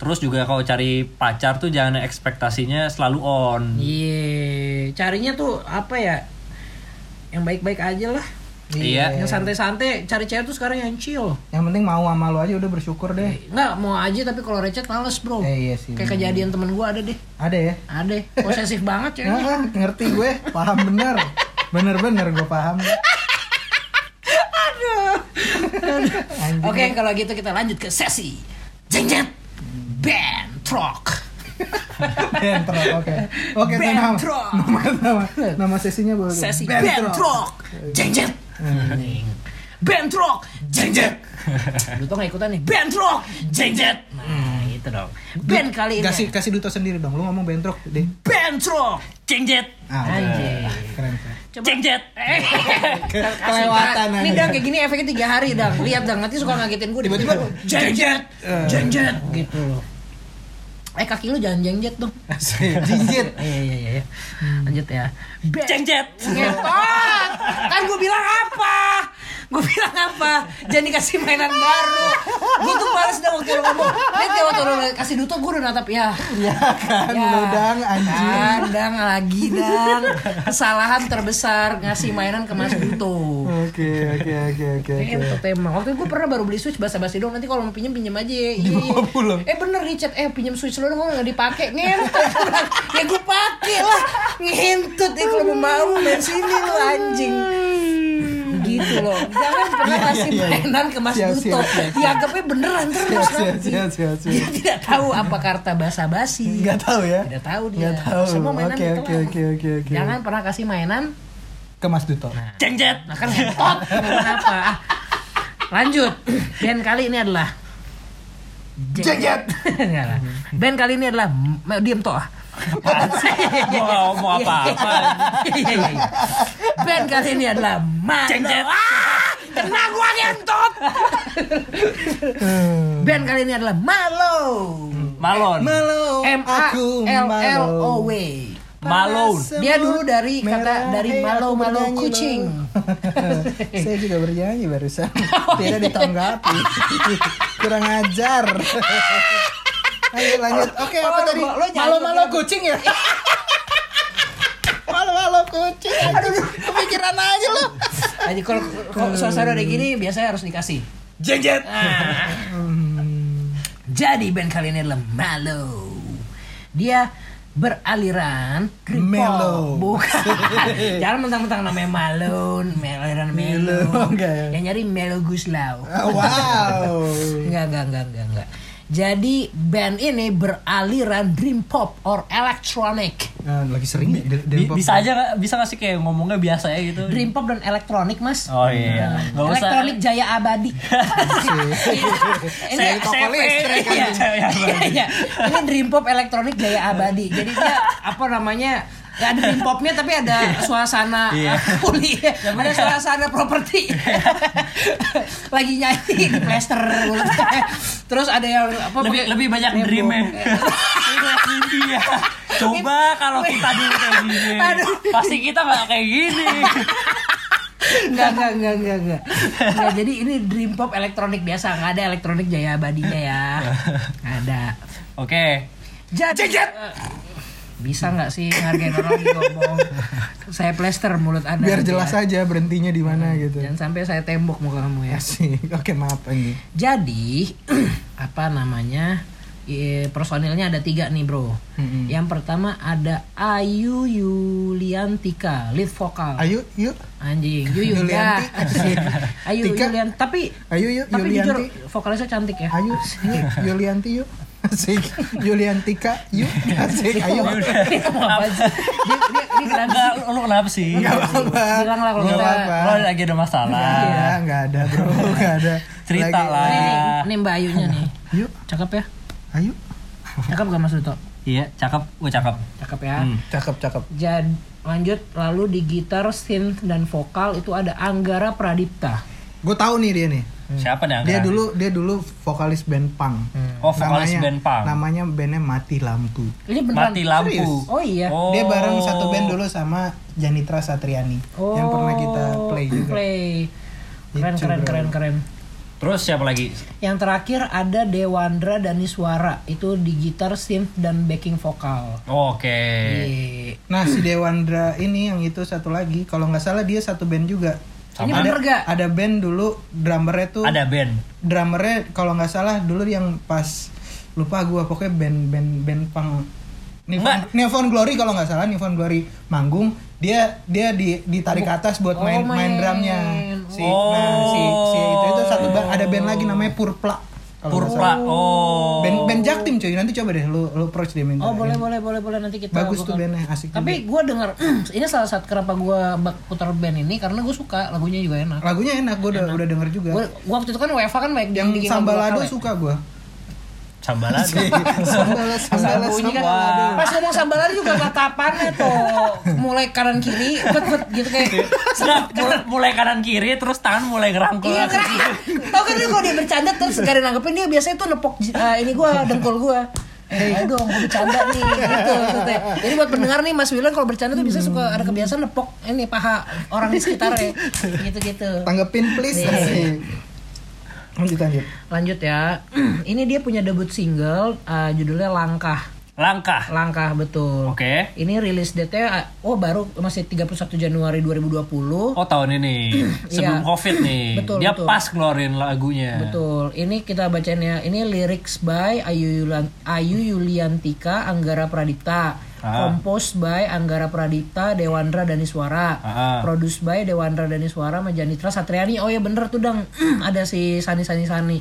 Speaker 2: Terus juga kalau cari pacar tuh jangan ekspektasinya selalu on.
Speaker 4: Iya, carinya tuh apa ya? Yang baik-baik aja lah.
Speaker 2: Iya.
Speaker 4: Yang santai-santai, cari cewek tuh sekarang yang chill.
Speaker 3: Yang penting mau sama lu aja udah bersyukur deh.
Speaker 4: Enggak, mau aja tapi kalau recet males, Bro.
Speaker 3: Eh, iya sih.
Speaker 4: Kayak kejadian temen gua ada deh.
Speaker 3: Ada ya?
Speaker 4: Ada, posesif banget ceweknya.
Speaker 3: Nah, ngerti gue, paham bener. Bener-bener gue paham. Aduh.
Speaker 4: Oke, kalau gitu kita lanjut ke sesi jengjet bentrok.
Speaker 3: Bentrok, oke. Oke, itu nama.
Speaker 4: Bentrok.
Speaker 3: Nama, nama, nama sesinya boleh.
Speaker 4: Sesi bentrok, jengjet. Bentrok, jengjet. Duto nggak ikutan nih. Bentrok, jengjet. Nah, gitu dong. Ben kali ini.
Speaker 3: Kasih kasih duto sendiri dong. Lu ngomong bentrok deh.
Speaker 4: Bentrok,
Speaker 2: Cengjet,
Speaker 3: Ah, udah.
Speaker 4: Anjing.
Speaker 3: Keren, keren.
Speaker 4: Coba.
Speaker 2: cengjet.
Speaker 4: Eh,
Speaker 3: Kelewatan
Speaker 4: Ini
Speaker 3: anjing.
Speaker 4: dang kayak gitu. gini efeknya tiga hari dang. Lihat dang nanti suka ngagetin gue tiba-tiba jengjet, jengjet gitu loh. Eh kaki lu jangan jengjet dong.
Speaker 3: Jinjit.
Speaker 4: Iya iya iya. iya. Lanjut ya. Ben-
Speaker 2: Cengjet.
Speaker 4: Ngetot. Kan gue bilang apa? Gue bilang apa? Jangan dikasih mainan baru. Gue tuh males dah waktu lu ngomong. Lihat ya waktu lu kasih duto gue udah natap ya.
Speaker 3: Ya kan, lu dang anjing.
Speaker 4: Kadang lagi dan kesalahan terbesar ngasih mainan ke Mas Duto.
Speaker 3: Oke, oke, oke, oke. oke.
Speaker 4: Itu tema. Waktu itu gue pernah baru beli Switch basa-basi dong. Nanti kalau mau pinjam pinjam aja. Iya.
Speaker 3: Dibawa pulang.
Speaker 4: Eh bener nih chat. Eh pinjam Switch lo dong nggak dipakai. Ngentut. ya gue pakai lah. Ngentut ya kalau mau mau main sini lo anjing. Gitu loh. Jangan pernah
Speaker 3: Iya,
Speaker 4: kasih
Speaker 3: iya, iya.
Speaker 4: mainan ke Mas
Speaker 3: Siap,
Speaker 4: Duto.
Speaker 3: siap, siap, siap.
Speaker 4: Dianggapnya beneran terus.
Speaker 3: Siap, siap,
Speaker 4: nanti.
Speaker 3: siap, siap,
Speaker 4: Dia
Speaker 3: siap.
Speaker 4: tidak tahu apa karta basa-basi.
Speaker 3: Nggak tahu ya?
Speaker 4: Tidak tahu dia.
Speaker 3: Nggak tahu.
Speaker 4: Semua mainan
Speaker 3: Oke,
Speaker 4: ditolak.
Speaker 3: oke, oke, oke, oke.
Speaker 4: Jangan pernah kasih mainan
Speaker 3: Ke Mas Duto.
Speaker 2: Cengjet.
Speaker 4: Nah kan ngetot Kenapa Ah. Lanjut Band kali ini adalah Jaget Enggak lah Band kali ini adalah M- Diem toh ah.
Speaker 2: Mau ngomong apa-apa.
Speaker 4: Iya, iya, iya. Band kali ini adalah Mano
Speaker 2: Jaget.
Speaker 4: Ah, Kena gua ngentot Band kali ini adalah Malo
Speaker 3: Oh,
Speaker 2: Hmm. Malon.
Speaker 3: Malu,
Speaker 4: M A
Speaker 3: aku
Speaker 4: L L
Speaker 3: malu.
Speaker 4: O W
Speaker 2: Malon.
Speaker 4: Dia dulu dari
Speaker 3: Merah,
Speaker 4: kata dari
Speaker 3: hey,
Speaker 4: Malo
Speaker 3: aku
Speaker 4: Malo
Speaker 3: bernyanyi,
Speaker 4: Kucing
Speaker 3: Lo. Saya juga bernyanyi barusan. Tidak ditanggapi. Kurang ajar. Lanjut lanjut. Oke, apa
Speaker 4: Oh,
Speaker 3: tadi?
Speaker 4: lo- lo jangan-
Speaker 3: Malu-malu kucing ya? Malu-malu kucing. Aduh, kepikiran aja lo.
Speaker 4: Jadi kalau kalau suasana udah gini biasanya harus dikasih
Speaker 2: Cengjet.
Speaker 4: Ah. Jadi band kali ini adalah Mellow. Dia beraliran kripol.
Speaker 3: Mellow.
Speaker 4: Bukan. Jangan mentang-mentang namanya Malone, Mel- aliran Mellow.
Speaker 3: Mellow, enggak ya?
Speaker 4: Yang nyari Mellow Guslau.
Speaker 3: Ah, Wow.
Speaker 4: Enggak, enggak, enggak, enggak, enggak. Jadi band ini beraliran dream pop or electronic.
Speaker 3: Nah, lagi sering di,
Speaker 2: Bi-
Speaker 3: di- di-
Speaker 2: bisa aja nggak- bisa ngasih kayak ngomongnya biasa ya gitu.
Speaker 4: Dream pop dan elektronik, Mas.
Speaker 2: Oh iya. Gak usah.
Speaker 4: Elektronik Jaya Abadi.
Speaker 2: Saya-
Speaker 4: Ini-
Speaker 2: saya-
Speaker 4: listrik. kan.
Speaker 2: Iya, Jaya Abadi.
Speaker 4: Iya, iya. Ini dream pop elektronik Jaya Abadi. Jadi dia apa namanya Gak ada dream popnya tapi ada suasana
Speaker 2: Iya.
Speaker 4: kuliah, ada
Speaker 3: Iya.
Speaker 4: suasana properti. Lagi nyanyi di plaster. Terus ada yang apa?
Speaker 2: lebih lebih banyak
Speaker 4: Nebo.
Speaker 2: dreamnya mimpi ya coba kalau kita dulu kayak gini
Speaker 4: Aduh.
Speaker 2: pasti kita nggak kayak gini
Speaker 4: Enggak, enggak, enggak, enggak, enggak. Enggak, jadi ini dream pop elektronik biasa, enggak ada elektronik jaya abadinya ya. Nggak ada.
Speaker 2: oke
Speaker 4: Jadi, eh, bisa nggak sih hargain orang ngomong? Saya plester mulut Anda.
Speaker 3: biar
Speaker 4: gitu ya.
Speaker 3: jelas aja berhentinya di mana gitu
Speaker 4: Jangan sampai saya tembok muka kamu ya.
Speaker 3: sih oke maaf ini
Speaker 4: Jadi apa namanya? eh, personilnya ada tiga nih bro.
Speaker 3: Mm-mm.
Speaker 4: Yang pertama ada Ayu Yuliantika, lead vokal.
Speaker 3: ayo yuk
Speaker 4: Anjing, Yuyu
Speaker 3: Yulianti.
Speaker 4: ya. Asik. Ayu
Speaker 3: Tika.
Speaker 4: Yulian, tapi
Speaker 3: ayo yuk
Speaker 4: tapi jujur
Speaker 3: Yulianti
Speaker 4: vokalisnya cantik ya.
Speaker 3: ayo yuk Yulianti yuk Asik, Yuliantika, yuk, asik, ayo.
Speaker 4: Dia mau apa sih? Dia dia dia kenapa
Speaker 2: Enggak, lu kenapa sih
Speaker 3: Gak apa-apa.
Speaker 4: Bilang lah kalau
Speaker 3: Nggak
Speaker 4: kita-
Speaker 3: apa-apa.
Speaker 2: lo lagi ada masalah
Speaker 3: Iya, nggak ada bro, nggak ada.
Speaker 2: Cerita
Speaker 3: Lagi-
Speaker 2: lah.
Speaker 4: sih? Nih,
Speaker 3: Iya.
Speaker 4: nih, nih Mbak Ayunya nih.
Speaker 3: Yuk,
Speaker 4: Cakep ya?
Speaker 3: ayo.
Speaker 4: Cakep gak Mas Duto?
Speaker 2: iya cakep gue cakep
Speaker 4: Cakep ya.
Speaker 2: Hmm.
Speaker 3: Cakep, cakep.
Speaker 4: Jad- lanjut lalu di gitar, synth dan vokal itu ada Anggara Pradipta.
Speaker 3: Gue tahu nih dia nih.
Speaker 2: siapa nih
Speaker 3: Dia
Speaker 2: Angga?
Speaker 3: dulu dia dulu vokalis band punk.
Speaker 2: oh vokalis band punk
Speaker 3: Namanya bandnya Mati Lampu.
Speaker 4: Ini beneran.
Speaker 2: mati lampu
Speaker 3: Serius?
Speaker 4: Oh iya.
Speaker 2: Oh.
Speaker 3: Dia bareng satu band dulu sama Janitra Satriani
Speaker 4: Oh,
Speaker 3: yang pernah kita play juga.
Speaker 4: play. Keren
Speaker 3: Itu,
Speaker 4: keren
Speaker 3: bro.
Speaker 4: keren keren.
Speaker 2: terus siapa lagi
Speaker 4: Yang terakhir ada Dewandra Daniswara itu di gitar, synth dan backing vokal.
Speaker 2: Oh, oke
Speaker 4: Iya.
Speaker 3: Nah si Dewandra ini yang itu satu lagi kalau nggak salah dia satu band juga.
Speaker 4: Ini
Speaker 3: ada,
Speaker 4: bener gak?
Speaker 3: ada band dulu drummernya tuh
Speaker 2: ada band
Speaker 3: drummernya kalau nggak salah dulu yang pas lupa gua pokoknya band band band punk Newfound, Newfound Glory kalau nggak salah Newfound Glory manggung dia dia di ditarik ke atas buat
Speaker 4: Oh,
Speaker 3: main main drumnya si nah si si
Speaker 2: Oh.
Speaker 3: itu itu satu band ada band lagi namanya Purpla kalau nggak
Speaker 2: purpa
Speaker 3: salah.
Speaker 2: oh
Speaker 3: band band Jaktim cuy nanti coba deh lu lu approach dia minta
Speaker 4: Oh boleh boleh boleh boleh nanti kita
Speaker 3: bagus tuh
Speaker 4: bakal-
Speaker 3: bandnya asik
Speaker 4: Tapi
Speaker 3: juga.
Speaker 4: gue denger ini salah satu kenapa gue putar band ini karena gue suka lagunya juga enak.
Speaker 3: lagunya enak gua udah udah denger juga
Speaker 4: Gue waktu itu kan WFA kan baik
Speaker 3: iya. yang
Speaker 4: bikin lagu
Speaker 3: Sambalado
Speaker 4: lokal ya.
Speaker 3: suka gua
Speaker 2: sambalado
Speaker 3: Sambal Sambal
Speaker 4: bunyi kan
Speaker 3: Sambal
Speaker 4: pas ngomong sambalado juga tatapannya tuh mulai kanan kiri bet bet gitu kayak
Speaker 2: Sedang mul- mulai kanan kiri terus tangan mulai ngerangkul
Speaker 4: Iya kan? Tau kan dia kalau dia bercanda terus gak ada nanggepin dia biasanya tuh nepok eh, ini gua dengkul gua. Eh, ayo dong, gue bercanda nih gitu, maksudnya. Jadi buat pendengar nih Mas Wilan kalau bercanda tuh bisa suka ada kebiasaan nepok ini paha orang di sekitarnya gitu-gitu.
Speaker 3: tanggepin please
Speaker 4: kan- Iya.
Speaker 3: Asik. lanjut lanjut
Speaker 4: Lanjut ya. Ini dia punya debut single eh, judulnya Langkah.
Speaker 2: langkah
Speaker 4: Langkah betul.
Speaker 2: oke
Speaker 4: Ini rilis date-nya eh, oh baru masih 31 Januari 2020.
Speaker 2: Oh tahun ini sebelum
Speaker 4: Iya.
Speaker 2: covid nih
Speaker 4: Betul,
Speaker 2: dia
Speaker 4: betul.
Speaker 2: pas ngeluarin lagunya.
Speaker 4: Betul. Ini kita bacain ya. Ini lyrics by Ayu Yulan Ayu Yuliantika Anggara Pradipta.
Speaker 2: Ah.
Speaker 4: Composed by Anggara Pradipta, Dewandra Daniswara.
Speaker 2: Ah.
Speaker 4: Produced by Dewandra Daniswara, Majanitra Satriani. Oh ya bener tuh Dang. Hmm, Ada si Sani Sani Sani.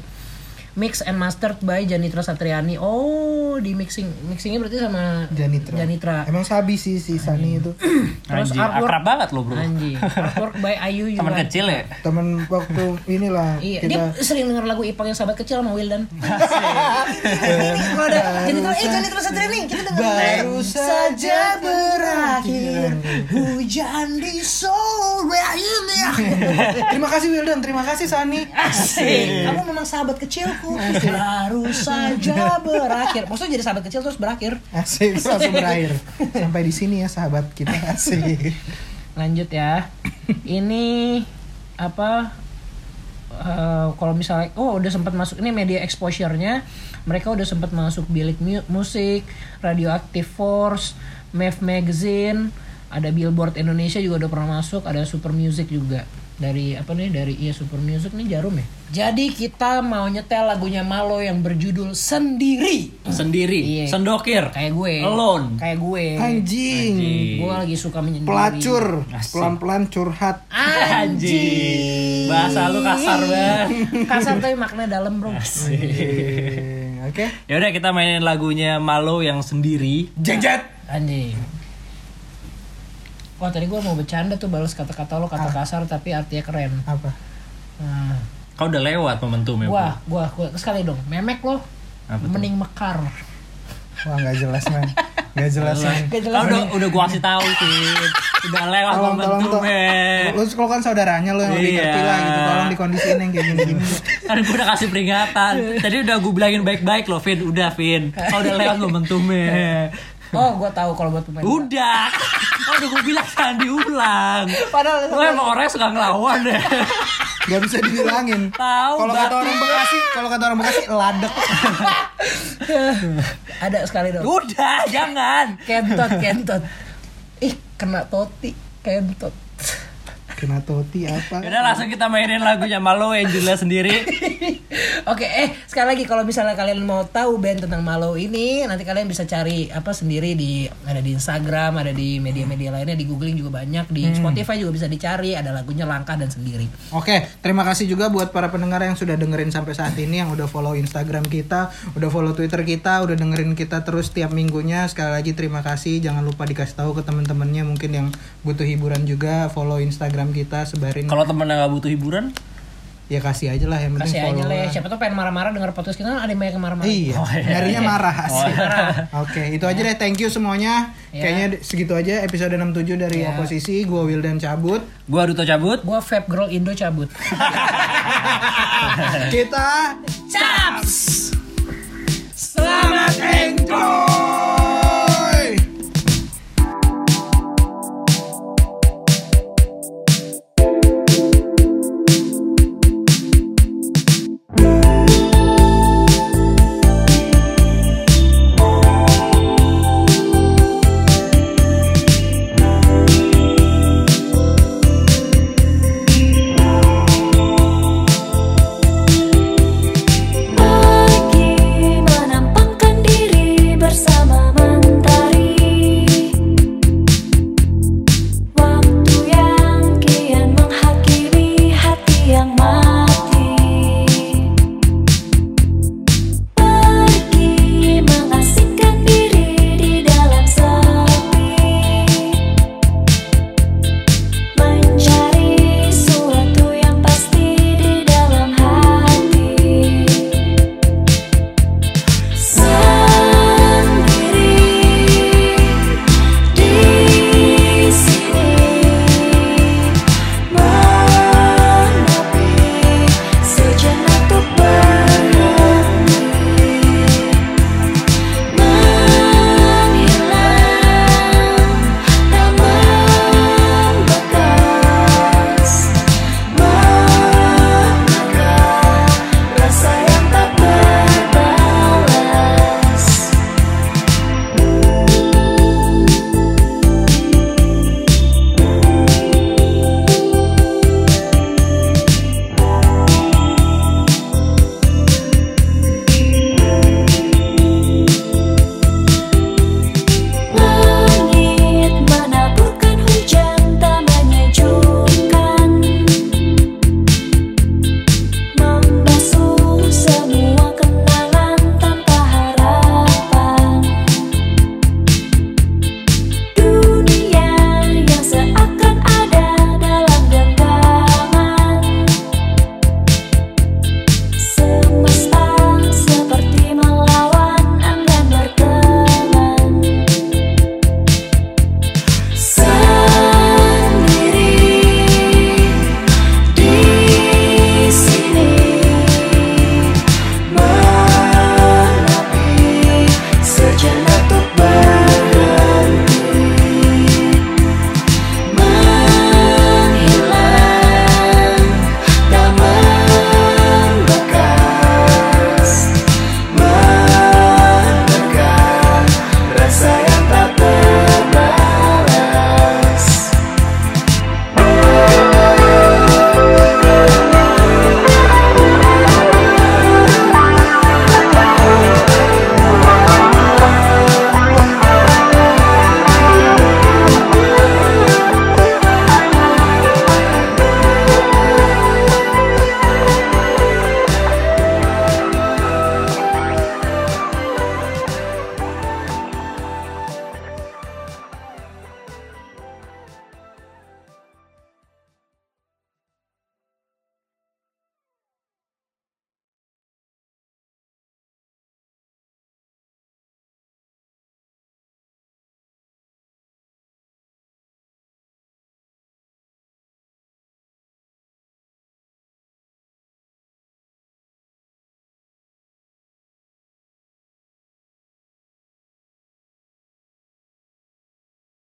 Speaker 4: Mix and mastered by Janitra Satriani. Oh, di mixing mixingnya berarti sama
Speaker 3: Janitra.
Speaker 4: Janitra.
Speaker 3: Emang sabi sih si Sani itu.
Speaker 4: Terus
Speaker 2: Anjir,
Speaker 4: artwork-
Speaker 2: akrab banget loh bro.
Speaker 4: Anjing. Artwork by Ayu
Speaker 2: Teman
Speaker 4: Yulan-
Speaker 2: kecil ya.
Speaker 3: Temen waktu inilah
Speaker 4: Iya, dia
Speaker 3: kita
Speaker 4: sering denger lagu Ipang yang sahabat kecil sama Wildan. ini kalau ada jadi terus eh jadi terus aja nih kita denger.
Speaker 3: baru saja berakhir.
Speaker 4: Hujan di sore ini.
Speaker 3: terima kasih Wildan, terima kasih Sani.
Speaker 4: Asik. Eh, Kamu memang sahabat kecilku. Baru saja berakhir. Maksudnya jadi sahabat kecil terus berakhir.
Speaker 3: Asik langsung berakhir. Sampai di sini ya sahabat kita asik.
Speaker 4: Lanjut ya. Ini apa eh, kalau misalnya oh udah sempat masuk ini media exposure-nya mereka udah sempat masuk bilik mu- musik, Radioactive Force, Mev Magazine, ada Billboard Indonesia juga udah pernah masuk, ada Super Music juga dari apa nih dari iya Super Music nih jarum ya. Jadi kita mau nyetel lagunya Malo yang berjudul Sendiri
Speaker 2: Sendiri,
Speaker 4: Iya.
Speaker 2: sendokir,
Speaker 4: kayak gue.
Speaker 2: alone.
Speaker 4: Kayak gue.
Speaker 3: Anjing.
Speaker 4: Gue lagi suka menyendiri.
Speaker 3: Pelacur,
Speaker 2: Asik.
Speaker 3: pelan-pelan curhat.
Speaker 2: Anjing. Bahasa lu kasar banget.
Speaker 4: Kasar tapi maknanya dalam, Bro.
Speaker 3: Eh, Oke.
Speaker 2: Ya udah kita mainin lagunya Malo yang sendiri.
Speaker 3: Jengjet.
Speaker 4: Anjing. Wah tadi gua mau bercanda tuh balas kata-kata lo
Speaker 3: Ah.
Speaker 4: kata kasar tapi artinya keren.
Speaker 3: Apa?
Speaker 4: Nah,
Speaker 2: Kau udah lewat momentum ya. Bro?
Speaker 4: gua, gua, gua sekali dong. Memek lo,
Speaker 2: Apa tuh?
Speaker 4: mending mekar.
Speaker 3: Wah nggak jelas man. Gak jelasin.
Speaker 5: Gak jelas.
Speaker 2: Kalau udah udah gua kasih tahu Kit. Udah lewat
Speaker 3: Tolong,
Speaker 2: momen
Speaker 3: tolong,
Speaker 2: tuh, men.
Speaker 3: tolong. Lu kalau kan saudaranya lu yang lebih
Speaker 2: Iya.
Speaker 3: ngerti lah gitu. Tolong dikondisiin yang kayak gini-gini.
Speaker 2: Kan gue udah kasih peringatan. Tadi udah gue bilangin baik-baik loh, Vin. Udah, Vin. Kalau udah lewat momentumnya.
Speaker 4: Oh, gue tahu kalau buat pemain.
Speaker 2: Udah. Oh, udah gue bilang jangan diulang.
Speaker 4: Padahal-
Speaker 2: Lu emang orang yang suka ngelawan ya. deh.
Speaker 3: Gak bisa dibilangin.
Speaker 2: Tahu,
Speaker 3: Kalau kata orang Bekasi, kalau kata orang Bekasi ladek.
Speaker 4: Ada sekali dong.
Speaker 2: Udah, jangan.
Speaker 4: Kentot, kentot. Ih, kena toti, kentot.
Speaker 3: Kena toti apa?
Speaker 2: Udah langsung kita mainin lagunya Malo Angela sendiri.
Speaker 4: Oke, eh sekali lagi kalau misalnya kalian mau tahu band tentang Malo ini, nanti kalian bisa cari apa sendiri di ada di Instagram, ada di media-media lainnya, di googling juga
Speaker 2: Hmm.
Speaker 4: banyak, di Spotify juga bisa dicari, ada lagunya langkah dan sendiri.
Speaker 3: Oke, terima kasih juga buat para pendengar yang sudah dengerin sampai saat ini, yang udah follow Instagram kita, udah follow Twitter kita, udah dengerin kita terus tiap minggunya. Sekali lagi terima kasih. Jangan lupa dikasih tahu ke teman-temannya mungkin yang butuh hiburan juga follow Instagram kita, sebarin.
Speaker 2: Kalau temen yang gak butuh hiburan,
Speaker 3: Ya kasih aja lah yang
Speaker 4: Kasih
Speaker 3: penting
Speaker 4: aja
Speaker 3: follow.
Speaker 4: lah, ya,
Speaker 3: lah.
Speaker 4: siapa tuh pengen marah-marah denger podcast kita, ada yang banyak yang marah-marah.
Speaker 3: Iya, nyarinya marah asik. Oke, itu aja deh. Thank you semuanya. Kayaknya segitu aja episode 67 dari oposisi. Gua Wildan cabut.
Speaker 2: gue Duto cabut.
Speaker 4: Gua vape girl Indo cabut.
Speaker 3: Kita
Speaker 4: Caps.